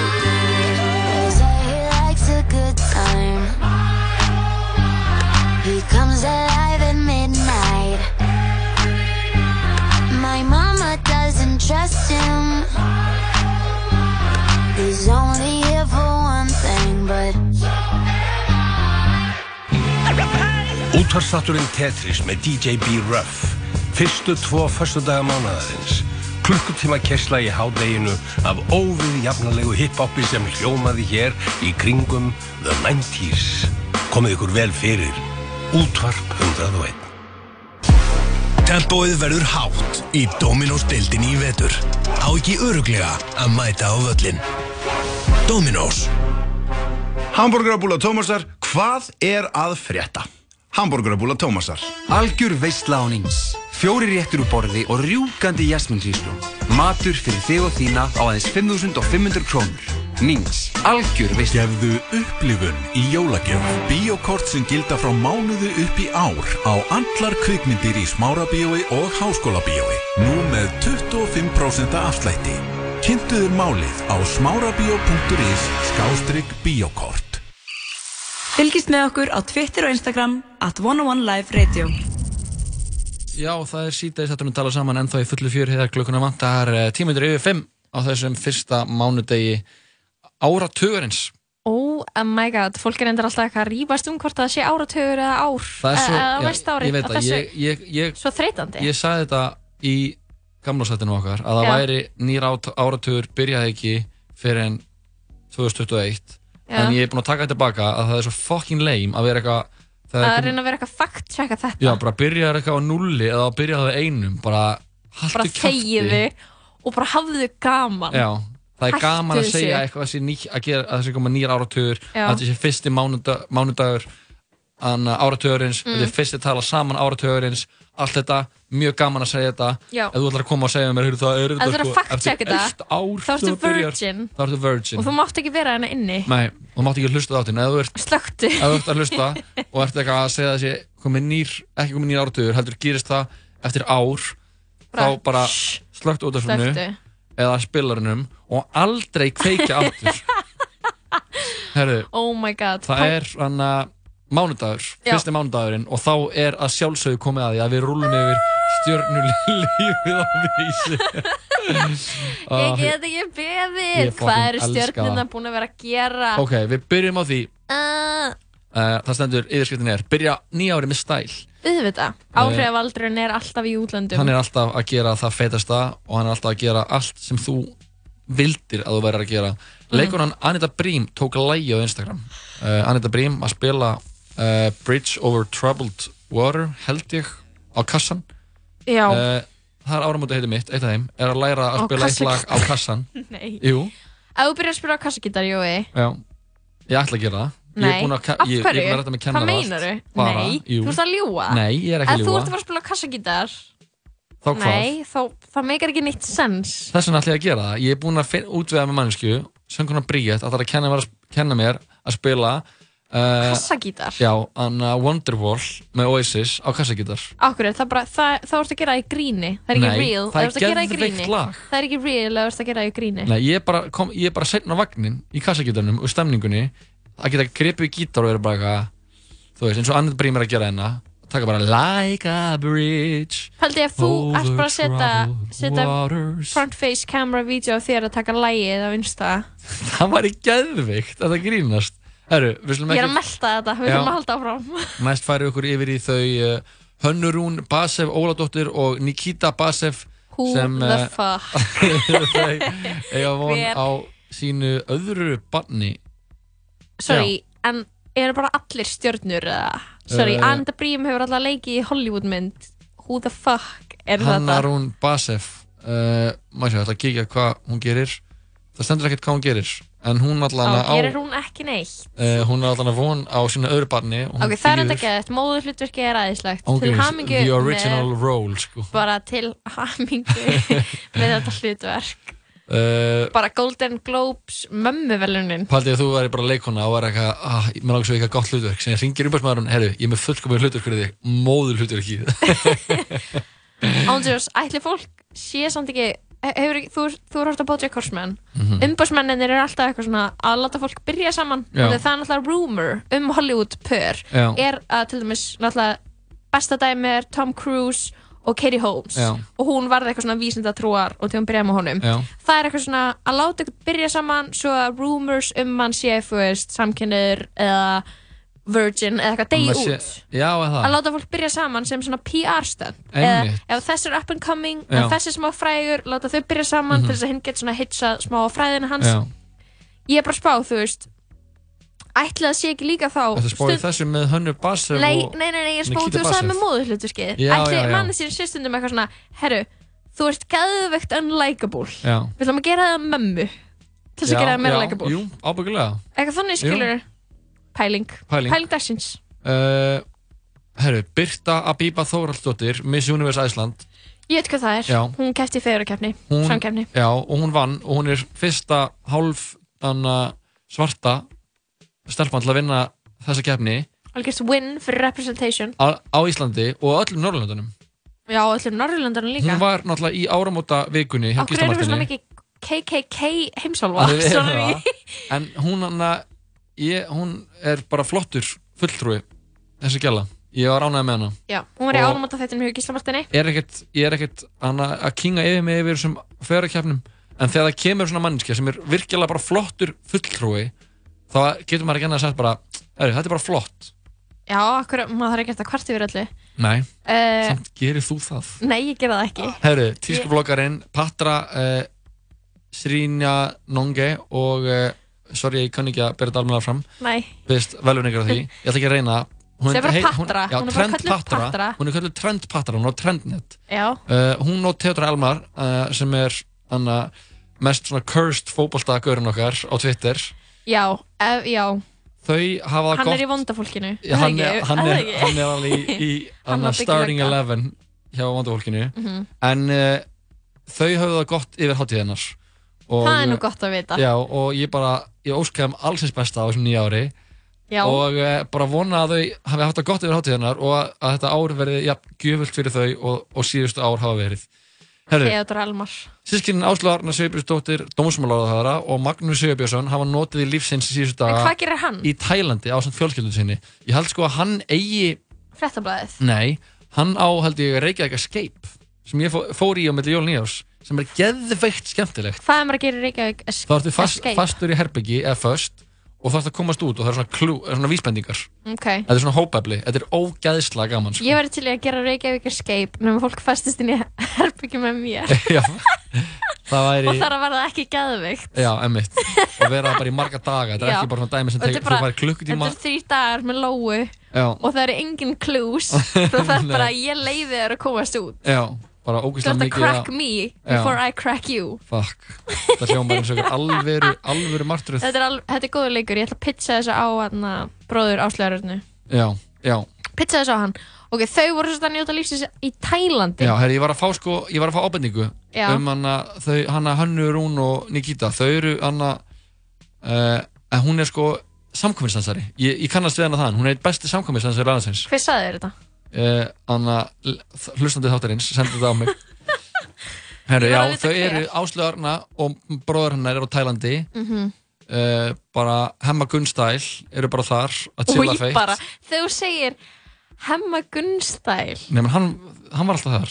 Speaker 5: They say he likes a good time. He comes alive at midnight. My mama doesn't trust him. He's only here for one thing, but.
Speaker 11: Útvarstátturinn Tetris með DJ B-Ruff Fyrstu tvo föstudaga mánaðarins Klukkutíma kessla í hádeginu af óvið jafnalegu hiphopi sem hljómaði hér í kringum The 90s Komið ykkur vel fyrir Útvarp 101
Speaker 12: Tempoið verður hátt í Dominos deildinni í vetur. Há ekki öruglega að mæta á völlin. Dominos.
Speaker 13: Hamburgerabúla Tómasar, hvað er að frétta? Hamburgerabúla Tómasar
Speaker 14: Algjör veistla án eins Fjóri réttur úr borði og rjúkandi jasminríslú Matur fyrir þig og þína á aðeins 5500 krónur Nýns, algjör veistla
Speaker 15: Gefðu upplifun í jólagjöf. Bíokort sem gilda frá mánuðu upp í ár á allar kvikmyndir í smárabíói og háskólabíói. Nú með 25% afslætti. Kynntuður málið á smárabíó.is skástrygg bíokort.
Speaker 4: Fylgist með okkur á Twitter og Instagram at 101 Live Radio
Speaker 1: Já, það er síðdegis þetta er að tala saman ennþá í fullu fjör þegar klukkuna vantar tímundur yfir 5 á þessum fyrsta mánudegi áratugurins
Speaker 2: Oh my god, fólk er endur alltaf eitthvað að rýfast um hvort það sé áratugur eða ár
Speaker 1: Það er svo,
Speaker 2: eða
Speaker 1: já,
Speaker 2: Eh, næsta ári
Speaker 1: ég veit
Speaker 2: að
Speaker 1: það,
Speaker 2: þessu
Speaker 1: ég, ég, ég,
Speaker 2: svo þreytandi
Speaker 1: ég sagði þetta í gamlásættinu okkar að það
Speaker 2: Já.
Speaker 1: væri nýr át- áratugur byrjaði ekki fyrir en 2021
Speaker 2: Já.
Speaker 1: en ég er búinn að taka þetta tilbaka að það er svo fucking lame að vera eitthvað
Speaker 2: að
Speaker 1: það er eitthvað-
Speaker 2: reyna að vera eitthvað fact checka þetta
Speaker 1: já, bara byrjaði eitthvað á nulli eða byrjaði á einum bara
Speaker 2: bara
Speaker 1: haltu
Speaker 2: þegiðu og bara hafðu gaman
Speaker 1: Já, það er
Speaker 2: Hættu
Speaker 1: gaman að
Speaker 2: þessu.
Speaker 1: segja eitthvað sé ný, að gera að það sé koma nýjar áratugur
Speaker 2: Já.
Speaker 1: að þetta sé fyrsti mánudag, mánudagur anna, áratugurins,
Speaker 2: Mm.
Speaker 1: þetta er fyrsti tala saman áratugurins, allt þetta mjög gaman að segja þetta
Speaker 2: Já.
Speaker 1: ef þú ætlar að koma og segja mér heyrðu, það
Speaker 2: Ef
Speaker 1: er
Speaker 2: þú
Speaker 1: þetta
Speaker 2: þarf að fact
Speaker 1: sko, eftir
Speaker 2: checka
Speaker 1: eitt
Speaker 2: þetta
Speaker 1: ár
Speaker 2: þá ertu
Speaker 1: þegar þú byrjar-
Speaker 2: virgin
Speaker 1: þá ertu virgin
Speaker 2: og þú mátt ekki vera hérna inni
Speaker 1: Nei, þú mátt ekki hlusta þáttinn eða þú ert,
Speaker 2: Slökktu.
Speaker 1: ef þú ert að hlusta og ert eitthvað að segja þessi komið nýr, ekki komið nýr áratugur, heldur gerist það eftir ár
Speaker 2: Bara-
Speaker 1: þá bara slögt út af svonu
Speaker 2: Slökktu.
Speaker 1: eða spilarunum og aldrei kveikja
Speaker 2: <laughs>
Speaker 1: aftur Herðu,
Speaker 2: oh my god
Speaker 1: það er hann að mánudagur,
Speaker 2: Já.
Speaker 1: fyrsti mánudagurinn og þá er að sjálfsögðu komið að því að við rúlum yfir <laughs> stjörnulífið á vísi
Speaker 2: <laughs> ég get ekki beðið
Speaker 1: Ég fucking
Speaker 2: hvað eru
Speaker 1: elska
Speaker 2: stjörnina
Speaker 1: það.
Speaker 2: búin að vera að gera
Speaker 1: Ok, við byrjum á því
Speaker 2: uh,
Speaker 1: uh, það stendur yfirskriftin er byrja nýja árið með stæl
Speaker 2: auðvitað, áhrifaldurinn er alltaf í útlöndum
Speaker 1: hann er alltaf að gera það feitasta og hann er alltaf að gera allt sem þú vildir að þú verður að gera
Speaker 2: Mhm.
Speaker 1: leikunan Anita Brím tók lægi á Instagram uh, Anita Brím að spila uh, Bridge over Troubled Water held ég á kassan Eh,
Speaker 2: Já.
Speaker 1: það er áramóti heiti mitt, eitt af þeim er að læra að
Speaker 2: Á
Speaker 1: spila eitt lag á
Speaker 2: kassagítar. <laughs>
Speaker 1: kassan
Speaker 2: Nei.
Speaker 1: Jú,
Speaker 2: ef þú byrjar að spila á kassagítar, Jói
Speaker 1: já, ég ætla að gera það Ég
Speaker 2: Nei.
Speaker 1: er búin að, ke-
Speaker 2: Af
Speaker 1: ég, ég er búin
Speaker 2: hverju?
Speaker 1: að rætta með
Speaker 2: Hvað
Speaker 1: kennara og
Speaker 2: meinarðu?
Speaker 1: allt. Bara,
Speaker 2: Nei,
Speaker 1: jú.
Speaker 2: þú ert að ljúga.
Speaker 1: Nei, ég er ekki að
Speaker 2: ef þú
Speaker 1: ljúga
Speaker 2: ert að fara að spila á kassagítar
Speaker 1: Þá hvað?
Speaker 2: nei, þá, það meikar ekki neitt sens
Speaker 1: Þess vegna ætla ég að gera það. Ég er búinn að fin- útvega með mannsku, sönguna Bríett, að það er að kenna, mér að sp- kenna mér að spila uh,
Speaker 2: Kassagítar?
Speaker 1: Já, hann uh, Wonderwall með Oasis á kassagítar.
Speaker 2: Akkur, það, er bara, það, það vorst að gera það í gríni Það er ekki
Speaker 1: Nei,
Speaker 2: real
Speaker 1: það er
Speaker 2: vorst að gera í
Speaker 1: geðveikt
Speaker 2: gríni.
Speaker 1: lag.
Speaker 2: Það er ekki real, það vorst að gera það í gríni
Speaker 1: Nei, ég er bara, kom, ég er bara setn á vagnin í kassagítarnum og stemningunni að geta gripið í gítar og vera bara eitthvað þú veist, eins og annar brím er að gera hérna taka bara like a bridge
Speaker 2: Haldi ég að þú
Speaker 1: over
Speaker 2: ert bara að setja
Speaker 1: troubled
Speaker 2: setja
Speaker 1: water.
Speaker 2: front face camera video af þér að taka lægið á Insta
Speaker 1: <laughs> það var í geðvikt að það grínast Heru,
Speaker 2: Ég er að melta þetta, við
Speaker 1: Já.
Speaker 2: erum að halda áfram
Speaker 1: Næst færum við okkur yfir í þau uh, Hönnurún Basev Óladóttir og Nikita Basev
Speaker 2: Who the
Speaker 1: eh, <laughs>
Speaker 2: fuck
Speaker 1: eru þau eiga von
Speaker 2: Hver-
Speaker 1: á sínu öðru banni
Speaker 2: Sorry, en eru bara allir stjörnur eða? Sorry,
Speaker 1: Eh.
Speaker 2: uh, Ananda Brím hefur alltaf leikið í Hollywoodmynd Who the fuck er þetta?
Speaker 1: Hannarún Basev uh, maður sé, ég ætla að kíkja hvað hún gerir það stendur ekkert hvað hún gerir en hún allan
Speaker 2: Á,
Speaker 1: á,
Speaker 2: gerir hún ekki neitt?
Speaker 1: eh, hún er allan að von á sínu öðru banni og hún
Speaker 2: Ok, það er
Speaker 1: bíður-
Speaker 2: enda gett, móður hlutverki er aðeinslegt
Speaker 1: hún
Speaker 2: Til
Speaker 1: gefur
Speaker 2: hamingju
Speaker 1: the
Speaker 2: með-
Speaker 1: original role sko.
Speaker 2: bara til
Speaker 1: <laughs>
Speaker 2: hamingu með þetta hlutverk
Speaker 1: uh,
Speaker 2: bara Golden Globes mömmuvelunin
Speaker 1: Paldi að þú væri bara leikona og væri eitthvað, ah, mér langar svo eitthvað gott hlutverk sem ég ringir umbærsmaðurinn, herru, ég er með fullkomið hlutverk fyrir þig, móður hlutverk í það
Speaker 2: ándjós, ætli fólk sé samt ekki hefur, ekki- þú, þú er hort að Bojack Horseman
Speaker 1: Mhm.
Speaker 2: umbásmennir eru alltaf eitthvað svona að láta fólk byrja saman
Speaker 1: Já.
Speaker 2: Af því að það er náttúrulega rumor um Hollywood pör
Speaker 1: Já.
Speaker 2: er að til dæmis náttúrulega besta dæmi er Tom Cruise og Katie Holmes
Speaker 1: Já.
Speaker 2: og hún varði eitthvað svona vísindatrúar og til hún byrjaði með honum
Speaker 1: Já.
Speaker 2: það er eitthvað svona að láta ykkur byrja saman svo að rumors um mann sé þú veist, samkynniður eða virgin eða eitthvað degi
Speaker 1: Maður
Speaker 2: út
Speaker 1: sé- Já, eða
Speaker 2: að
Speaker 1: það
Speaker 2: láta fólk byrja saman sem svona PR stönd eða
Speaker 1: Einmitt.
Speaker 2: ef þessi er up and coming
Speaker 1: Já.
Speaker 2: ef þessi er smá frægur, láta þau byrja saman
Speaker 1: Mhm.
Speaker 2: til þess að hinn getur svona hitsað smá á fræðina hans
Speaker 1: Já.
Speaker 2: ég er bara að spá, þú veist ætli að sé ekki líka þá
Speaker 1: Þetta spáði þessu með hönnu Basef
Speaker 2: nei,
Speaker 1: og
Speaker 2: nei, nei, nei, ég er spáði
Speaker 1: Nikita
Speaker 2: þú sagði
Speaker 1: Bashev.
Speaker 2: með móðuhluturskið
Speaker 1: Já, já,
Speaker 2: ætli
Speaker 1: já.
Speaker 2: manni sér sérstundum eitthvað svona herru, þú ert gæðvegt unlikable
Speaker 1: Já.
Speaker 2: við ætlum að gera það að mömmu til þess að
Speaker 1: Já,
Speaker 2: gera það meira
Speaker 1: já,
Speaker 2: likable
Speaker 1: Jú, ábyggulega
Speaker 2: eitthvað þannig
Speaker 1: Jú.
Speaker 2: skilur pæling,
Speaker 1: Pæling.
Speaker 2: dagsins
Speaker 1: uh, Herru, Birta Abiba Þóraldsdóttir Miss Universe Æsland
Speaker 2: ég veit hvað það er,
Speaker 1: Já.
Speaker 2: hún kæfti í feðurakefni samkefni
Speaker 1: Já, og hún vann og hún er fyrsta hálf anna, svarta stelpann til að vinna þessa kefni
Speaker 2: algjörst win fyrir representation
Speaker 1: á, á Íslandi og öllum Norrlöndunum
Speaker 2: já, og allir Norðurlandarinn líka
Speaker 1: Hún var náttúrulega í áramóta vikunni hjá
Speaker 2: okkur erum við svona
Speaker 1: Gíslamartinni.
Speaker 2: mikið KKK heimsálfa
Speaker 1: Að við erum
Speaker 2: Sorry.
Speaker 1: það. en hún hann ég, hún er bara flottur fulltrúi þessi gæla ég var ánægð með hana
Speaker 2: já, hún var í
Speaker 1: Og-
Speaker 2: álumóta þættinu hjá Gíslamartinni
Speaker 1: er ekkert, ég er ekkert hana, að kinga yfir mig yfir þessum fyrirkjafnum en þegar það kemur svona mannskja sem er virkilega bara flottur fulltrúi þá getur maður ekki annað að sagt bara "Heyrðu, þetta er bara flott
Speaker 2: já, okkur, maður þarf ekki eftir að kvart yfir öllu
Speaker 1: nei,
Speaker 2: uh,
Speaker 1: samt gerir þú það
Speaker 2: nei, ég gera það ekki
Speaker 1: Herru, tískublokkarinn Patra uh, Srinja Nonge og uh, sorry, ég kann ekki að bera þetta almenna fram
Speaker 2: Nei.
Speaker 1: Veist, velunningar á því, ég ætla ekki að reyna það.
Speaker 2: Segðu bara
Speaker 1: hei-
Speaker 2: Patra,
Speaker 1: já,
Speaker 2: hún er bara
Speaker 1: Trend
Speaker 2: kölluð
Speaker 1: Patra,
Speaker 2: Patra.
Speaker 1: Hún er kallið Trend Patra, hún er á Trendnet
Speaker 2: já,
Speaker 1: uh, Hún og Teodra Elmar uh, sem er hana, mest svona cursed fótboltagaurinn okkar á Twitter
Speaker 2: já, ef, já
Speaker 1: Þau hafa það
Speaker 2: hann
Speaker 1: gott
Speaker 2: er í vondafólkinu
Speaker 1: Já, hann, er,
Speaker 2: Er það
Speaker 1: hann, er,
Speaker 2: ekki?
Speaker 1: hann er alveg
Speaker 2: <laughs>
Speaker 1: í, í
Speaker 2: Hann
Speaker 1: hana,
Speaker 2: var
Speaker 1: starting
Speaker 2: byggjulega.
Speaker 1: eleven hjá vandafólkinu
Speaker 2: Mhm.
Speaker 1: en uh, þau höfðu það gott yfir hátíðinnar
Speaker 2: Það er nú gott að vita.
Speaker 1: já, og ég bara, ég óskaði um allsins besta á þessum nýja ári
Speaker 2: Já.
Speaker 1: og uh, bara vona að þau hafi haft það gott yfir hátíðinnar og að, að þetta ár verði ja, gjöfult fyrir þau og, og síðustu ár hafa verið Herðu,
Speaker 2: Theodor Almar
Speaker 1: sískinin Áslu Arna Sigurbjörnsdóttir dómsmálaráðara og Magnús Sigurbjörnsson hafa notið í lífsins síðustu
Speaker 2: en
Speaker 1: daga
Speaker 2: hvað gerir hann?
Speaker 1: í Tælandi á samt fjölskyldun sinni ég held sko að hann eigi
Speaker 2: frettablaðið
Speaker 1: nei, hann á held ég Reykjavík Escape sem ég fó- fór í á milli jól nýjárs sem er geðveikt skemmtilegt
Speaker 2: hvað er maður að gera í Reykjavík
Speaker 1: þá ertu fast,
Speaker 2: Escape?
Speaker 1: fastur í herbyggi eða föst og þarfst að komast út og það er svona, klú, er svona vísbendingar
Speaker 2: ok
Speaker 1: þetta er svona hópefli, þetta er ógeðsla gaman sko.
Speaker 2: Ég væri til í að gera Reykjavík escape nema fólk festist inn í <laughs> herbyggi með mér
Speaker 1: já, það væri
Speaker 2: og þar að verða ekki geðvikt
Speaker 1: já, emmitt og vera bara í marga daga, þetta er
Speaker 2: Já.
Speaker 1: ekki bara svona dæmi sem
Speaker 2: Þetta er
Speaker 1: tekur,
Speaker 2: bara-
Speaker 1: þú væri klukkutíma
Speaker 2: Þetta er þrý dagar með lóu
Speaker 1: Já.
Speaker 2: og það eru engin
Speaker 1: <laughs>
Speaker 2: clues þú þarf
Speaker 1: Nei.
Speaker 2: bara að ég leiði þér að komast út
Speaker 1: já, bara
Speaker 2: Þú
Speaker 1: ógeðsla
Speaker 2: þarf að
Speaker 1: mikið
Speaker 2: crack me before I crack you
Speaker 1: fuck, þetta hljómar eins og einhver alvöru, alvöru martröð
Speaker 2: Þetta er, al, þetta er góður leikur, ég ætla að pitcha þessu á hana, bróður áslegarörnu
Speaker 1: já, já,
Speaker 2: Pitcha þessu á hann Ok, þau voru svo að njóta lífsins í Tælandi
Speaker 1: já herri, ég var að fá sko, ég var að fá ábendingu
Speaker 2: Já.
Speaker 1: um hana, þau, hana Hönnu, Rún og Nikita, þau eru hana uh, en hún er sko samkominstansari, ég, ég kannast við hana þann hún er einn besti samkominstansari landsins
Speaker 2: Hver sagði þér þetta?
Speaker 1: uh, hana, hlustandi þáttarins, sendi þetta á
Speaker 2: <laughs>
Speaker 1: mig herru,
Speaker 2: Ég
Speaker 1: já,
Speaker 2: var að vita
Speaker 1: þau
Speaker 2: hver.
Speaker 1: eru Áslöð Arna og bróður hennar er á Tælandi
Speaker 2: Mhm.
Speaker 1: uh, bara Hemma Gunnstæl eru bara þar að
Speaker 2: og
Speaker 1: chilla
Speaker 2: ég
Speaker 1: feitt
Speaker 2: bara, þegar þú segir hemma gunnstæl
Speaker 1: Nei, menn hann, hann var alltaf þar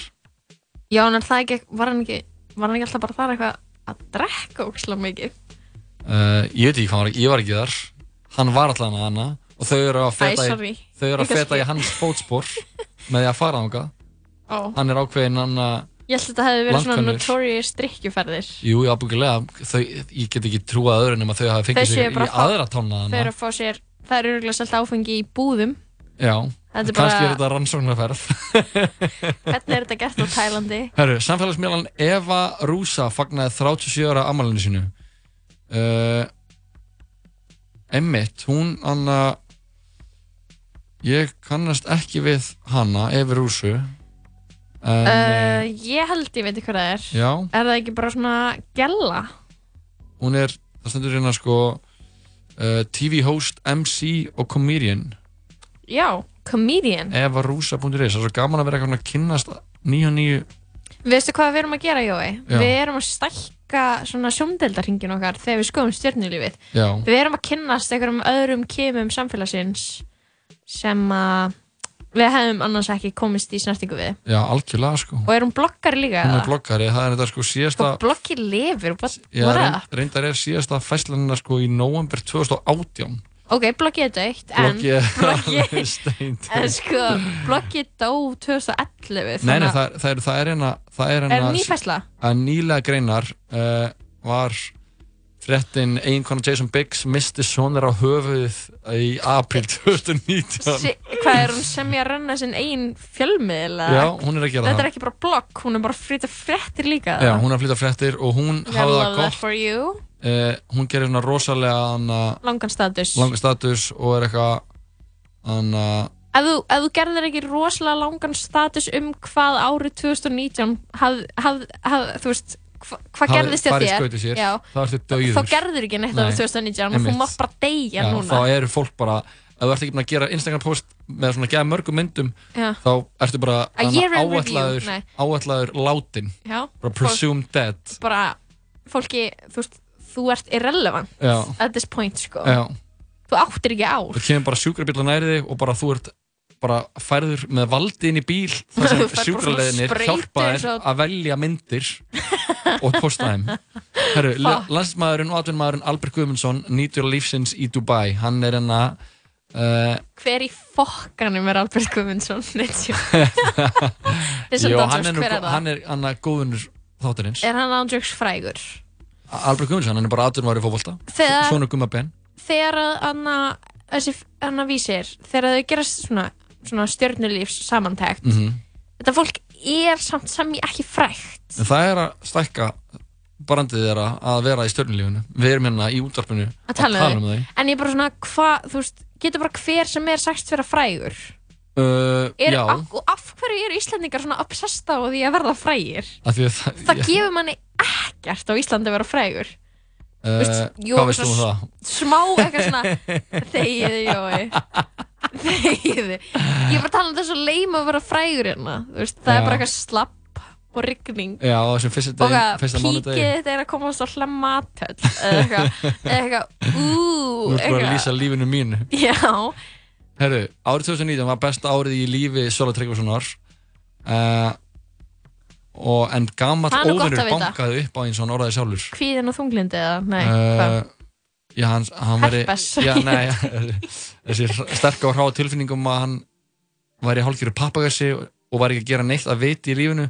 Speaker 2: já, en er það ekki, var hann ekki var hann ekki alltaf bara þar eitthvað að drekka óksla mikið
Speaker 1: uh, Ég veit ekki hvað hann var, ég var ekki þar Hann var alltaf hann að hana Og þau eru að feta,
Speaker 2: sorry.
Speaker 1: í, þau eru að
Speaker 2: Ég
Speaker 1: feta
Speaker 2: kannski-
Speaker 1: í hans fótspor með því að fara þangað
Speaker 2: Ó.
Speaker 1: Hann er ákveðin hann að
Speaker 2: ég held að þetta hefði verið svona
Speaker 1: Landkönnur.
Speaker 2: notorious drikkjuferðir
Speaker 1: Jú, já, ábyggilega, þau, ég get ekki trúað öðru nema þau hafi fengið
Speaker 2: Þau séu
Speaker 1: sig í
Speaker 2: bara að fá-
Speaker 1: aðra tónna
Speaker 2: þau
Speaker 1: hana.
Speaker 2: eru að fá sér, það eru örgulega selt áfengi í búðum
Speaker 1: Já,
Speaker 2: Þetta er
Speaker 1: kannski
Speaker 2: bara-
Speaker 1: er þetta rannsóknarferð.
Speaker 2: hvernig er þetta gert á Tælandi
Speaker 1: Herru, samfélagsmiðlan Eva Rúsa fagnaði 37 ára ammálinu sínu. Uh, Emmitt, hún anna, ég kannast ekki við hana, Eva Rúsu. En, eh,
Speaker 2: uh, ég held ég veit hvað það er
Speaker 1: Já.
Speaker 2: er það ekki bara svona gella
Speaker 1: hún er, það stendur hérna sko, uh, TV host, MC og comedian.
Speaker 2: já, comedian
Speaker 1: Eh. evarúsa.is það er svo gaman að vera eitthvað svona að kynnast nýju nýju
Speaker 2: Veistu hvað við erum að gera, Jói?
Speaker 1: Já.
Speaker 2: Við erum að stækka svona sjóndeldarhingin okkar þegar við skoðum stjörnulífið.
Speaker 1: Já.
Speaker 2: Við erum að kynnast einhverjum öðrum kemum samfélagsins sem að við hefum annars ekki komist í snertingu við.
Speaker 1: já, algjörlega sko
Speaker 2: Og erum bloggari líka?
Speaker 1: hún
Speaker 2: eða?
Speaker 1: er bloggari, það er þetta sko síðasta
Speaker 2: Bloggi lifir, what,
Speaker 1: já,
Speaker 2: what
Speaker 1: reyn-
Speaker 2: up?
Speaker 1: reyndar er síðasta fæslanina sko í november 2018
Speaker 2: Ok, bloggið er dögt, en,
Speaker 1: bloggi
Speaker 2: <laughs>
Speaker 1: <laughs>
Speaker 2: bloggi-
Speaker 1: steint
Speaker 2: en sko, bloggið dó 2011.
Speaker 1: nei, nei,
Speaker 2: þannig að-
Speaker 1: það, það er það er hérna það er
Speaker 2: Er
Speaker 1: hérna
Speaker 2: ný færsla?
Speaker 1: að nýlega greinar uh, var fréttin eiginkona Jason Biggs misti sonir á höfuðið í april 2019
Speaker 2: Si- Hvað er hún sem ég að renna sinn eigin fjölmiðl? eða?
Speaker 1: Já, hún er að gera
Speaker 2: Þetta
Speaker 1: það.
Speaker 2: er ekki bara blogg, hún er bara að flytja fréttir líka.
Speaker 1: Já, hún er að flytja fréttir og hún
Speaker 2: I
Speaker 1: hafði það
Speaker 2: love
Speaker 1: gott
Speaker 2: that for you
Speaker 1: uh, hún gerir svona rosalega hana,
Speaker 2: Langan status
Speaker 1: langan status og er eitthvað hana,
Speaker 2: ef, þú, ef þú gerðir ekki rosalega langan status um hvað árið 2019 haf, haf, haf, þú veist hva- hvað
Speaker 1: hafi
Speaker 2: gerðist hjá
Speaker 1: farið
Speaker 2: þér
Speaker 1: skautið sér,
Speaker 2: Já,
Speaker 1: þá ertu dauður
Speaker 2: þá gerður ekki neitt
Speaker 1: Nei,
Speaker 2: árið 2019 þú
Speaker 1: einmitt.
Speaker 2: mátt bara
Speaker 1: Já,
Speaker 2: deyja núna
Speaker 1: þá eru fólk bara ef þú ert ekki búin að gera Instagram post með svona geða mörgum myndum
Speaker 2: Já.
Speaker 1: þá ertu bara
Speaker 2: A
Speaker 1: hana,
Speaker 2: year in review,
Speaker 1: áætlaður,
Speaker 2: nei.
Speaker 1: áætlaður látin
Speaker 2: Já,
Speaker 1: bara
Speaker 2: fólk-
Speaker 1: presumed dead
Speaker 2: bara fólki, þú veist þú ert irrelevant
Speaker 1: Já.
Speaker 2: at this point sko
Speaker 1: Já.
Speaker 2: þú áttir ekki á
Speaker 1: það kemur bara sjúkrabíl að næri þig og bara þú ert bara færður með valdi inn í bíl þar
Speaker 2: Þú <laughs> færð
Speaker 1: sem
Speaker 2: bara svona
Speaker 1: sjúkraleðinir
Speaker 2: sprautu
Speaker 1: hjálpa þér
Speaker 2: eins og-
Speaker 1: að velja myndir
Speaker 2: <laughs>
Speaker 1: og posta þeim Herru,
Speaker 2: Fuck.
Speaker 1: landsmaðurinn og atvinnmaðurinn Albert Guðmundsson nýtur lífsins í Dubai hann er enna uh,
Speaker 2: hver í fokkanum er Albert Guðmundsson <laughs> Nei, tjók. Listen,
Speaker 1: jú,
Speaker 2: Don
Speaker 1: hann
Speaker 2: Jones,
Speaker 1: er, nú
Speaker 2: hver er
Speaker 1: gó-
Speaker 2: það?
Speaker 1: hann er hann er góðunur þáttarins
Speaker 2: er hann ándjöks frægur
Speaker 1: Albert Guðmundsson, hann er bara atvinnmaður í fótbolta
Speaker 2: Þegar-
Speaker 1: svona Gumma Ben
Speaker 2: þegar að anna, þessi anna vísir þegar þau gerast svona, svona stjörnulífs samantækt
Speaker 1: Mhm.
Speaker 2: þetta fólk er samt sami ekki frægt
Speaker 1: En það er að stækka brandið þeirra að vera í stjörnulífinu við erum hérna í útvarpinu
Speaker 2: að tala,
Speaker 1: um
Speaker 2: um
Speaker 1: þau
Speaker 2: þau en ég er bara svona hvað, þú veist getur bara hver sem er sagt vera frægur
Speaker 1: uh,
Speaker 2: er, ah,
Speaker 1: já,
Speaker 2: af, og af hverju eru Íslandingar svona obsessed á því að verða frægir
Speaker 1: af því að það,
Speaker 2: það gefur manni ekkert á Íslandi að vera frægur
Speaker 1: Uh,
Speaker 2: Veist, jú,
Speaker 1: hvað veist þú um
Speaker 2: svona
Speaker 1: það?
Speaker 2: smá eitthvað svona þegiði Jói þegiði ég er bara að tala um þessu leima að vera frægur hérna Þú veist, það
Speaker 1: Já.
Speaker 2: er bara eitthvað slapp og rigning
Speaker 1: Já, á þessum fyrsta
Speaker 2: og
Speaker 1: degi,
Speaker 2: að
Speaker 1: fyrsta
Speaker 2: píkið
Speaker 1: mánudegi
Speaker 2: þetta er að komast á hlamatöll eða
Speaker 1: <laughs>
Speaker 2: eitthvað, eða eitthvað ú,
Speaker 1: Þú ert bara að
Speaker 2: eitthvað
Speaker 1: lýsa lífinu mínu
Speaker 2: já,
Speaker 1: Herru, árið 2019 var besta árið í lífi Sjóla Tryggvarssonar uh, og en gamall
Speaker 2: Það er nú gott
Speaker 1: óvinnur
Speaker 2: að vita.
Speaker 1: bankaði upp á eins og hann orðaði sjálfur
Speaker 2: kvíðin og þunglindi eða, nei, hvað
Speaker 1: Eh, Já, hann, hann væri
Speaker 2: Herpes.
Speaker 1: <laughs> já, nei, Þessi sterk og hráa tilfinningum að hann væri hálfgerður pappagassi og væri ekki að gera neitt að viti í lífinu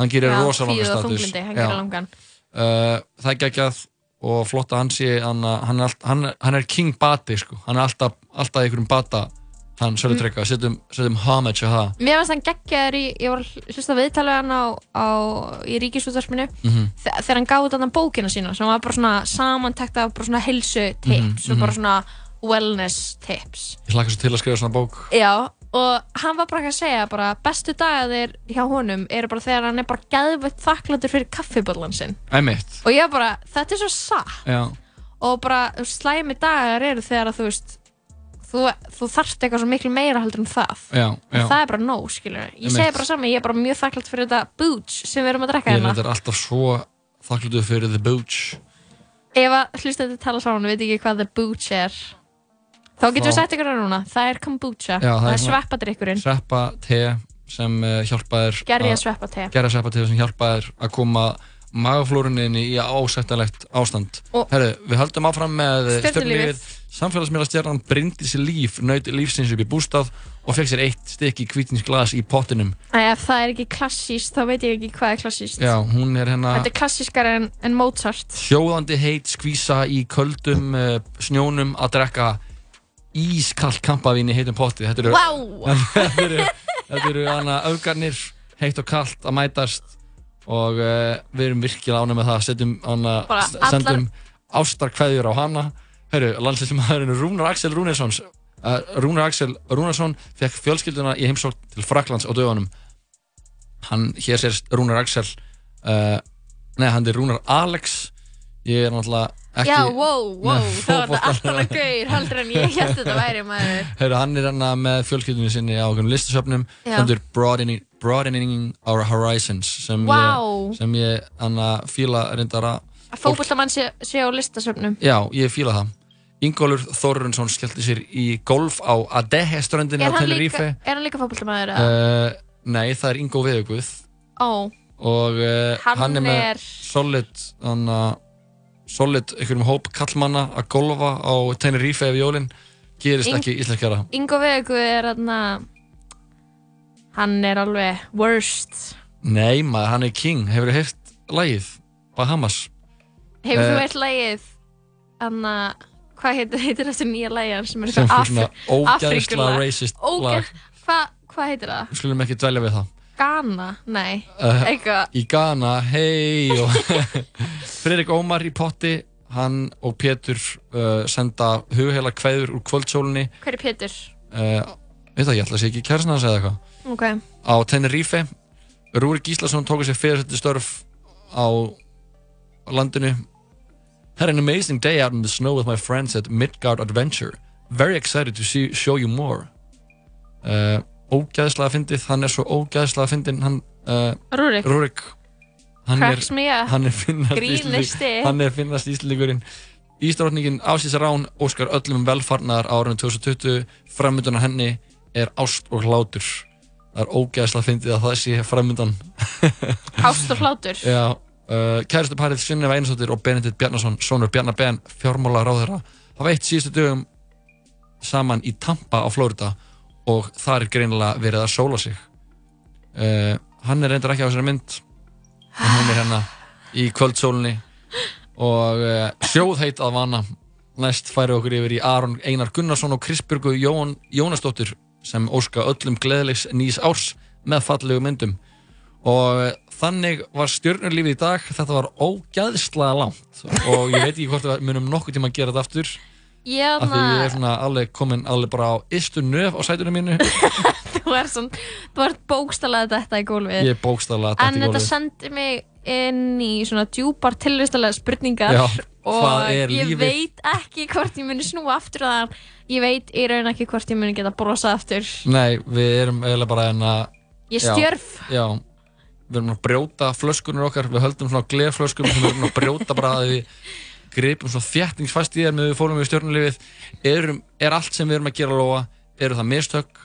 Speaker 1: Hann gerir
Speaker 2: Já,
Speaker 1: rosa langan
Speaker 2: kvíði og
Speaker 1: status
Speaker 2: þunglyndi, hann gerir langan.
Speaker 1: uh, Það er geggjað og flott að hann sé hann, hann, er allt, hann, hann er king bati sko. hann er alltaf, alltaf í einhverjum bata hann Sölvi
Speaker 2: Mm.
Speaker 1: Tryggva, setjum, setjum homage á það
Speaker 2: Mér finnst hann geggjaður í, ég var að hlusta viðtalið hann á, á, í ríkisútvarpinu
Speaker 1: Mhm.
Speaker 2: þe þegar hann gaf út þarna bókina sína sem var bara svona samantækt af bara svona helsu tips
Speaker 1: Mhm,
Speaker 2: og bara
Speaker 1: mhm.
Speaker 2: svona wellness tips
Speaker 1: Ég hlakka svo til að skrifa svona bók
Speaker 2: Já, og hann var bara ekki að segja bara bestu dagaðir hjá honum eru bara þegar hann er bara geðveitt þakklætur fyrir kaffiböllan sinn
Speaker 1: Æmitt,
Speaker 2: og ég var bara, þetta er svo satt
Speaker 1: já
Speaker 2: og bara þú veist, slæmi dagar eru þegar að þú veist þú, þú þarft eitthvað svo miklu meira heldur en það
Speaker 1: Já, já.
Speaker 2: það er bara nóg, skilur ég
Speaker 1: Einmitt.
Speaker 2: segi bara saman, ég er bara mjög þakklátt fyrir þetta boots sem við erum að drekka
Speaker 1: Ég er
Speaker 2: hérna
Speaker 1: reyndar alltaf svo þakklútið fyrir The Booch
Speaker 2: ef að hlustandi tala saman og veit ekki hvað the booch er þá getum við
Speaker 1: Þá-
Speaker 2: sagt ykkur það núna það er kombucha,
Speaker 1: Já, það
Speaker 2: það
Speaker 1: er
Speaker 2: er
Speaker 1: svona-
Speaker 2: sveppadrykkurinn
Speaker 1: sveppa te sem uh, hjálpaðir
Speaker 2: Gerja sveppate.
Speaker 1: gerja sveppa te sem hjálpaðir að koma magaflóruninni í ásættanlegt ástand
Speaker 2: Og-
Speaker 1: Herru, við höldum áfram með
Speaker 2: Stjörnulífið.
Speaker 1: samfélagsmiðla stjarnan brindi sér líf naut lífsins upp í bústað og fekk sér eitt stykki kvítinsglas í pottinum
Speaker 2: Æ, ef það er ekki klassíst, þá veit ég ekki hvað er klassíst
Speaker 1: já, hún er hérna
Speaker 2: þetta er klassískara en, en Mozart
Speaker 1: sjóðandi heit skvísa í köldum uh, snjónum að drekka ískall kampavín í heitum potti þetta eru
Speaker 2: Vá!
Speaker 1: þetta eru, þetta eru hana öfgarnir heitt og kallt að mætast og uh, við erum virkilega ánum með það setjum hana,
Speaker 2: Bara
Speaker 1: s-
Speaker 2: allar-
Speaker 1: sendum ástarkveðjur á hana Hörru, landslýstumæðurinn Rúnar Axel Rúnarssons uh, Rúnar Axel Rúnarsson fekk fjölskylduna í heimsókn til Fraklands á dögunum hann hér sér Rúnar Axel uh, nei, hann er Rúnar Alex ég er náttúrulega ekki
Speaker 2: já, wow, wow, það var
Speaker 1: með
Speaker 2: þetta
Speaker 1: fótbolta-
Speaker 2: allt annað gaur heldur en ég held þetta væri maður
Speaker 1: Heyrðu, hann er hann með fjölskyldunni sinni á okkur listasöfnum
Speaker 2: Já.
Speaker 1: stendur broadening, broadening Our Horizons sem
Speaker 2: Vá.
Speaker 1: ég, sem ég hann fíla reyndar að
Speaker 2: að fókvöldamann sé, sé á listasöfnum
Speaker 1: já, ég fíla það Ingólfur Þorrunsson skellti sér í golf á Adehe ströndinni
Speaker 2: er
Speaker 1: á
Speaker 2: hann,
Speaker 1: Tenerife
Speaker 2: líka, er hann líka fókvöldamæður? Uh,
Speaker 1: uh, nei, það er Ingó Veðuguð
Speaker 2: Ó,
Speaker 1: og uh,
Speaker 2: Hann
Speaker 1: hann, er með
Speaker 2: er-
Speaker 1: solid hann að solid einhverjum hóp kallmanna að golfa á Tenerife ef jólin gerist
Speaker 2: Ing-
Speaker 1: ekki íslenskjara
Speaker 2: Ingo Vegu er hann hann er alveg worst
Speaker 1: Nei maður, hann er king, hefur þú heyrt lagið Bahamas
Speaker 2: Hefur þú
Speaker 1: Eh,
Speaker 2: eitt lagið hann að hvað heitir, <laughs> heitir þessu nýja lagi hans sem er
Speaker 1: sem
Speaker 2: eitthvað
Speaker 1: fyrir svona
Speaker 2: Afri-
Speaker 1: ógæðislega
Speaker 2: Afríkulag?
Speaker 1: racist
Speaker 2: Ógeð-
Speaker 1: lag
Speaker 2: Hvað hva heitir það?
Speaker 1: Við skulum ekki dvelja við það
Speaker 2: Ghana? Nei,
Speaker 1: Eh,
Speaker 2: eitthvað
Speaker 1: Í Ghana, hei og <laughs> Fredrik Ómar í potti hann og Pétur uh, senda hugheila kveður úr kvöldsólinni
Speaker 2: Hver er Pétur?
Speaker 1: uh, veit það, ég ætla að sé ekki kærsna hans eða eitthvað
Speaker 2: Ok,
Speaker 1: á Tenerife Rúrik Gíslason tók sér fyrirsætti störf á á landinu Had an amazing day out in the snow with my friends at Midgard Adventure Very excited to see, show you more uh, Ógæðslega fyndið, hann er svo ógæðslega fyndin hann, uh,
Speaker 2: Rúrik?
Speaker 1: Rúrik hann er,
Speaker 2: Cracks me up.
Speaker 1: hann er finnast
Speaker 2: Grínisti.
Speaker 1: Íslending- hann er finnast íslendingurinn Ísdrottningin Ásís Rán óskar öllum um velfarnar árunum 2020 framöndan á henni er ást og hlátur það er ógæðslega fyndið að það sé framöndan
Speaker 2: Ást og hlátur
Speaker 1: Já, uh, kæristu parið Sunneva Einarsdóttir og Benedikt Bjarnason, sonur Bjarnar Ben, fjármála ráðherra, hafa eitt síðustu dögum saman í Tampa á Flórida og þar er greinilega verið að sóla sig. Uh, hann er reyndar ekki á þessari mynd, en hún er hérna í kvöldsólinni og uh, sjóðheit að vana. Næst færi okkur yfir í Aron Einar Gunnarsson og Krisbjörgu Jón, Jónasdóttir sem óska öllum gleðilegs nýs árs með fallegu myndum og þannig var stjörnurlífið í dag þetta var ógæðslega langt og ég veit ekki hvort við munum nokkuð tíma að gera þetta aftur
Speaker 2: Ég
Speaker 1: af því ég er
Speaker 2: hann
Speaker 1: svona alveg komin alveg bara á ystu nöf á sætunum mínu
Speaker 2: <laughs> þú er svona, þú ert bókstalað þetta í gólfið
Speaker 1: ég er bókstaflega datt
Speaker 2: En
Speaker 1: í
Speaker 2: þetta
Speaker 1: gólfið.
Speaker 2: sendi mig inn í svona djúpar tilvistalega spurningar
Speaker 1: Já,
Speaker 2: og
Speaker 1: hvað er
Speaker 2: ég
Speaker 1: lífið?
Speaker 2: veit ekki hvort ég muni snúa aftur þann ég veit í raun ekki hvort ég muni geta brosa aftur
Speaker 1: nei, við erum eiginlega bara hérna en að
Speaker 2: Ég
Speaker 1: Já,
Speaker 2: stjörf.
Speaker 1: já, við erum að brjóta flöskunir okkar við höldum svona glerflöskum sem við erum að brjóta bara að við gripum svona þjættingsfast í þér með við fórum við stjörnulífið erum, er allt sem við erum að gera lóa eru það mistök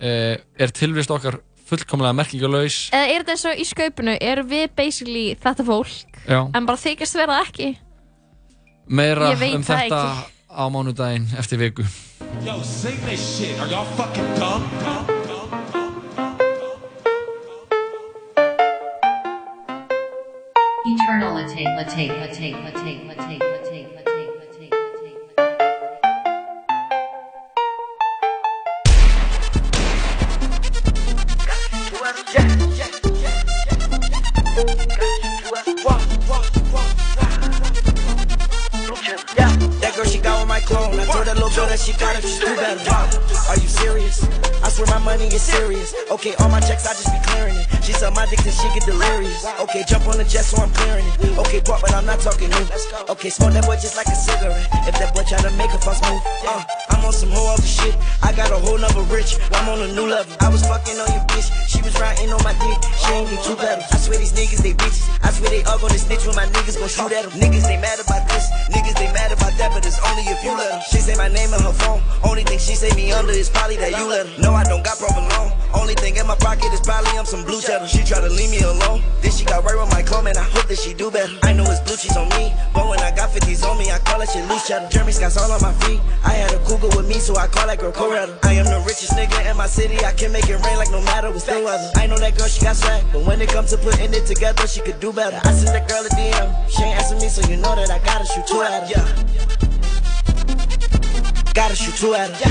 Speaker 1: eh, er tilvist okkar fullkomlega merkingalaus
Speaker 2: Eða er þetta eins og í skaupinu, er við basically þetta fólk
Speaker 1: já,
Speaker 2: en bara þykist vera það ekki
Speaker 1: meira
Speaker 2: Ég veit
Speaker 1: um
Speaker 2: það
Speaker 1: þetta á mánudaginn eftir viku
Speaker 16: Yo, sing this shit. Are y'all fucking dumb?
Speaker 17: Eternal attain, attain, attain, attain, attain, attain, attain, attain, attain.
Speaker 18: That girl, she got with my clone. I told that little girl that
Speaker 19: But she got it, she's too bad. Wow, are you serious? I swear my money is serious. Okay, all my checks, I just be clearing it. She sell my dick and she get delirious. Okay, jump on the jet so I'm clearing it. Okay, bought, but I'm not talking new. Okay, smoke that boy just like a cigarette. If that boy try to make a fuss move, uh, I'm on some whole other shit. I got a whole nother rich, I'm on a new level. I was fucking on your bitch, she was riding on my dick. She ain't do two battles. I swear these niggas, they bitches. I swear they all gonna snitch when my niggas gon' shoot at them. Niggas, they mad about this. Niggas, they mad about that, but it's only if you let them. She say my name on her phone. Only thing she say me under is probably that you let her. No, I don't got problem loan. Only thing in my pocket is probably I'm some blue cheddar. She try to leave me alone. Then she got right with my clone, and I hope that she do better. I know it's blue cheese on me, but when I got 50s on me, I call that shit loose cheddar. Jeremy Scott's all on my feet. I had a cougar with me, so I call that girl Coretta. I am the richest nigga in my city. I can make it rain like no matter what's the weather. I know that girl, she got swag, but when it comes to putting it together, she could do better. I sent that girl a DM. She ain't answer me, so you know that I gotta shoot two at her. Yeah. Gotta shoot two at her.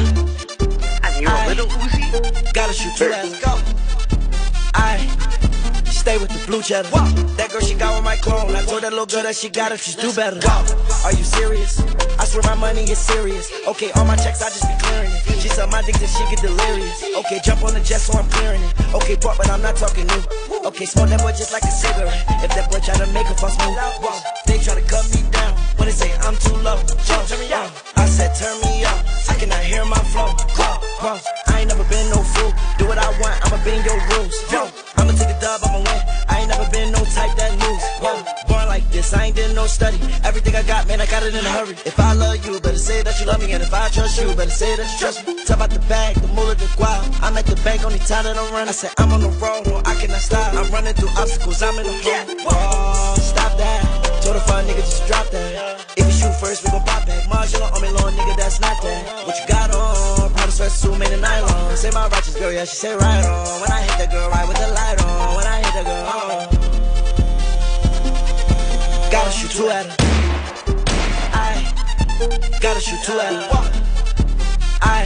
Speaker 19: And you a little Uzi? Gotta shoot two at her. Go. I stay with the blue cheddar. Whoa. That girl she got with my clone. I told that little girl that she got if she's do better. Whoa. Are you serious? I swear my money is serious. Okay, all my checks I just be clearing it. She sell my dick that she get delirious. Okay, jump on the jet so I'm clearing it. Okay, bought but I'm not talking new. Okay, smoke that boy just like a cigarette. If that boy try to make a fuss move, whoa. they try to cut me down. When they say I'm too low, whoa. turn me up. I said turn me up. I cannot hear my flow. Whoa, whoa. I ain't never been no fool. Do what I want. I'ma bend your rules. Yo, I'ma take the dub. I'ma win. I ain't never been no type that lose. Whoa, born like this. I ain't did no study. Everything I got, man, I got it in a hurry. If I love you, better say that you love me. And if I trust you, better say that you trust me. Talk about the bag, the moolah, the guap. I'm at the bank, only time that I'm running. I said I'm on the road, no, I cannot stop. I'm running through obstacles. I'm in the hole. Whoa, stop that. Told a fine nigga just drop that. If you shoot first, we gon' pop back. Marginal on me, long nigga, that's not that. What you got on? Powder sweat suit made of nylon. Say my righteous girl, yeah, she say right on. When I hit that girl, right with the light on. When I hit that girl, on. Gotta shoot two at her. I gotta shoot two at her. I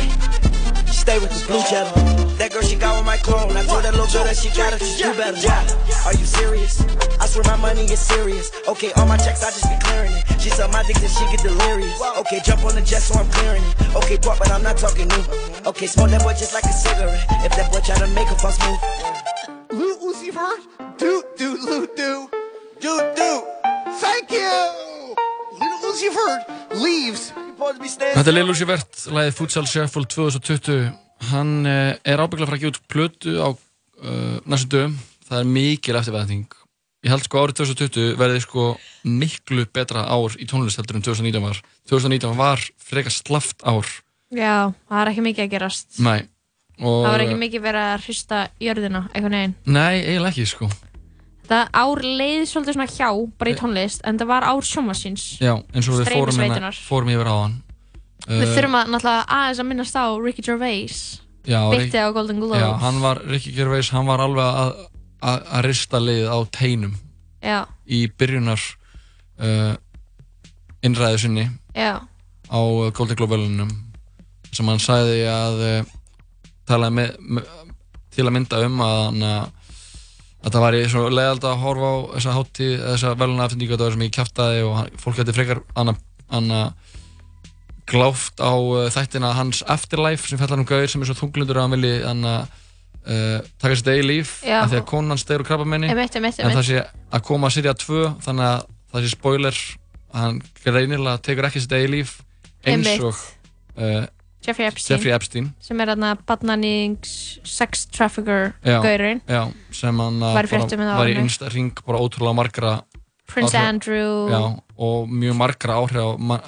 Speaker 19: stay with this blue cheddar. That girl she got with my clone. I told that little girl that she got it, she do better. Yeah. Are you serious? I swear my money is serious. Okay, all my checks I just be clearing it. She sell my dick that she get delirious. Okay, jump on the jet so I'm clearing it. Okay, bought but I'm not talking new. Okay, smoke that boy just like a cigarette. If that boy try to make a fuss move,
Speaker 6: Loot Lucifer, do do loot do, do do. Thank you. Little Lucifer leaves. You're supposed to be standing.
Speaker 1: Þetta er Lil Uzi Vert, lagið Futsal Shuffle 2020. Hann eh, er ábygglega að fara að gefa út plötu á uh, næstu dögum. Það er mikil eftirvænting. Ég held sko árið 2020 verði sko miklu betra ár í tónlist heldur en 2019 var. 2019 var frekar slaft ár.
Speaker 2: Já, það er ekki mikið að gerast.
Speaker 1: Nei. Og,
Speaker 2: Það var ekki mikið verið að hrista jörðina, einhvern veginn.
Speaker 1: Nei, eiginlega ekki sko.
Speaker 2: Það ár leið svolítið svona hjá, bara í tónlist, en það var ár sjómasins.
Speaker 1: Eh. Já, eins og við
Speaker 2: Streymi
Speaker 1: fórum, hérna-
Speaker 2: sveitunnar.
Speaker 1: fórum yfir á hann. Eh,
Speaker 2: Við þurfum að náttúrulega aðeins að minnast á Ricky Gervais.
Speaker 1: Já, Rick-
Speaker 2: Byttið á Golden Globes.
Speaker 1: Já, hann var, Ricky Gervais, hann var alveg að, að, að rista liðið á teinum
Speaker 2: Já.
Speaker 1: í byrjunar uh, innræðu sinni
Speaker 2: Já.
Speaker 1: á uh, Golden Globe velunum sem hann sagði að uh, talaði með, með, til að mynda um að hann uh, að það væri svo leiðald að horfa á þessa hátíð, þessa veluna aftenningu þetta var sem ég kjaftaði og hann, fólk hætti frekar hann að- hann að gláft á uh, þættina hans Afterlife sem fjallar um gauðir sem er svo þunglundur að hann vilji hann að uh, taka sér degi líf
Speaker 2: Já.
Speaker 1: af því að konan hans deyr úr krabbamenni
Speaker 2: Einmitt, einmitt,
Speaker 1: en það
Speaker 2: einmitt.
Speaker 1: sé að koma að sirja 2 þannig að það sé spoiler að hann greinilega tekur ekki sér degi líf eins
Speaker 2: Einmitt.
Speaker 1: og uh,
Speaker 2: Jeffrey Epstein.
Speaker 1: Jeffrey Epstein.
Speaker 2: Sem er þarna badnannings sex trafficker
Speaker 1: Já,
Speaker 2: gaurinn.
Speaker 1: já, sem hann að
Speaker 2: Var í fréttum
Speaker 1: bara,
Speaker 2: um það
Speaker 1: var í
Speaker 2: áður.
Speaker 1: innsta ring bara ótrúlega margra
Speaker 2: Prince
Speaker 1: áhrif-
Speaker 2: Andrew.
Speaker 1: já, og mjög margra áhrif ma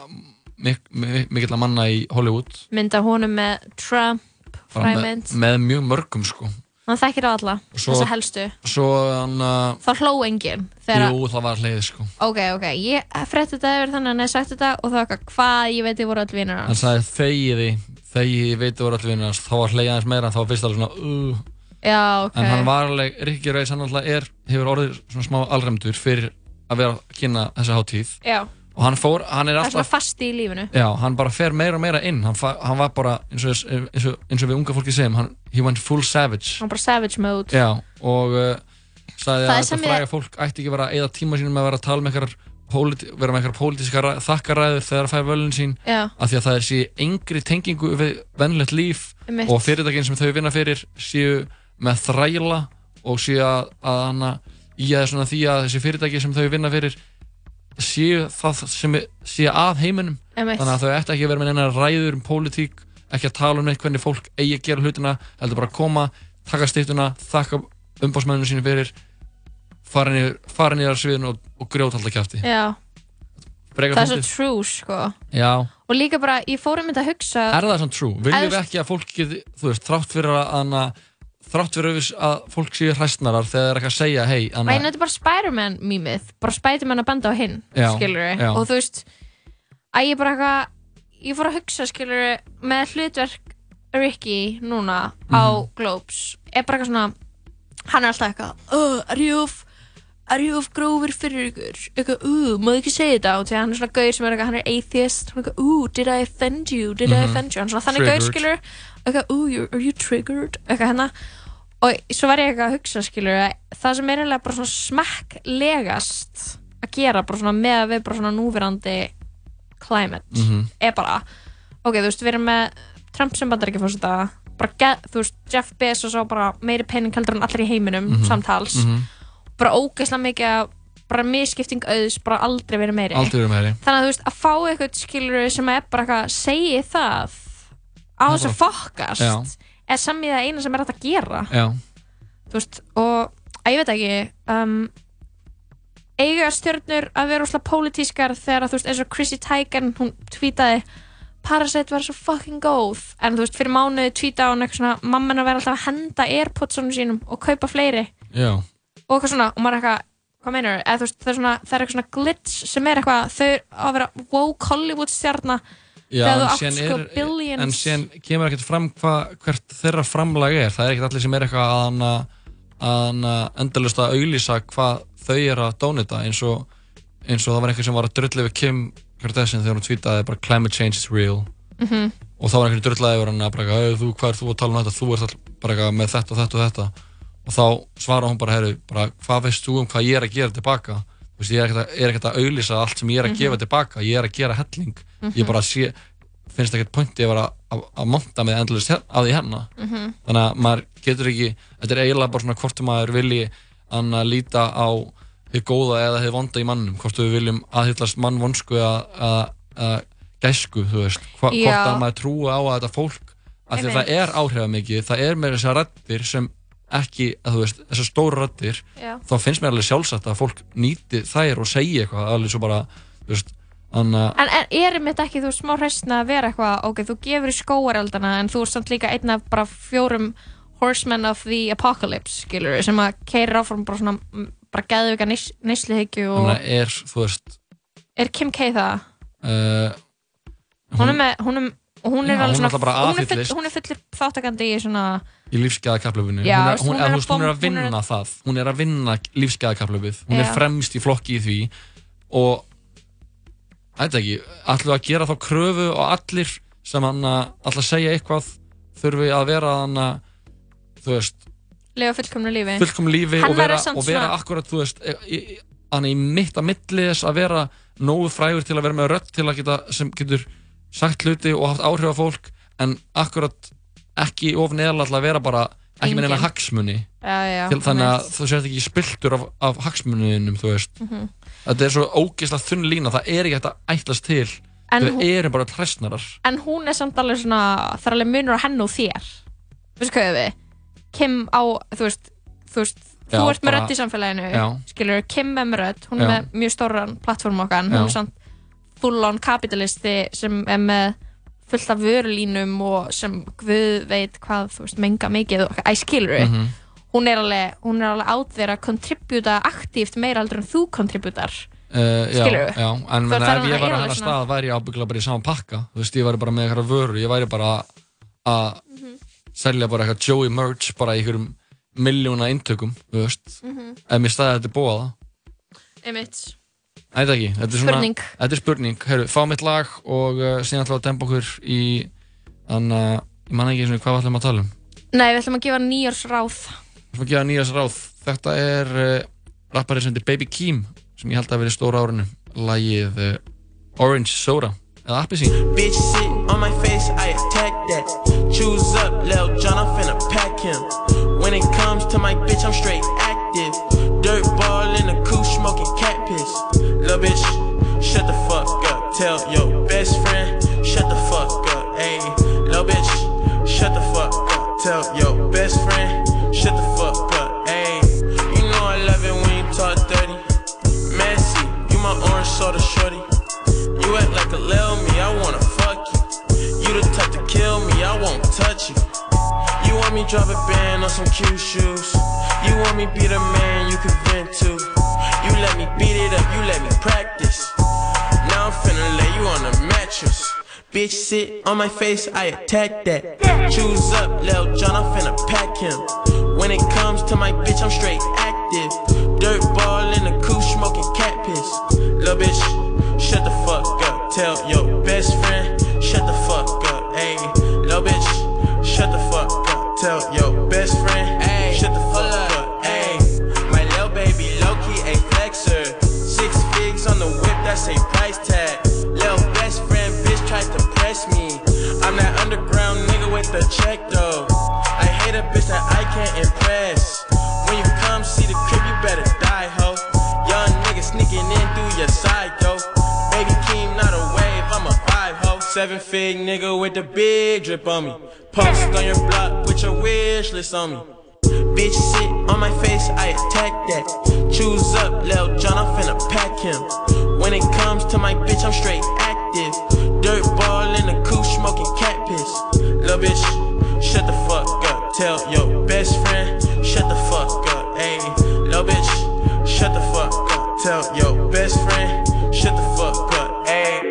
Speaker 1: mik mik mikill að manna í Hollywood
Speaker 2: Mynda honum með Trump,
Speaker 1: Bara
Speaker 2: fræmynd.
Speaker 1: með mjög mörgum sko
Speaker 2: Hann þekkir á alla,
Speaker 1: Svo-
Speaker 2: þessa helstu.
Speaker 1: svo hann að
Speaker 2: Það hló enginn þegar
Speaker 1: jú það var hleið sko
Speaker 2: Ok, ok, ég frétti þetta yfir þannig að hann hefði sagt þetta og það var eitthvað hvað ég veit ég voru öll vinnur
Speaker 1: hann
Speaker 2: hans.
Speaker 1: sagði þegiði þegiði ég veit þú voru allir vinnur hans þá var hleið aðeins meira þá var fyrst alveg svona uh.
Speaker 2: Já, ok.
Speaker 1: en hann var alveg Rikki Reis hann alltaf er hefur orðið svona smá alræmdur fyrir að vera að kynna þessa hátíð
Speaker 2: Já.
Speaker 1: og hann fór hann er
Speaker 2: Það er svona
Speaker 1: alltaf
Speaker 2: fast í lífinu.
Speaker 1: Já, hann bara fer meira og meira inn hann, fa- hann var bara, eins og, eins, og, eins og við unga fólki segjum hann, he went full savage
Speaker 2: Hann var bara savage mode.
Speaker 1: Já, og uh, sagði
Speaker 2: Það er
Speaker 1: að þetta
Speaker 2: sem ég-
Speaker 1: fræga fólk ætti ekki að vera að eyða tíma sínum með að vera að tala með einhverjar politi- vera með einhverja pólitíska ræ- þakkaræður þegar það fær völun sín
Speaker 2: Já.
Speaker 1: af því að það er sé engri tengingu við vennlegt líf
Speaker 2: Einmitt.
Speaker 1: og fyrirtækin sem þau vinna fyrir séu með þræla og séu að, að hana í að svona því að þessi fyrirtæki sem þau vinna fyrir séu það sem er- séu að heiminum
Speaker 2: Einmitt.
Speaker 1: þannig að þau ætti ekki að vera með neina ræður um pólitík ekki að tala um neitt hvernig fólk eigi að gera hlutina heldur bara að koma, taka stýttuna þakka umbásmenninu sínu fyrir fara niður, fara niður sviðin og, og grjót alltaf kæfti
Speaker 2: Já, það er svo true sko
Speaker 1: Já,
Speaker 2: og líka bara, ég fórum þetta að hugsa
Speaker 1: er það svona true? Viljum
Speaker 2: Ef-
Speaker 1: við ekki að fólk geti, þú veist, þrátt fyrir að hana, þrátt fyrir að- að fólk séu hræstnarar þegar það er ekki að segja hei,
Speaker 2: Nei, þetta er bara Spider-Man mýmið bara Spider-Man að benda á hinn,
Speaker 1: Já,
Speaker 2: skilur við
Speaker 1: já.
Speaker 2: og þú veist, að ég bara eitthvað ég fór að hugsa, skilur við með hlutverk Ricky núna á
Speaker 1: Mhm.
Speaker 2: Globes er bara eitthvað svona, hann er alltaf eitthvað "Ugh, er ég of er ég of grófur fyrir ykkur eitthvað, uh, má ég ekki segja þetta og því að hann er svona gaur sem er eitthvað, hann er atheist hann er eitthvað, uh, did I offend you, did I
Speaker 4: Mhm.
Speaker 2: offend you hann er svona þannig gaur,
Speaker 4: Triggered.
Speaker 2: skilur eitthvað, uh, you're- are you triggered eitthvað hennar og svo var ég eitthvað að hugsa skilur að það sem er eiginlega bara svona smekklegast að gera bara svona með að við bara svona núverandi climate
Speaker 1: Mhm.
Speaker 2: er bara ok, þú veist, við erum með Trump sem bandar ekki fórst þetta bara, get, þú veist, Jeff Bezos á bara meiri pening heldur en allir í heiminum
Speaker 1: Mhm.
Speaker 2: samtals
Speaker 1: Mhm.
Speaker 2: bara ógeðslega mikið að- bara misskipting auðs, bara aldrei verið meiri
Speaker 1: aldrei verið með þeirri
Speaker 2: þannig að þú veist, að fá eitthvað skilur sem er bara eitthvað, segi það á
Speaker 1: Það er
Speaker 2: þess að
Speaker 1: bara-
Speaker 2: fokast
Speaker 1: Já,
Speaker 2: er samið það eina sem er hægt að gera
Speaker 1: já,
Speaker 2: þú veist, og að ég veit ekki um, eiga stjörnur að vera úrslega pólitískar þegar að, þú veist, eins og Chrissy Teigen hún tweetaði Parasite var svo fucking góð en þú veist, fyrir mánuði tweetaði hún eitthvað svona mamman að vera alltaf að henda airpodsonum sínum og kaupa fleiri
Speaker 1: já
Speaker 2: og eitthvað svona, og maður er eitthvað hvað meinar þau, veist, það er svona, það er eitthvað svona glitch sem er eitthvað, þau eru að vera woke Hollywood stjarnar
Speaker 1: Já,
Speaker 2: þegar þú
Speaker 1: en
Speaker 2: átt
Speaker 1: síðan
Speaker 2: sko
Speaker 1: er-
Speaker 2: billions
Speaker 1: en síðan kemur ekkert fram hva, hvert þeirra framlag er það er ekkert allir sem er eitthvað að hana, að hana endalust að auglýsa hvað þau eru að dónita eins og, eins og það var einhver sem var að drulla yfir Kim Kardashian þegar hún tvítaði bara climate change is real
Speaker 2: Mhm.
Speaker 1: og þá var einhver drullaði yfir hann að bara eitthvað, "Ey, þú, hvað er þú að tala um þetta, þú ert all, bara eitthvað með þetta og þetta og þetta og þá svaraði hún bara, herru, bara hvað veist þú um hvað ég er að gera tilbaka þú veist, ég er ekkert að, er ekkert að auglýsa allt sem ég er að
Speaker 14: Mhm.
Speaker 1: gefa tilbaka, ég er að gera helling ég
Speaker 14: Mhm.
Speaker 1: bara sé, finnst ekkert pointi að vera að, að monta með endalist að því hérna
Speaker 14: Mhm.
Speaker 1: þannig að maður getur ekki þetta er eiginlega bara svona hvort maður vilji hann að líta á þið góða eða þið vonda í mannum hvort við viljum aðhyllast mann vonsku eða eða- eða gæsku þú veist Hva, hvort
Speaker 14: Já.
Speaker 1: að maður trúi á að þetta fólk af því að það
Speaker 14: Einmitt.
Speaker 1: er áhrifamikið það er með þessar rættir sem ekki að þú veist, þessar stóru rættir
Speaker 14: Já.
Speaker 1: þá finnst mér alveg sjálfsagt að fólk nýti þær og segi eitthvað alveg svo bara þú veist, annað
Speaker 2: En er, erum þetta ekki, þú veist, smá hræstna að vera eitthvað, ok, þú gefur í skóareldana en þú ert samt líka einn af bara fjórum horsemen of the apocalypse, skilur sem að keira áfram bara svona, mm, bara geðvika neyslihyggju
Speaker 1: Ég
Speaker 2: og
Speaker 1: meina, er, þú veist
Speaker 2: er Kim K það?
Speaker 1: uh,
Speaker 2: Hún, er með, hún er, og hún
Speaker 1: Já,
Speaker 2: er
Speaker 1: hún er
Speaker 2: alveg svona,
Speaker 1: náttúrulega bara
Speaker 2: hún er,
Speaker 1: aðhyllist.
Speaker 2: full, hún er fullir þáttakandi í svona,
Speaker 1: í
Speaker 2: Já,
Speaker 1: lífsgæðakaplöfinu hún, er-
Speaker 2: veist, hún
Speaker 1: hún, eða
Speaker 2: er að
Speaker 1: þú veist, hún er
Speaker 2: bomb- hún
Speaker 1: að
Speaker 2: er-
Speaker 1: vinna það hún er að vinna lífsgæðakaplöfið
Speaker 2: Já.
Speaker 1: hún er fremst í flokki í því og ætla ekki, ætlum við að gera þá kröfu og allir sem hann ætla að segja eitthvað þurfi að vera hann þú veist,
Speaker 2: lifa fullkomnu lífi.
Speaker 1: fullkom lífi
Speaker 2: Hann
Speaker 1: og vera,
Speaker 2: verður samt
Speaker 1: og vera
Speaker 2: svona-
Speaker 1: akkurat, þú veist hann í mitt að milli þess að vera nógu frægur til að vera með rödd til að geta, sem getur sagt hluti og haft áhrif á fólk en akkurat ekki of neðarlega til að vera bara ekki með neina
Speaker 2: Engin.
Speaker 1: hagsmuni
Speaker 2: Já, já,
Speaker 1: til, þannig að
Speaker 2: einmitt.
Speaker 1: þú sért ekki spiltur af, af hagsmuniðinum, þú veist
Speaker 2: Mhm.
Speaker 1: þetta er svo ógeðslega þunn lína, það er ekki hægt að ætlast til
Speaker 2: En
Speaker 1: við
Speaker 2: hún-
Speaker 1: erum bara trestnarar
Speaker 2: En hún er samt alveg svona, það er alveg munur á henn og þér. Veistu hvað ég á við? Kim á, þú veist, þú veist, þú
Speaker 1: Já,
Speaker 2: ert með
Speaker 1: bara-
Speaker 2: rödd í samfélaginu,
Speaker 1: Já.
Speaker 2: skilur, Kim er með rödd, hún
Speaker 1: Já.
Speaker 2: er með mjög stóran plattform okkar, en
Speaker 1: Já.
Speaker 2: hún er samt full-on kapitalisti sem er með fullt af vörulínum og sem guð veit hvað, þú veist, menga mikið og æ, skilur við.
Speaker 1: Mhm.
Speaker 2: Hún er alveg, hún er alveg átt þeirra að kontributa aktíft meira heldur en þú kontributar.
Speaker 1: Uh, já,
Speaker 2: Skilurðu?
Speaker 1: já, en
Speaker 2: Þú
Speaker 1: menna,
Speaker 2: ert
Speaker 1: ef
Speaker 2: alveg
Speaker 1: ég var
Speaker 2: að
Speaker 1: að
Speaker 2: eiga
Speaker 1: hennar
Speaker 2: svona-
Speaker 1: stað væri ég ábyggla bara í sama pakka þú veist, ég væri bara með eitthvað vörur ég væri bara að- að selja bara eitthvað Joey merch bara í einhverjum miljóna intökum, þú veist
Speaker 2: Mhm.
Speaker 1: ef mér staði þetta búa það
Speaker 2: Einmitt.
Speaker 1: Nei, þetta ekki. Þetta er svona,
Speaker 2: Spurning.
Speaker 1: Þetta er spurning. Heyrðu, fá mitt lag og uh, síðan ætlum við að dempa okkur í, þannig að, ég man ekki eins og hvað við ætlum að tala um.
Speaker 2: Nei, við ætlum að gefa nýjórsráð.
Speaker 1: Við ætlum að eh, gefa nýjast ráð. Þetta er uh, rappari sem heitir Baby Keem, sem ég held að hafi verið stóra árinu. lagið eh, Orange Soda eða Appisín
Speaker 16: Bitch sit on my face, I attack that. Choose up, Lil John, I'm finna pack him. When it comes to my bitch, I'm straight active. Dirt ball in a coupe, smoking cat piss. Lil bitch, shut the fuck up. Tell your best friend, shut the fuck up. Hey, lil bitch, shut the fuck up. Tell your best friend, shut the fuck up. Hey, you know I love it when you talk dirty. Messy, you my orange soda shorty. You act like a lil me, I wanna fuck you. You the type to kill me, I won't touch you. You want me drop a band on some cute shoes. You want me be the man you can vent to. You let me beat it up, you let me practice. Now I'm finna lay you on the mattress. Bitch, sit on my face, I attack that. Choose up, Lil John, I'm finna pack him. When it comes to my bitch, I'm straight active. Dirt ball in the coupe, smoking cat piss. Lil bitch, shut the fuck up. Tell your best friend, shut the fuck up. Ayy, lil bitch, shut the fuck up. Tell your best friend, ayy, shut the fuck up. Ayy, my lil baby Loki a flexer. Six figs on the whip, that's a price tag. Lil best friend, bitch tried to press me. I'm that underground nigga with the check though. I hate a bitch that I can't impress. When you come see the crib, you better die, ho. Young nigga sneaking in through your side, yo. Baby Keem, not a wave, I'm a five, ho. Seven fig nigga with the big drip on me. Post on your block with your wish list on me. Bitch, sit on my face, I attack that. Choose up, Lil John, I'm finna pack him. When it comes to my bitch, I'm straight active. Dirt ball in the coupe, smoking cat piss. Lil bitch, shut the fuck up. Tell your best friend, shut the fuck up. Ayy, lil bitch, shut the fuck up. Tell your best friend, shut the fuck up. Ayy.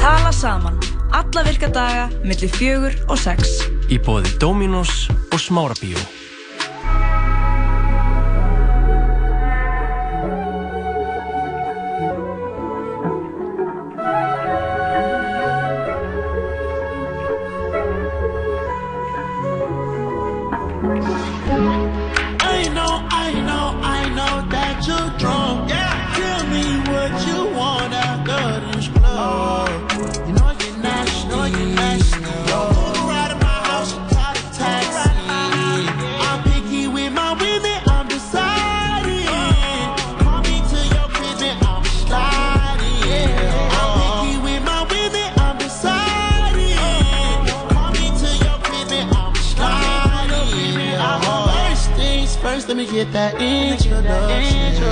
Speaker 2: Tala saman. Alla virka daga millir fjögur og sex.
Speaker 11: Í bóði Dominos og Smárabíó.
Speaker 20: I know, I know, I know that you're drunk. Yeah, tell me what you want after this club. You know you're nasty, know you're nasty. Don't fool around at my house and call the taxi. I'm picky with my women, I'm deciding. Call me to your crib and I'm sliding. I'm picky with my women, I'm deciding. Call me to your crib and I'm sliding. First things first, let me get that introduction.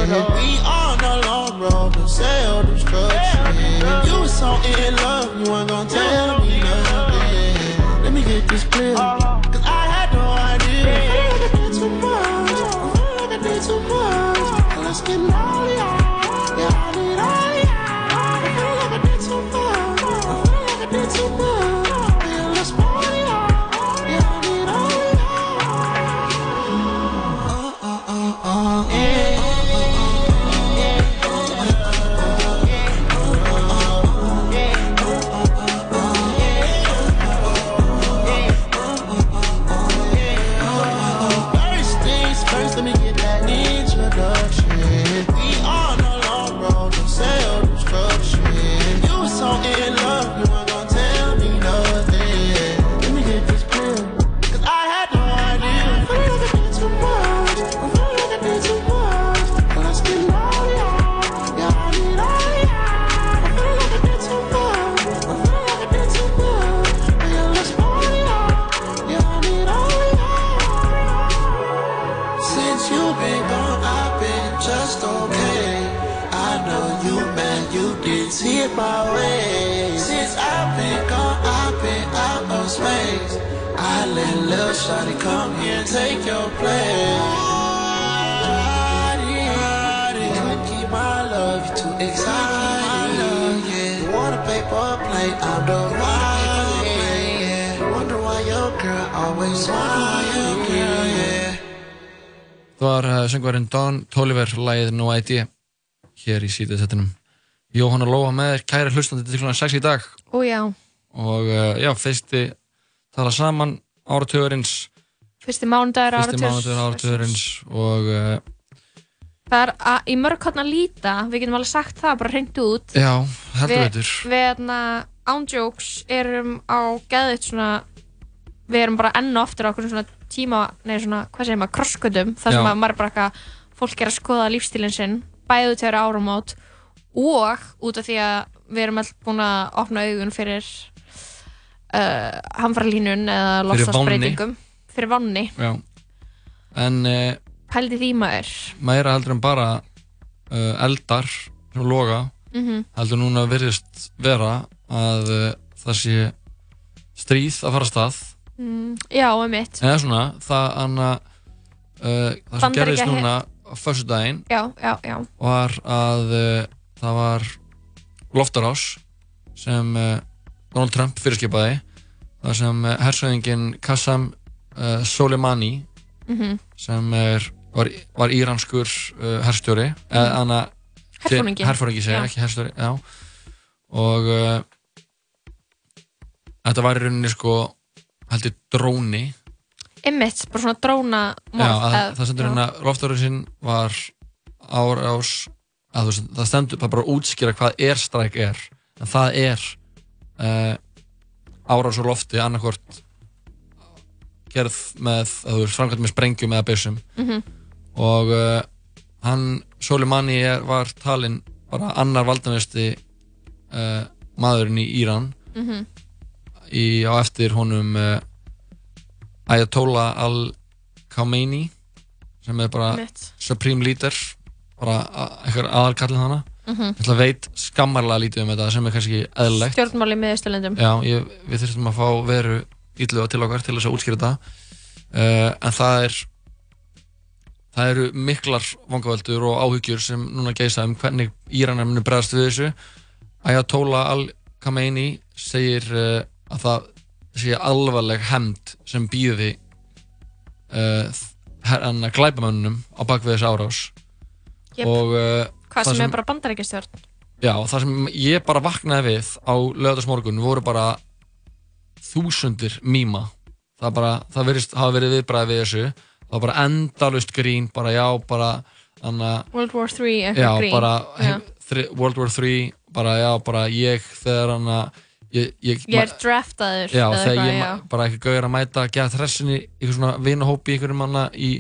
Speaker 20: We on the long road to sell this You was so in love, you ain't gonna tell me nothing. Let me get this clear, 'cause I had no idea. I feel like I did too much. I feel like I did too much. And Let's get lonely. Yeah, I need all of y'all. I feel like I did too much. I feel like I did too much. Yeah, let's party hard. Yeah, I need all of y'all. First things first, let me get that introduction. We on a long road to self-destruction. You was so in love, you weren't gonna tell me nothing. Let me get this clear, 'cause I had no idea. I feel like I did too much. I feel like I did too much. And let's get lonely, yeah, I need all of y'all. I feel like I did too much. I feel like I did too much. Yeah, let's party, yeah, I need all of y'all. Since you've been gone, I've been just okay. I know you meant you didn't see it my way. Since I've been gone, I've been out of space. I let little shawty come here and take your place. Tryna keep my love, you too excited. You wanna play for play, I'm the wild. yeah. You wonder why your girl always smiling, yeah.
Speaker 1: Það var uh, söngvarinn Don Toliver, lagið No Idea, hér í síðu þettinum. Jóhanna Lóa með þér, kæra hlustandi til klukkan 6 í dag.
Speaker 21: og já,
Speaker 1: og uh, já, fyrsti tala saman áratugurins
Speaker 2: fyrsti mánudagur
Speaker 1: fyrsti
Speaker 2: áratugur
Speaker 1: mánudagur áratugurins og uh,
Speaker 2: það er að, í mörg hotna líta við getum alveg sagt það bara hreint út
Speaker 1: já, heldur
Speaker 2: Við-
Speaker 1: veitur
Speaker 2: við hérna ándjóks erum á geðið svona við erum bara enn og aftur á okkur svona tíma nei svona, hvað segir maður, krosskötum þar sem
Speaker 1: Já.
Speaker 2: að maður bara eitthvað, fólk er að skoða lífstílinn sinn, bæðu tveir áramót og út af því að við erum alltaf búin að opna augun fyrir uh, hamfarlínun eða
Speaker 1: Fyrir
Speaker 2: lofstafsbreytingum fyrir vanni,
Speaker 1: já. en uh,
Speaker 2: pældi því maður
Speaker 1: meira heldur en bara uh, eldar sem loga
Speaker 2: Mhm.
Speaker 1: heldur núna virðist vera að uh, það sé stríð að fara af stað
Speaker 2: mm, já, um mitt
Speaker 1: eða svona það anna uh, það sem
Speaker 2: Bandaríkja-
Speaker 1: gerðist núna á föstudaginn
Speaker 2: já, já, já,
Speaker 1: var að uh, það var loftarás sem uh, Donald Trump fyrirskipaði þar sem uh, hersöðingin Qassam uh, Soleimani
Speaker 2: Mhm.
Speaker 1: sem er, var, var íranskur uh, herstjóri eða hana
Speaker 2: Mhm. Herforingi.
Speaker 1: herfóringi segja,
Speaker 2: Já.
Speaker 1: ekki herstjóri já. og uh, þetta var í rauninni sko heldur dróni
Speaker 2: um mitt, bara svona dróna
Speaker 1: Já, að, það stendur hérna loftarinn sinn var árás að þú veist, það stendur, það er bara að útskýra hvað airstrike er en það er uh, árás úr lofti annarkvort gerð með, að þú veist, framkvæmt með sprengjum eða byssum
Speaker 22: Mhm.
Speaker 1: og uh, hann, Soleimani er, var talinn bara annar valdamesti uh, maðurinn í Íran
Speaker 22: Mhm.
Speaker 1: í, á eftir honum uh, Ayatollah al-Khamenei sem er bara
Speaker 22: Mitt.
Speaker 1: Supreme Leader bara a- einhver aðalkallin hana
Speaker 2: Mhm.
Speaker 1: ég ætla að veit skammarlega lítið um þetta sem er kannski eðlilegt
Speaker 2: stjórnmáli með Íslandum
Speaker 1: Já, ég, við þurfum að fá veru ítluða til okkar til þess að útskýra þetta uh, en það er það eru miklar vangavöldur og áhyggjur sem núna geisa um hvernig Íranar munu bregðast við þessu Ayatollah Al-Khamenei segir uh, að það sé alvarleg hemd sem býði uh, hérna glæpamönnum á bakvið þessu árás
Speaker 2: Jep.
Speaker 1: og uh,
Speaker 2: hvað sem er bara bandarækjastjórn
Speaker 1: Já, það sem ég bara vaknaði við á lögðarsmorgun voru bara þúsundir mýma það bara, það verist, hafa verið viðbræði við þessu það var bara endalust grín bara já, bara anna,
Speaker 2: World War 3
Speaker 1: já,
Speaker 2: eitthvað grín
Speaker 1: bara,
Speaker 2: Já.
Speaker 1: hef, þri, World War 3 bara já, bara ég þegar hann að ég, ég,
Speaker 2: ég er draftaður
Speaker 1: já,
Speaker 2: eða
Speaker 1: þegar
Speaker 2: eitthvað,
Speaker 1: ég
Speaker 2: já.
Speaker 1: ma- bara ekki gauðir að mæta að gera þressinni eitthvað svona vinahópi í einhverjum manna í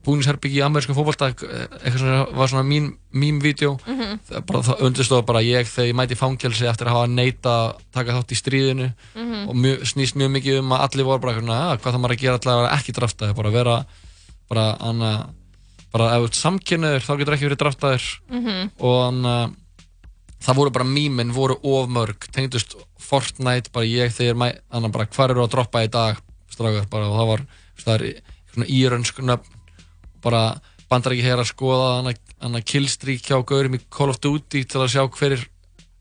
Speaker 1: búnisherbyggi í amerískum fótbolta eh, eitthvað svona var svona mín, mín vídeo
Speaker 22: Mhm.
Speaker 1: það, bara, það undirstóð bara ég þegar ég mæti í fangelsi eftir að hafa neita að taka þátt í stríðinu
Speaker 22: Mhm.
Speaker 1: og mjö, snýst mjög mikið um að allir voru bara eitthvað svona, "Ah, hvað það maður að gera alltaf að vera ekki draftaði bara vera bara annað bara ef þú ert samkynnaður þá getur ekki verið draftaður
Speaker 22: Mhm.
Speaker 1: og annað það voru bara mýmin, voru ofmörg tengdust Fortnite, bara ég þegar mæ, annan bara hvar eru að droppa í dag strákar bara og það var það er svona írönsk nöfn bara bandar ekki hér að skoða hann að killstrík hjá gaurum í Call of Duty til að sjá hver er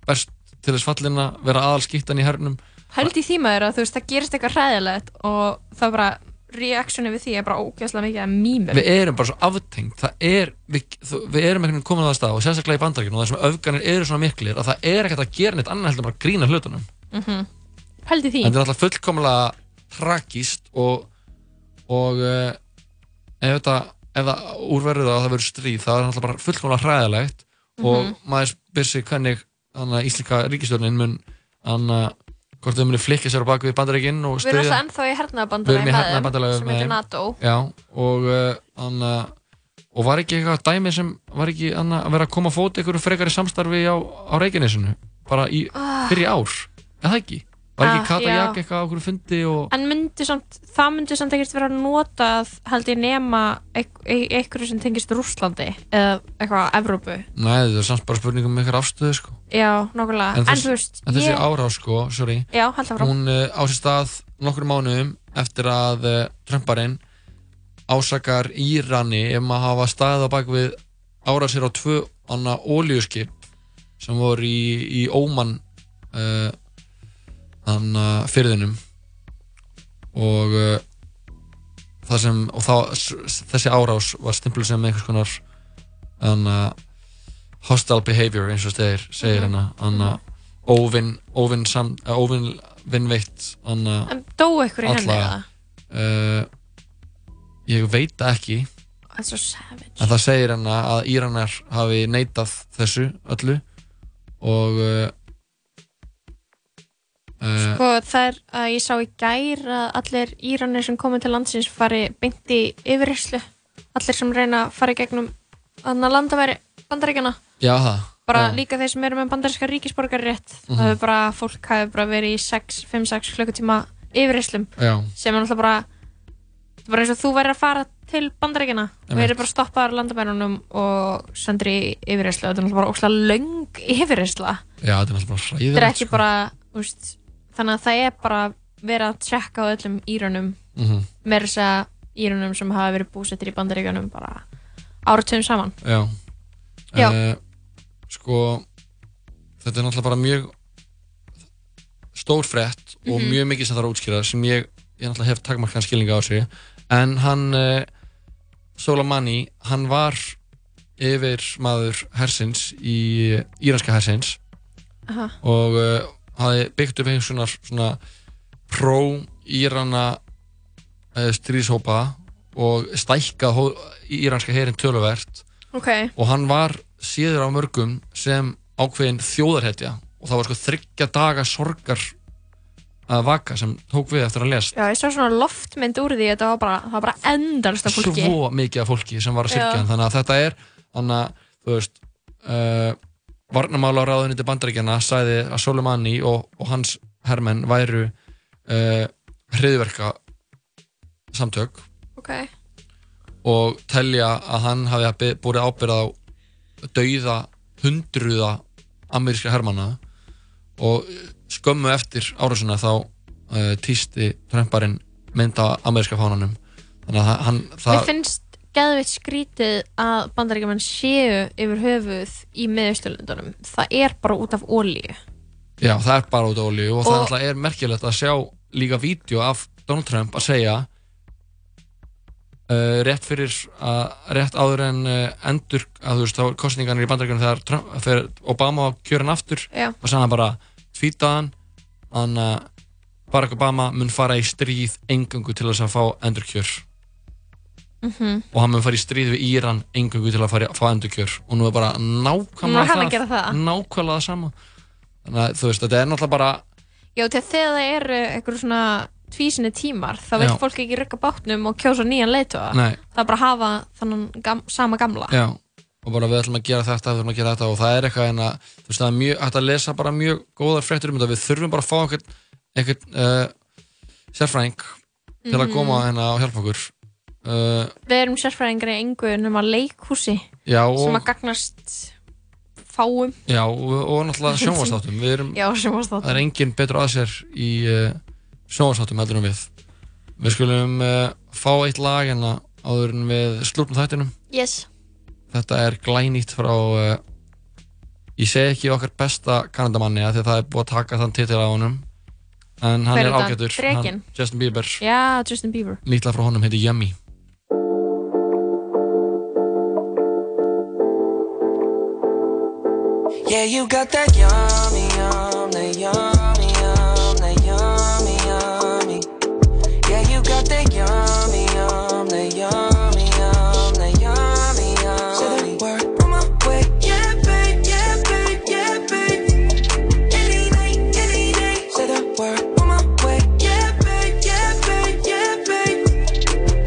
Speaker 1: best til þess fallin að vera aðalskittan í hernum
Speaker 2: held í því maður að þú veist það gerist eitthvað hræðilegt og það bara reactioni við því er bara ógjöfslega mikið að mýmur
Speaker 1: við erum bara svo aftengt það er, við, þú- við erum einhvern veginn komin á það stað og sérstaklega í bandaríkinu og þessum öfganir eru svona miklir að það er ekkert að gera neitt annað heldur en bara að grína hlutunum
Speaker 2: mm -hmm. held í því
Speaker 1: En þetta er alltaf fullkomlega tragíst og, og uh, ef þetta ef það úrverður að það verður stríð það er alltaf bara fullkomlega hræðilegt
Speaker 22: Mhm.
Speaker 1: og maður spyr sig hvernig þannig, íslenska ríkistjórnin mun þannig, hvort þau muni flikka sér á bakvið bandaríkinn og
Speaker 2: við erum alltaf
Speaker 1: styðja-
Speaker 2: ennþá í
Speaker 1: við
Speaker 2: hernaðabandalagi
Speaker 1: erum í
Speaker 2: með
Speaker 1: hérna
Speaker 2: þeim
Speaker 1: bandalagi
Speaker 2: um sem heitir NATO
Speaker 1: já, og, uh, anna, og var ekki eitthvað dæmi sem var ekki anna, að vera að koma að fóta ykkur frekari samstarfi á, á Reykjanesinu bara í
Speaker 2: Ah.
Speaker 1: fyrir ár, eða ekki var ekki
Speaker 2: Ah,
Speaker 1: Kata
Speaker 2: já.
Speaker 1: Jakk eitthvað á okkur fundi og
Speaker 2: en myndi samt, það myndi samt ekkert vera notað held ég nema eik- eik- einhverju sem tengist Rússlandi eða eitthvað Evrópu
Speaker 1: Nei, þetta er samt bara spurning um ykkar afstöðu sko.
Speaker 2: já, nokkulega, en,
Speaker 1: þess-
Speaker 2: þú veist
Speaker 1: en þessi
Speaker 2: ég-
Speaker 1: árás sko, sorry
Speaker 2: Já, held áfram.
Speaker 1: Hún uh, á sér stað nokkur mánuðum eftir að uh, Trumparinn ásakar Írani um að hafa staðið á bak við árásir á tvö anna ólíuskip sem voru í, í Óman uh, þannig að fyrðinum og uh, það sem og þá, s- þessi árás var stimplu sem einhvers konar þannig hostile behavior eins og stegir, segir
Speaker 22: Mhm.
Speaker 1: hérna þannig óvinn óvinn sam, óvin vinnveitt Anna
Speaker 2: En dóu einhver í henni, eða?
Speaker 1: uh, Ég veit það ekki
Speaker 2: Það er svo savage.
Speaker 1: En það segir henni að Íranar hafi neitað þessu öllu og uh, uh,
Speaker 2: Sko það er að ég sá í gær að allir Íranir sem komu til landsins fari beint í yfirherslu allir sem reyna að fara í gegnum annar landaværi bandaríkjana
Speaker 1: Já það
Speaker 2: bara
Speaker 1: já.
Speaker 2: líka þeir sem eru með bandaríska ríkisborgarrétt mm
Speaker 1: Mhm.
Speaker 2: það hefur bara, fólk hefur bara verið í 5-6 klukkutíma yfirherslum
Speaker 1: Já.
Speaker 2: sem er náttúrulega bara þetta er bara eins og þú verður að fara til bandaríkjana og
Speaker 1: Einmitt.
Speaker 2: verður bara stoppaður landamærunum og sendur í yfirherslu og þetta er náttúrulega bara ókslega löng yfirhersla
Speaker 1: Já, þetta er náttúrulega bara hræðilegt sko.
Speaker 2: þetta er ekki bara úst, þannig að það er bara verið að tjekka á öllum írunum
Speaker 1: Mhm.
Speaker 2: með þess að írunum sem hafa verið búsettir í bandaríkanum bara áratum saman
Speaker 1: Já.
Speaker 2: Já.
Speaker 1: Eh, sko, þetta er náttúrulega bara mjög stór frétt og
Speaker 2: Mhm.
Speaker 1: mjög mikið sem þarf að útskýra sem ég, ég náttúrulega hef takmarkan skilninga á sig en hann uh, Soleimani, hann var yfir maður hersins í íranska hersins
Speaker 2: Aha.
Speaker 1: og uh, hafði byggt upp einhvers svona, svona pró-írana uh, stríðshópa og stækkað hó- íranska herin töluvert
Speaker 2: Ok.
Speaker 1: og hann var síður á mörgum sem ákveðin þjóðarhetja og það var sko þryggja daga sorgar að vaka sem tók við eftir að hann lést
Speaker 2: Já, ég sá svona loftmynd úr því þetta var bara, það var bara endalst af fólki
Speaker 1: svo mikið af fólki sem var að
Speaker 2: Já.
Speaker 1: syrkja hann þannig að þetta er þannig að þú veist uh, varnamála ráðunni til bandaríkjana sagði að Soleimani og, og hans hermenn væru uh, hriðverka samtök
Speaker 2: Ok.
Speaker 1: og telja að hann hafi búið ábyrð á dauða hundruða ameríska hermanna og skömmu eftir árásuna þá uh, týsti tremparinn mynda ameríska fánanum þannig að hann
Speaker 2: Mér
Speaker 1: það,
Speaker 2: finnst geðveitt skrítið að bandaríkjaman séu yfir höfuð í miðausturlundunum það er bara út af olíu
Speaker 1: já, það er bara út á olíu og, það
Speaker 2: Og-
Speaker 1: náttúrulega er merkilegt að sjá líka vídeo af Donald Trump að segja uh, rétt fyrir að rétt áður en uh, endur að þú veist þá er kostningarnir í bandaríkjunum þegar Trump, þegar Obama kjörin aftur
Speaker 2: Já.
Speaker 1: og sagði hann bara tvítaðan hann að Barack Obama mun fara í stríð engungu til þess að fá endurkjör
Speaker 2: mm
Speaker 1: og hann mun fara í stríð við Íran engungu til að fara, fá endurkjör og nú er bara
Speaker 2: Nú er hann
Speaker 1: nákvæmlega
Speaker 2: að gera það.
Speaker 1: nákvæmlega það sama þannig að þú veist þetta er náttúrulega bara
Speaker 2: Já, til þegar það eru einhver svona tvísinni tímar, þá vil
Speaker 1: Já.
Speaker 2: fólk ekki rugga bátnum og kjósa nýjan leiðtoga.
Speaker 1: Nei.
Speaker 2: Það er bara að hafa þannan gam, sama gamla.
Speaker 1: Já, og bara við ætlum að gera þetta, við ætlum að gera þetta og það er eitthvað en að, þú veist, það er mjög, hægt að lesa bara mjög góðar fréttur um þetta, við þurfum bara að fá einhvern, einhvern uh, sérfræðing til að
Speaker 2: Mhm.
Speaker 1: koma hérna og hjálpa okkur. Uh,
Speaker 2: Við erum sérfræðingar í engu nema leikhúsi
Speaker 1: Já, og-
Speaker 2: sem að gagnast fáum.
Speaker 1: já, og, og náttúrulega sjónvarsþáttum, við erum,
Speaker 2: <laughs> Já, sjónvarpsþáttum.
Speaker 1: það er enginn betur að sér í uh, sjónvarsþáttum heldur en við. Við skulum uh, fá eitt lag hérna áður en við slúpum þættinum.
Speaker 2: Yes.
Speaker 1: Þetta er glænýtt frá uh, Ég segi ekki okkar besta Kanadamanni af því að það er búið að taka þann titil á honum En hann
Speaker 2: Hver er
Speaker 1: er
Speaker 2: þetta?
Speaker 1: ágætur
Speaker 2: Drekinn?
Speaker 1: Hann- Justin Bieber
Speaker 2: Já, Justin Bieber.
Speaker 1: Nýtla frá honum heitir Yummy
Speaker 22: Yeah, you got that yummy, yum, that yummy, yum, that yummy, yummy. Yeah, you got that yummy, yum, that yummy, yum, that yummy, yummy. Say the word on my way. Yeah, babe, yeah, babe, yeah, babe. Any night, any day. Say the word on my way. Yeah, babe, yeah, babe, yeah, babe.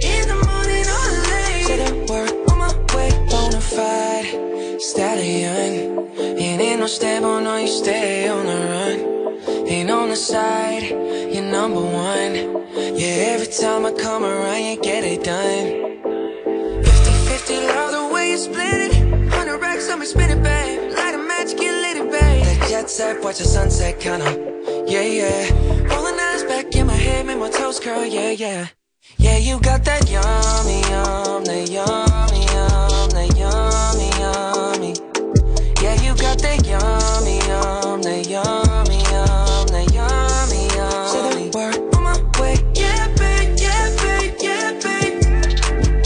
Speaker 22: In the morning or late. Say the word on my way. Bonafide stallion. It ain't no stable, no, you stay on the run. Ain't on the side, you're number one. Yeah, every time I come around, you get it done.
Speaker 23: 50 love the way you split it. 100 racks on me, spin it, babe. Light a match, get lit, it, babe.
Speaker 22: That jet set, watch the sunset, kinda. Yeah, yeah. Rolling eyes back in my head, make my toes curl, yeah, yeah. Yeah, you got that yummy, yum, that yummy, yum, that yummy, yummy. Yeah, you got that yummy, yum, that yummy, yum, that yummy, yum. Say the word on my way. Yeah, babe, yeah, babe, yeah, babe.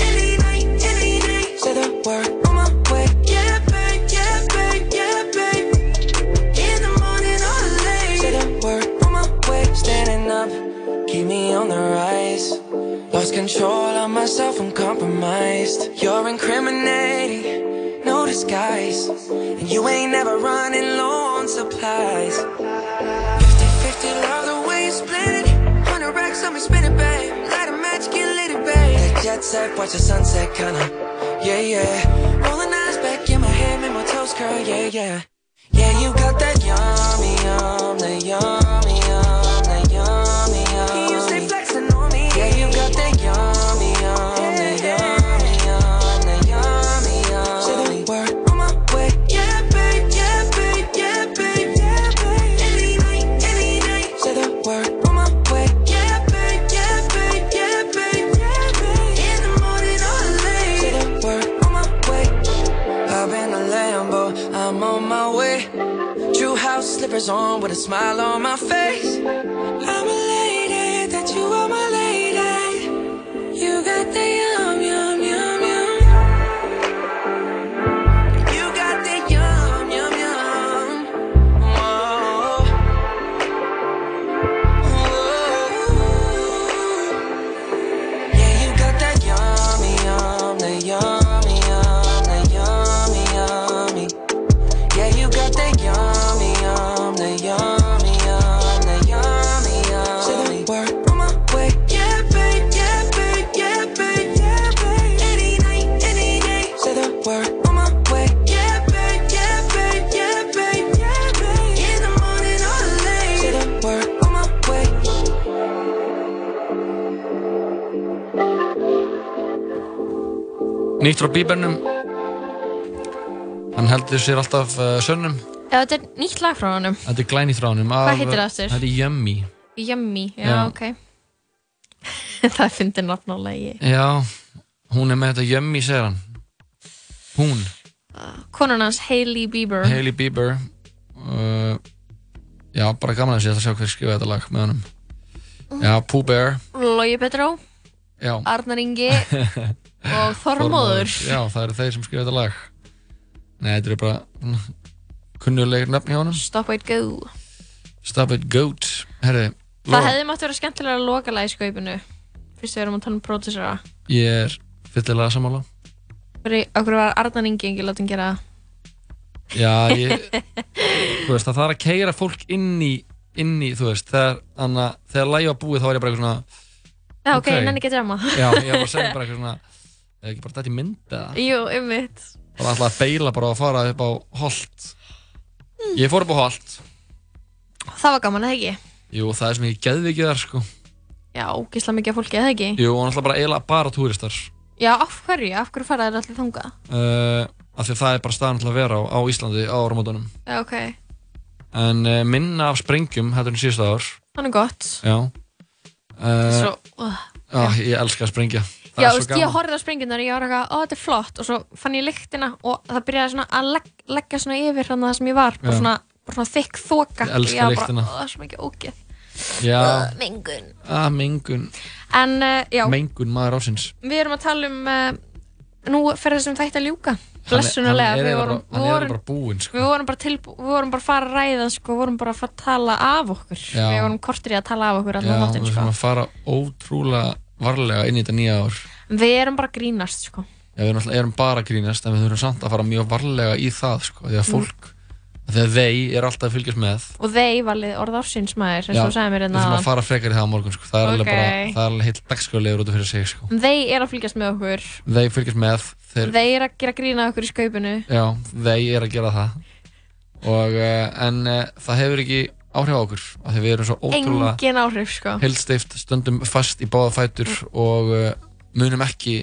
Speaker 22: Any night, any day. Say the word on my way. Yeah, babe, yeah, babe, yeah, babe. In the morning or late. Say the word on my way. honest, you're incriminating, no disguise. And you ain't never running low on supplies. 50 love the way you split it. 100 racks on me, spin it, babe. Light a match, get lit, it, babe. That jet set, watch the sunset, kinda. Yeah, yeah. Rolling eyes back in my head, make my toes curl, yeah, yeah. Yeah, you got that yummy, yum, that yummy, yum, that yummy, yum. You stay flexing on me. Yeah, you got that yummy, yum, that yummy, yum, that yummy, yum. Say the word on my way. Yeah, babe, yeah, babe, yeah, babe, yeah, babe. Any night, any night. Say the word on my way. Yeah, babe, yeah, babe, yeah, babe, yeah, babe. In the morning or late. Say the word on my way. I've been a Lambo, I'm on my way. True house slippers on with a smile on my face. I'm a lady, that you are my lady. You got the yum, yum, yum, yum. You got the yum, yum, yum. Whoa. Whoa. Yeah, you got that yummy, yum, that yummy, yum, that yummy, yummy. Yeah, you got that yummy, yum, that yummy, yum, that yummy, yum. Say the word on my way. Yeah, babe, yeah, babe, yeah, babe, yeah, babe. Any night, any day. Say the word on my way. Yeah, babe, yeah, babe, yeah, babe, yeah, babe. In the morning or late. Say the word on my way.
Speaker 1: Nýtt frá bíbernum Hann heldur sér alltaf uh, sönnum
Speaker 2: Eða þetta er nýtt lag frá honum
Speaker 1: Þetta er glænýtt frá honum
Speaker 2: Hvað
Speaker 1: af-
Speaker 2: heitir það aftur?
Speaker 1: Þetta er Yummy
Speaker 2: Yummy, já,
Speaker 1: Já.
Speaker 2: ok <laughs> Það er fyndin nafn á lagi
Speaker 1: Já, hún er með þetta Yummy, segir hann Hún,
Speaker 2: Konan hans Hailey Bieber
Speaker 1: Hailey Bieber uh, Já, bara gaman að sé að sjá hver skrifa þetta lag með honum
Speaker 2: Mm.
Speaker 1: Já, Pooh Bear
Speaker 2: Logi Petró
Speaker 1: Já
Speaker 2: Arnar
Speaker 1: <laughs>
Speaker 2: Ingi og Þormóður
Speaker 1: Já, það eru þeir sem skrifa þetta lag Nei, þetta er bara kunnulegur nöfn hjá honum
Speaker 2: Stop Wait Go
Speaker 1: Stop it, goat Herri,
Speaker 2: Það
Speaker 1: Lóa,
Speaker 2: hefði mátt vera skemmtilega að loka lagi í skaupinu Fyrst við erum að tala um pródusera
Speaker 1: ég er fyllilega sammála
Speaker 2: Okkur var Arnar Ingi engi látum gera það
Speaker 1: Já, ég,
Speaker 2: <laughs>
Speaker 1: þú veist, það þarf að keira fólk inn í, inn í þú veist, þegar, anna, þegar lægi var búið þá er ég bara eitthvað svona,
Speaker 2: Já, ok,
Speaker 1: Ókei.
Speaker 2: okay. nenni ekki að drama
Speaker 1: <laughs> já, ég var að
Speaker 2: <laughs>
Speaker 1: segja bara eitthvað svona, eða ekki bara þetta í mynd eða,
Speaker 2: Jú, ummitt
Speaker 1: bara alltaf að beila bara að fara upp á holt.
Speaker 2: Mm.
Speaker 1: Ég fór upp á holt,
Speaker 2: Það var gaman, eða ekki?
Speaker 1: jú, það er sem ég geðvikið þar, sko,
Speaker 2: Já, ógisla mikið af fólki, eða ekki?
Speaker 1: jú, og náttúrulega bara eiginlega bara túristar,
Speaker 2: Já, af hverju? Af hverju fara þér allir þangað?
Speaker 1: uh, af því að það er bara staðan til að vera á, á Íslandi á áramótunum,
Speaker 2: Já, ok,
Speaker 1: en uh, minna af sprengjum, þetta er síðust ár,
Speaker 2: þannig gott
Speaker 1: já, uh,
Speaker 2: Svo, uh,
Speaker 1: já, ég elska að sprengja,
Speaker 2: Já,
Speaker 1: það er
Speaker 2: þú
Speaker 1: svo
Speaker 2: veist,
Speaker 1: gaman.
Speaker 2: ég horfði á sprengjurnar og ég var eitthvað, ó, þetta er flott og svo fann ég lyktina og það byrjaði svona að legg, leggja svona yfir hann það sem ég var bara
Speaker 1: Já.
Speaker 2: svona, bara svona þykk þoka
Speaker 1: Ég elska lyktina.
Speaker 2: Það er svo mikið ógeð
Speaker 1: Já,
Speaker 2: Ugh, Mengun
Speaker 1: að mengun
Speaker 2: En, uh, já,
Speaker 1: mengun maður ásins
Speaker 2: við erum að tala um uh, nú fer þessum þætti að ljúka blessunulega,
Speaker 1: hann er,
Speaker 2: við
Speaker 1: eiginlega
Speaker 2: vorum,
Speaker 1: bara, hann
Speaker 2: við
Speaker 1: er
Speaker 2: vorum
Speaker 1: eiginlega bara búinn sko.
Speaker 2: Við vorum bara tilbú, við vorum bara að fara að ræða sko, við vorum bara að fara að tala af okkur
Speaker 1: Já.
Speaker 2: Við vorum kortir í að tala af okkur
Speaker 1: Já,
Speaker 2: allan
Speaker 1: við
Speaker 2: þáttinn
Speaker 1: þurfum
Speaker 2: sko.
Speaker 1: að fara ótrúlega varlega inn í þetta nýja ár
Speaker 2: Við erum bara að grínast sko.
Speaker 1: Já, við erum, alltaf, erum bara að grínast en við þurfum samt að fara mjög varlega í það sko, því að
Speaker 2: Mm.
Speaker 1: fólk, mm. þegar þeir er alltaf að fylgjast með
Speaker 2: Og þeir valið orð ársins maður eins
Speaker 1: Já,
Speaker 2: og þú sagði mér
Speaker 1: við
Speaker 2: hérna
Speaker 1: þurfum
Speaker 2: áðan.
Speaker 1: að fara frekar í það á morgun sko. það er alveg
Speaker 2: Ok.
Speaker 1: bara, það er alveg heilt dagsköðlegur út af fyrir sig sko.
Speaker 2: Þeir eru að fylgjast með okkur
Speaker 1: þeir fylgjast með, þeir,
Speaker 2: Þeir eru að gera grína okkur í skaupinu
Speaker 1: já, þeir er að gera það og, uh, en uh, það hefur ekki áhrif á okkur af því við erum svo ótrúlega
Speaker 2: Engin áhrif sko
Speaker 1: heilstift, stöndum fast í báða fætur og uh, munum ekki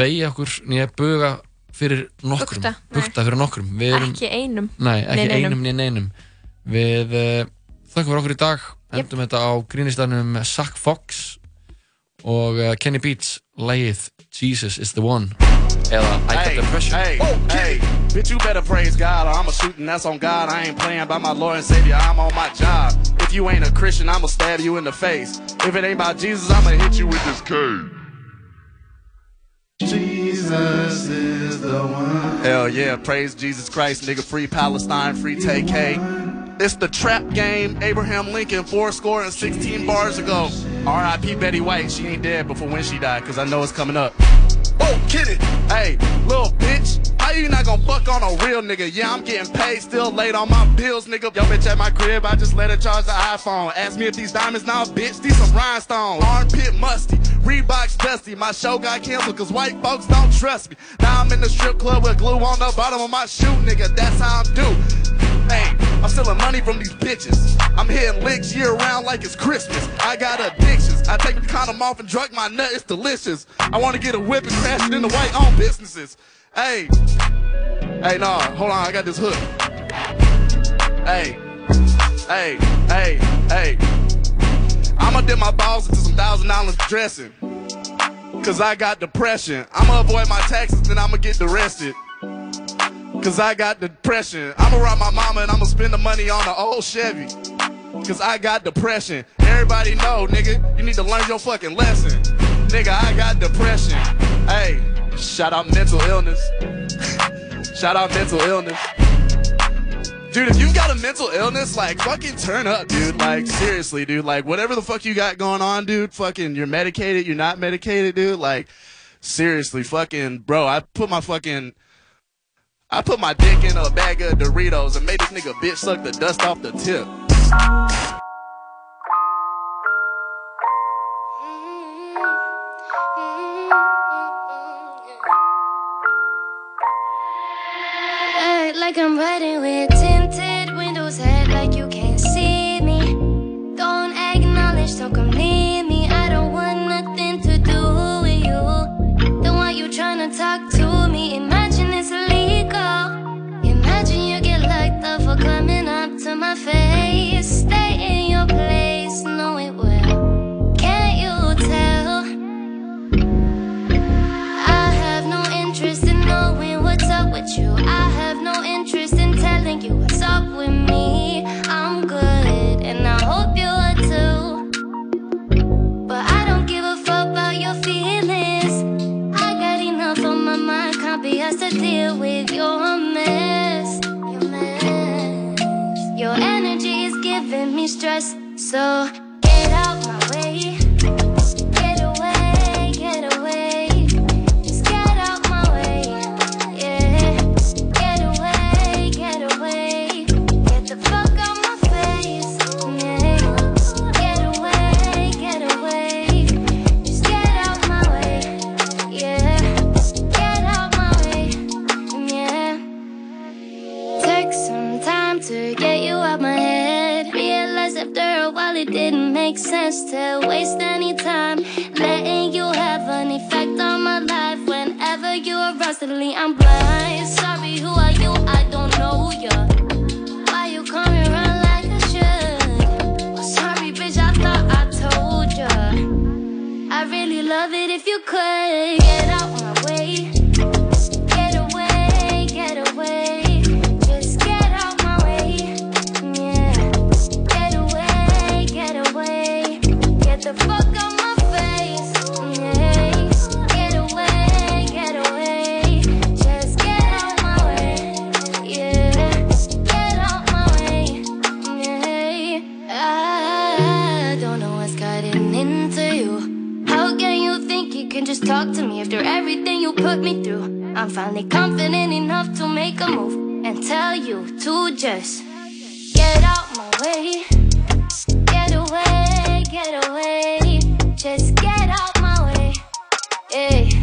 Speaker 1: beigja okkur nýja buga fyrir nokkrum
Speaker 2: Bugta, nei.
Speaker 1: bugta fyrir nokkrum Við erum,
Speaker 2: Ekki einum
Speaker 1: nei, ekki
Speaker 2: Nei, neinum.
Speaker 1: einum nýja neinum við uh, þökkum fyrir okkur í dag endum þetta á grínistanum Sack Fox og uh, Kenny Beats lægið Jesus is the one eða I got the pressure Oh,
Speaker 24: Hey, hey, bitch, you better praise God or I'ma shoot and that's on God. I ain't playing by my Lord and Savior, I'm on my job. If you ain't a Christian, I'ma stab you in the face. If it ain't by Jesus, I'ma hit you with this cane. Jesus is the one. Hell yeah, praise Jesus Christ, nigga. Free Palestine, free TK. It's the trap game. Abraham Lincoln, four score and 16 bars ago. RIP Betty White, she ain't dead before when she died, cause I know it's coming up. Whoa, get it. Hey, little bitch, how you not gonna fuck on a real nigga? Yeah, I'm getting paid, still late on my bills, nigga. Yo, bitch, at my crib, I just let her charge the iPhone. Ask me if these diamonds now, bitch, these some rhinestones. Armpit musty, Reeboks dusty. My show got canceled cause white folks don't trust me. Now I'm in the strip club with glue on the bottom of my shoe, nigga. That's how I'm do. Hey, I'm stealing money from these bitches. I'm hitting licks year round like it's Christmas. I got addictions. I take the condom off and drug my nut. It's delicious. I want to get a whip and crash it into white owned businesses. Hey, hey, nah, hold on. I got this hook. Hey, hey, hey, hey. I'ma dip my balls into some thousand dollars dressing. Cause I got depression. I'ma avoid my taxes, then I'ma get arrested. Cause I got depression. I'ma rob my mama and I'ma spend the money on an old Chevy. Cause I got depression. Everybody know, nigga, you need to learn your fucking lesson. Nigga, I got depression. Hey, shout out mental illness. <laughs> shout out mental illness. Dude, if you got a mental illness, like fucking turn up, dude. Like seriously, dude. Like whatever the fuck you got going on, dude. Fucking you're medicated, you're not medicated, dude. Like seriously, fucking bro. I put my fucking I put my dick in a bag of Doritos and made this nigga bitch suck the dust off the tip.
Speaker 25: Act like I'm riding with tinted windows, head like you can't see me. Don't acknowledge, don't come near me. I don't want nothing to do with you. Don't want you trying to talk to me. Imagine it's illegal. Imagine you get locked up for coming up to my face. Stay in your place, know it well. Can't you tell? I have no interest in knowing what's up with you. I have no interest in telling you what's up with me. I'm good, and I hope you are too. But I don't give a fuck about your feelings. I got enough on my mind, can't be asked to deal with your mess. Your mess. Your energy is giving me stress, so get out my way. Get away, get away. Just get out my way, yeah. Get away, get away. Get the fuck out my face, yeah. Get away, get away. Just get out my way, yeah. Get out my way, yeah. Take some time to get you out my head. Realize after a while it didn't make sense to waste any time. Letting you have an effect on my life whenever you are suddenly I'm blind. Sorry, who are you? I don't know ya. Why you come and run like I should? Oh, sorry, bitch, I thought I told ya. I really love it if you could get out my way. Get away, get away. Just get out my way. Yeah. Get away, get away. Get the fuck out my face. Yeah. Get away, get away. Just get out my way. Yeah. Get out my way. Yeah. I don't know what's gotten into you. How can you think you can just talk to me after everything you put me through? I'm finally confident enough to make a move and tell you to just get out my way. Get away, get away. Just get out my way. Ay.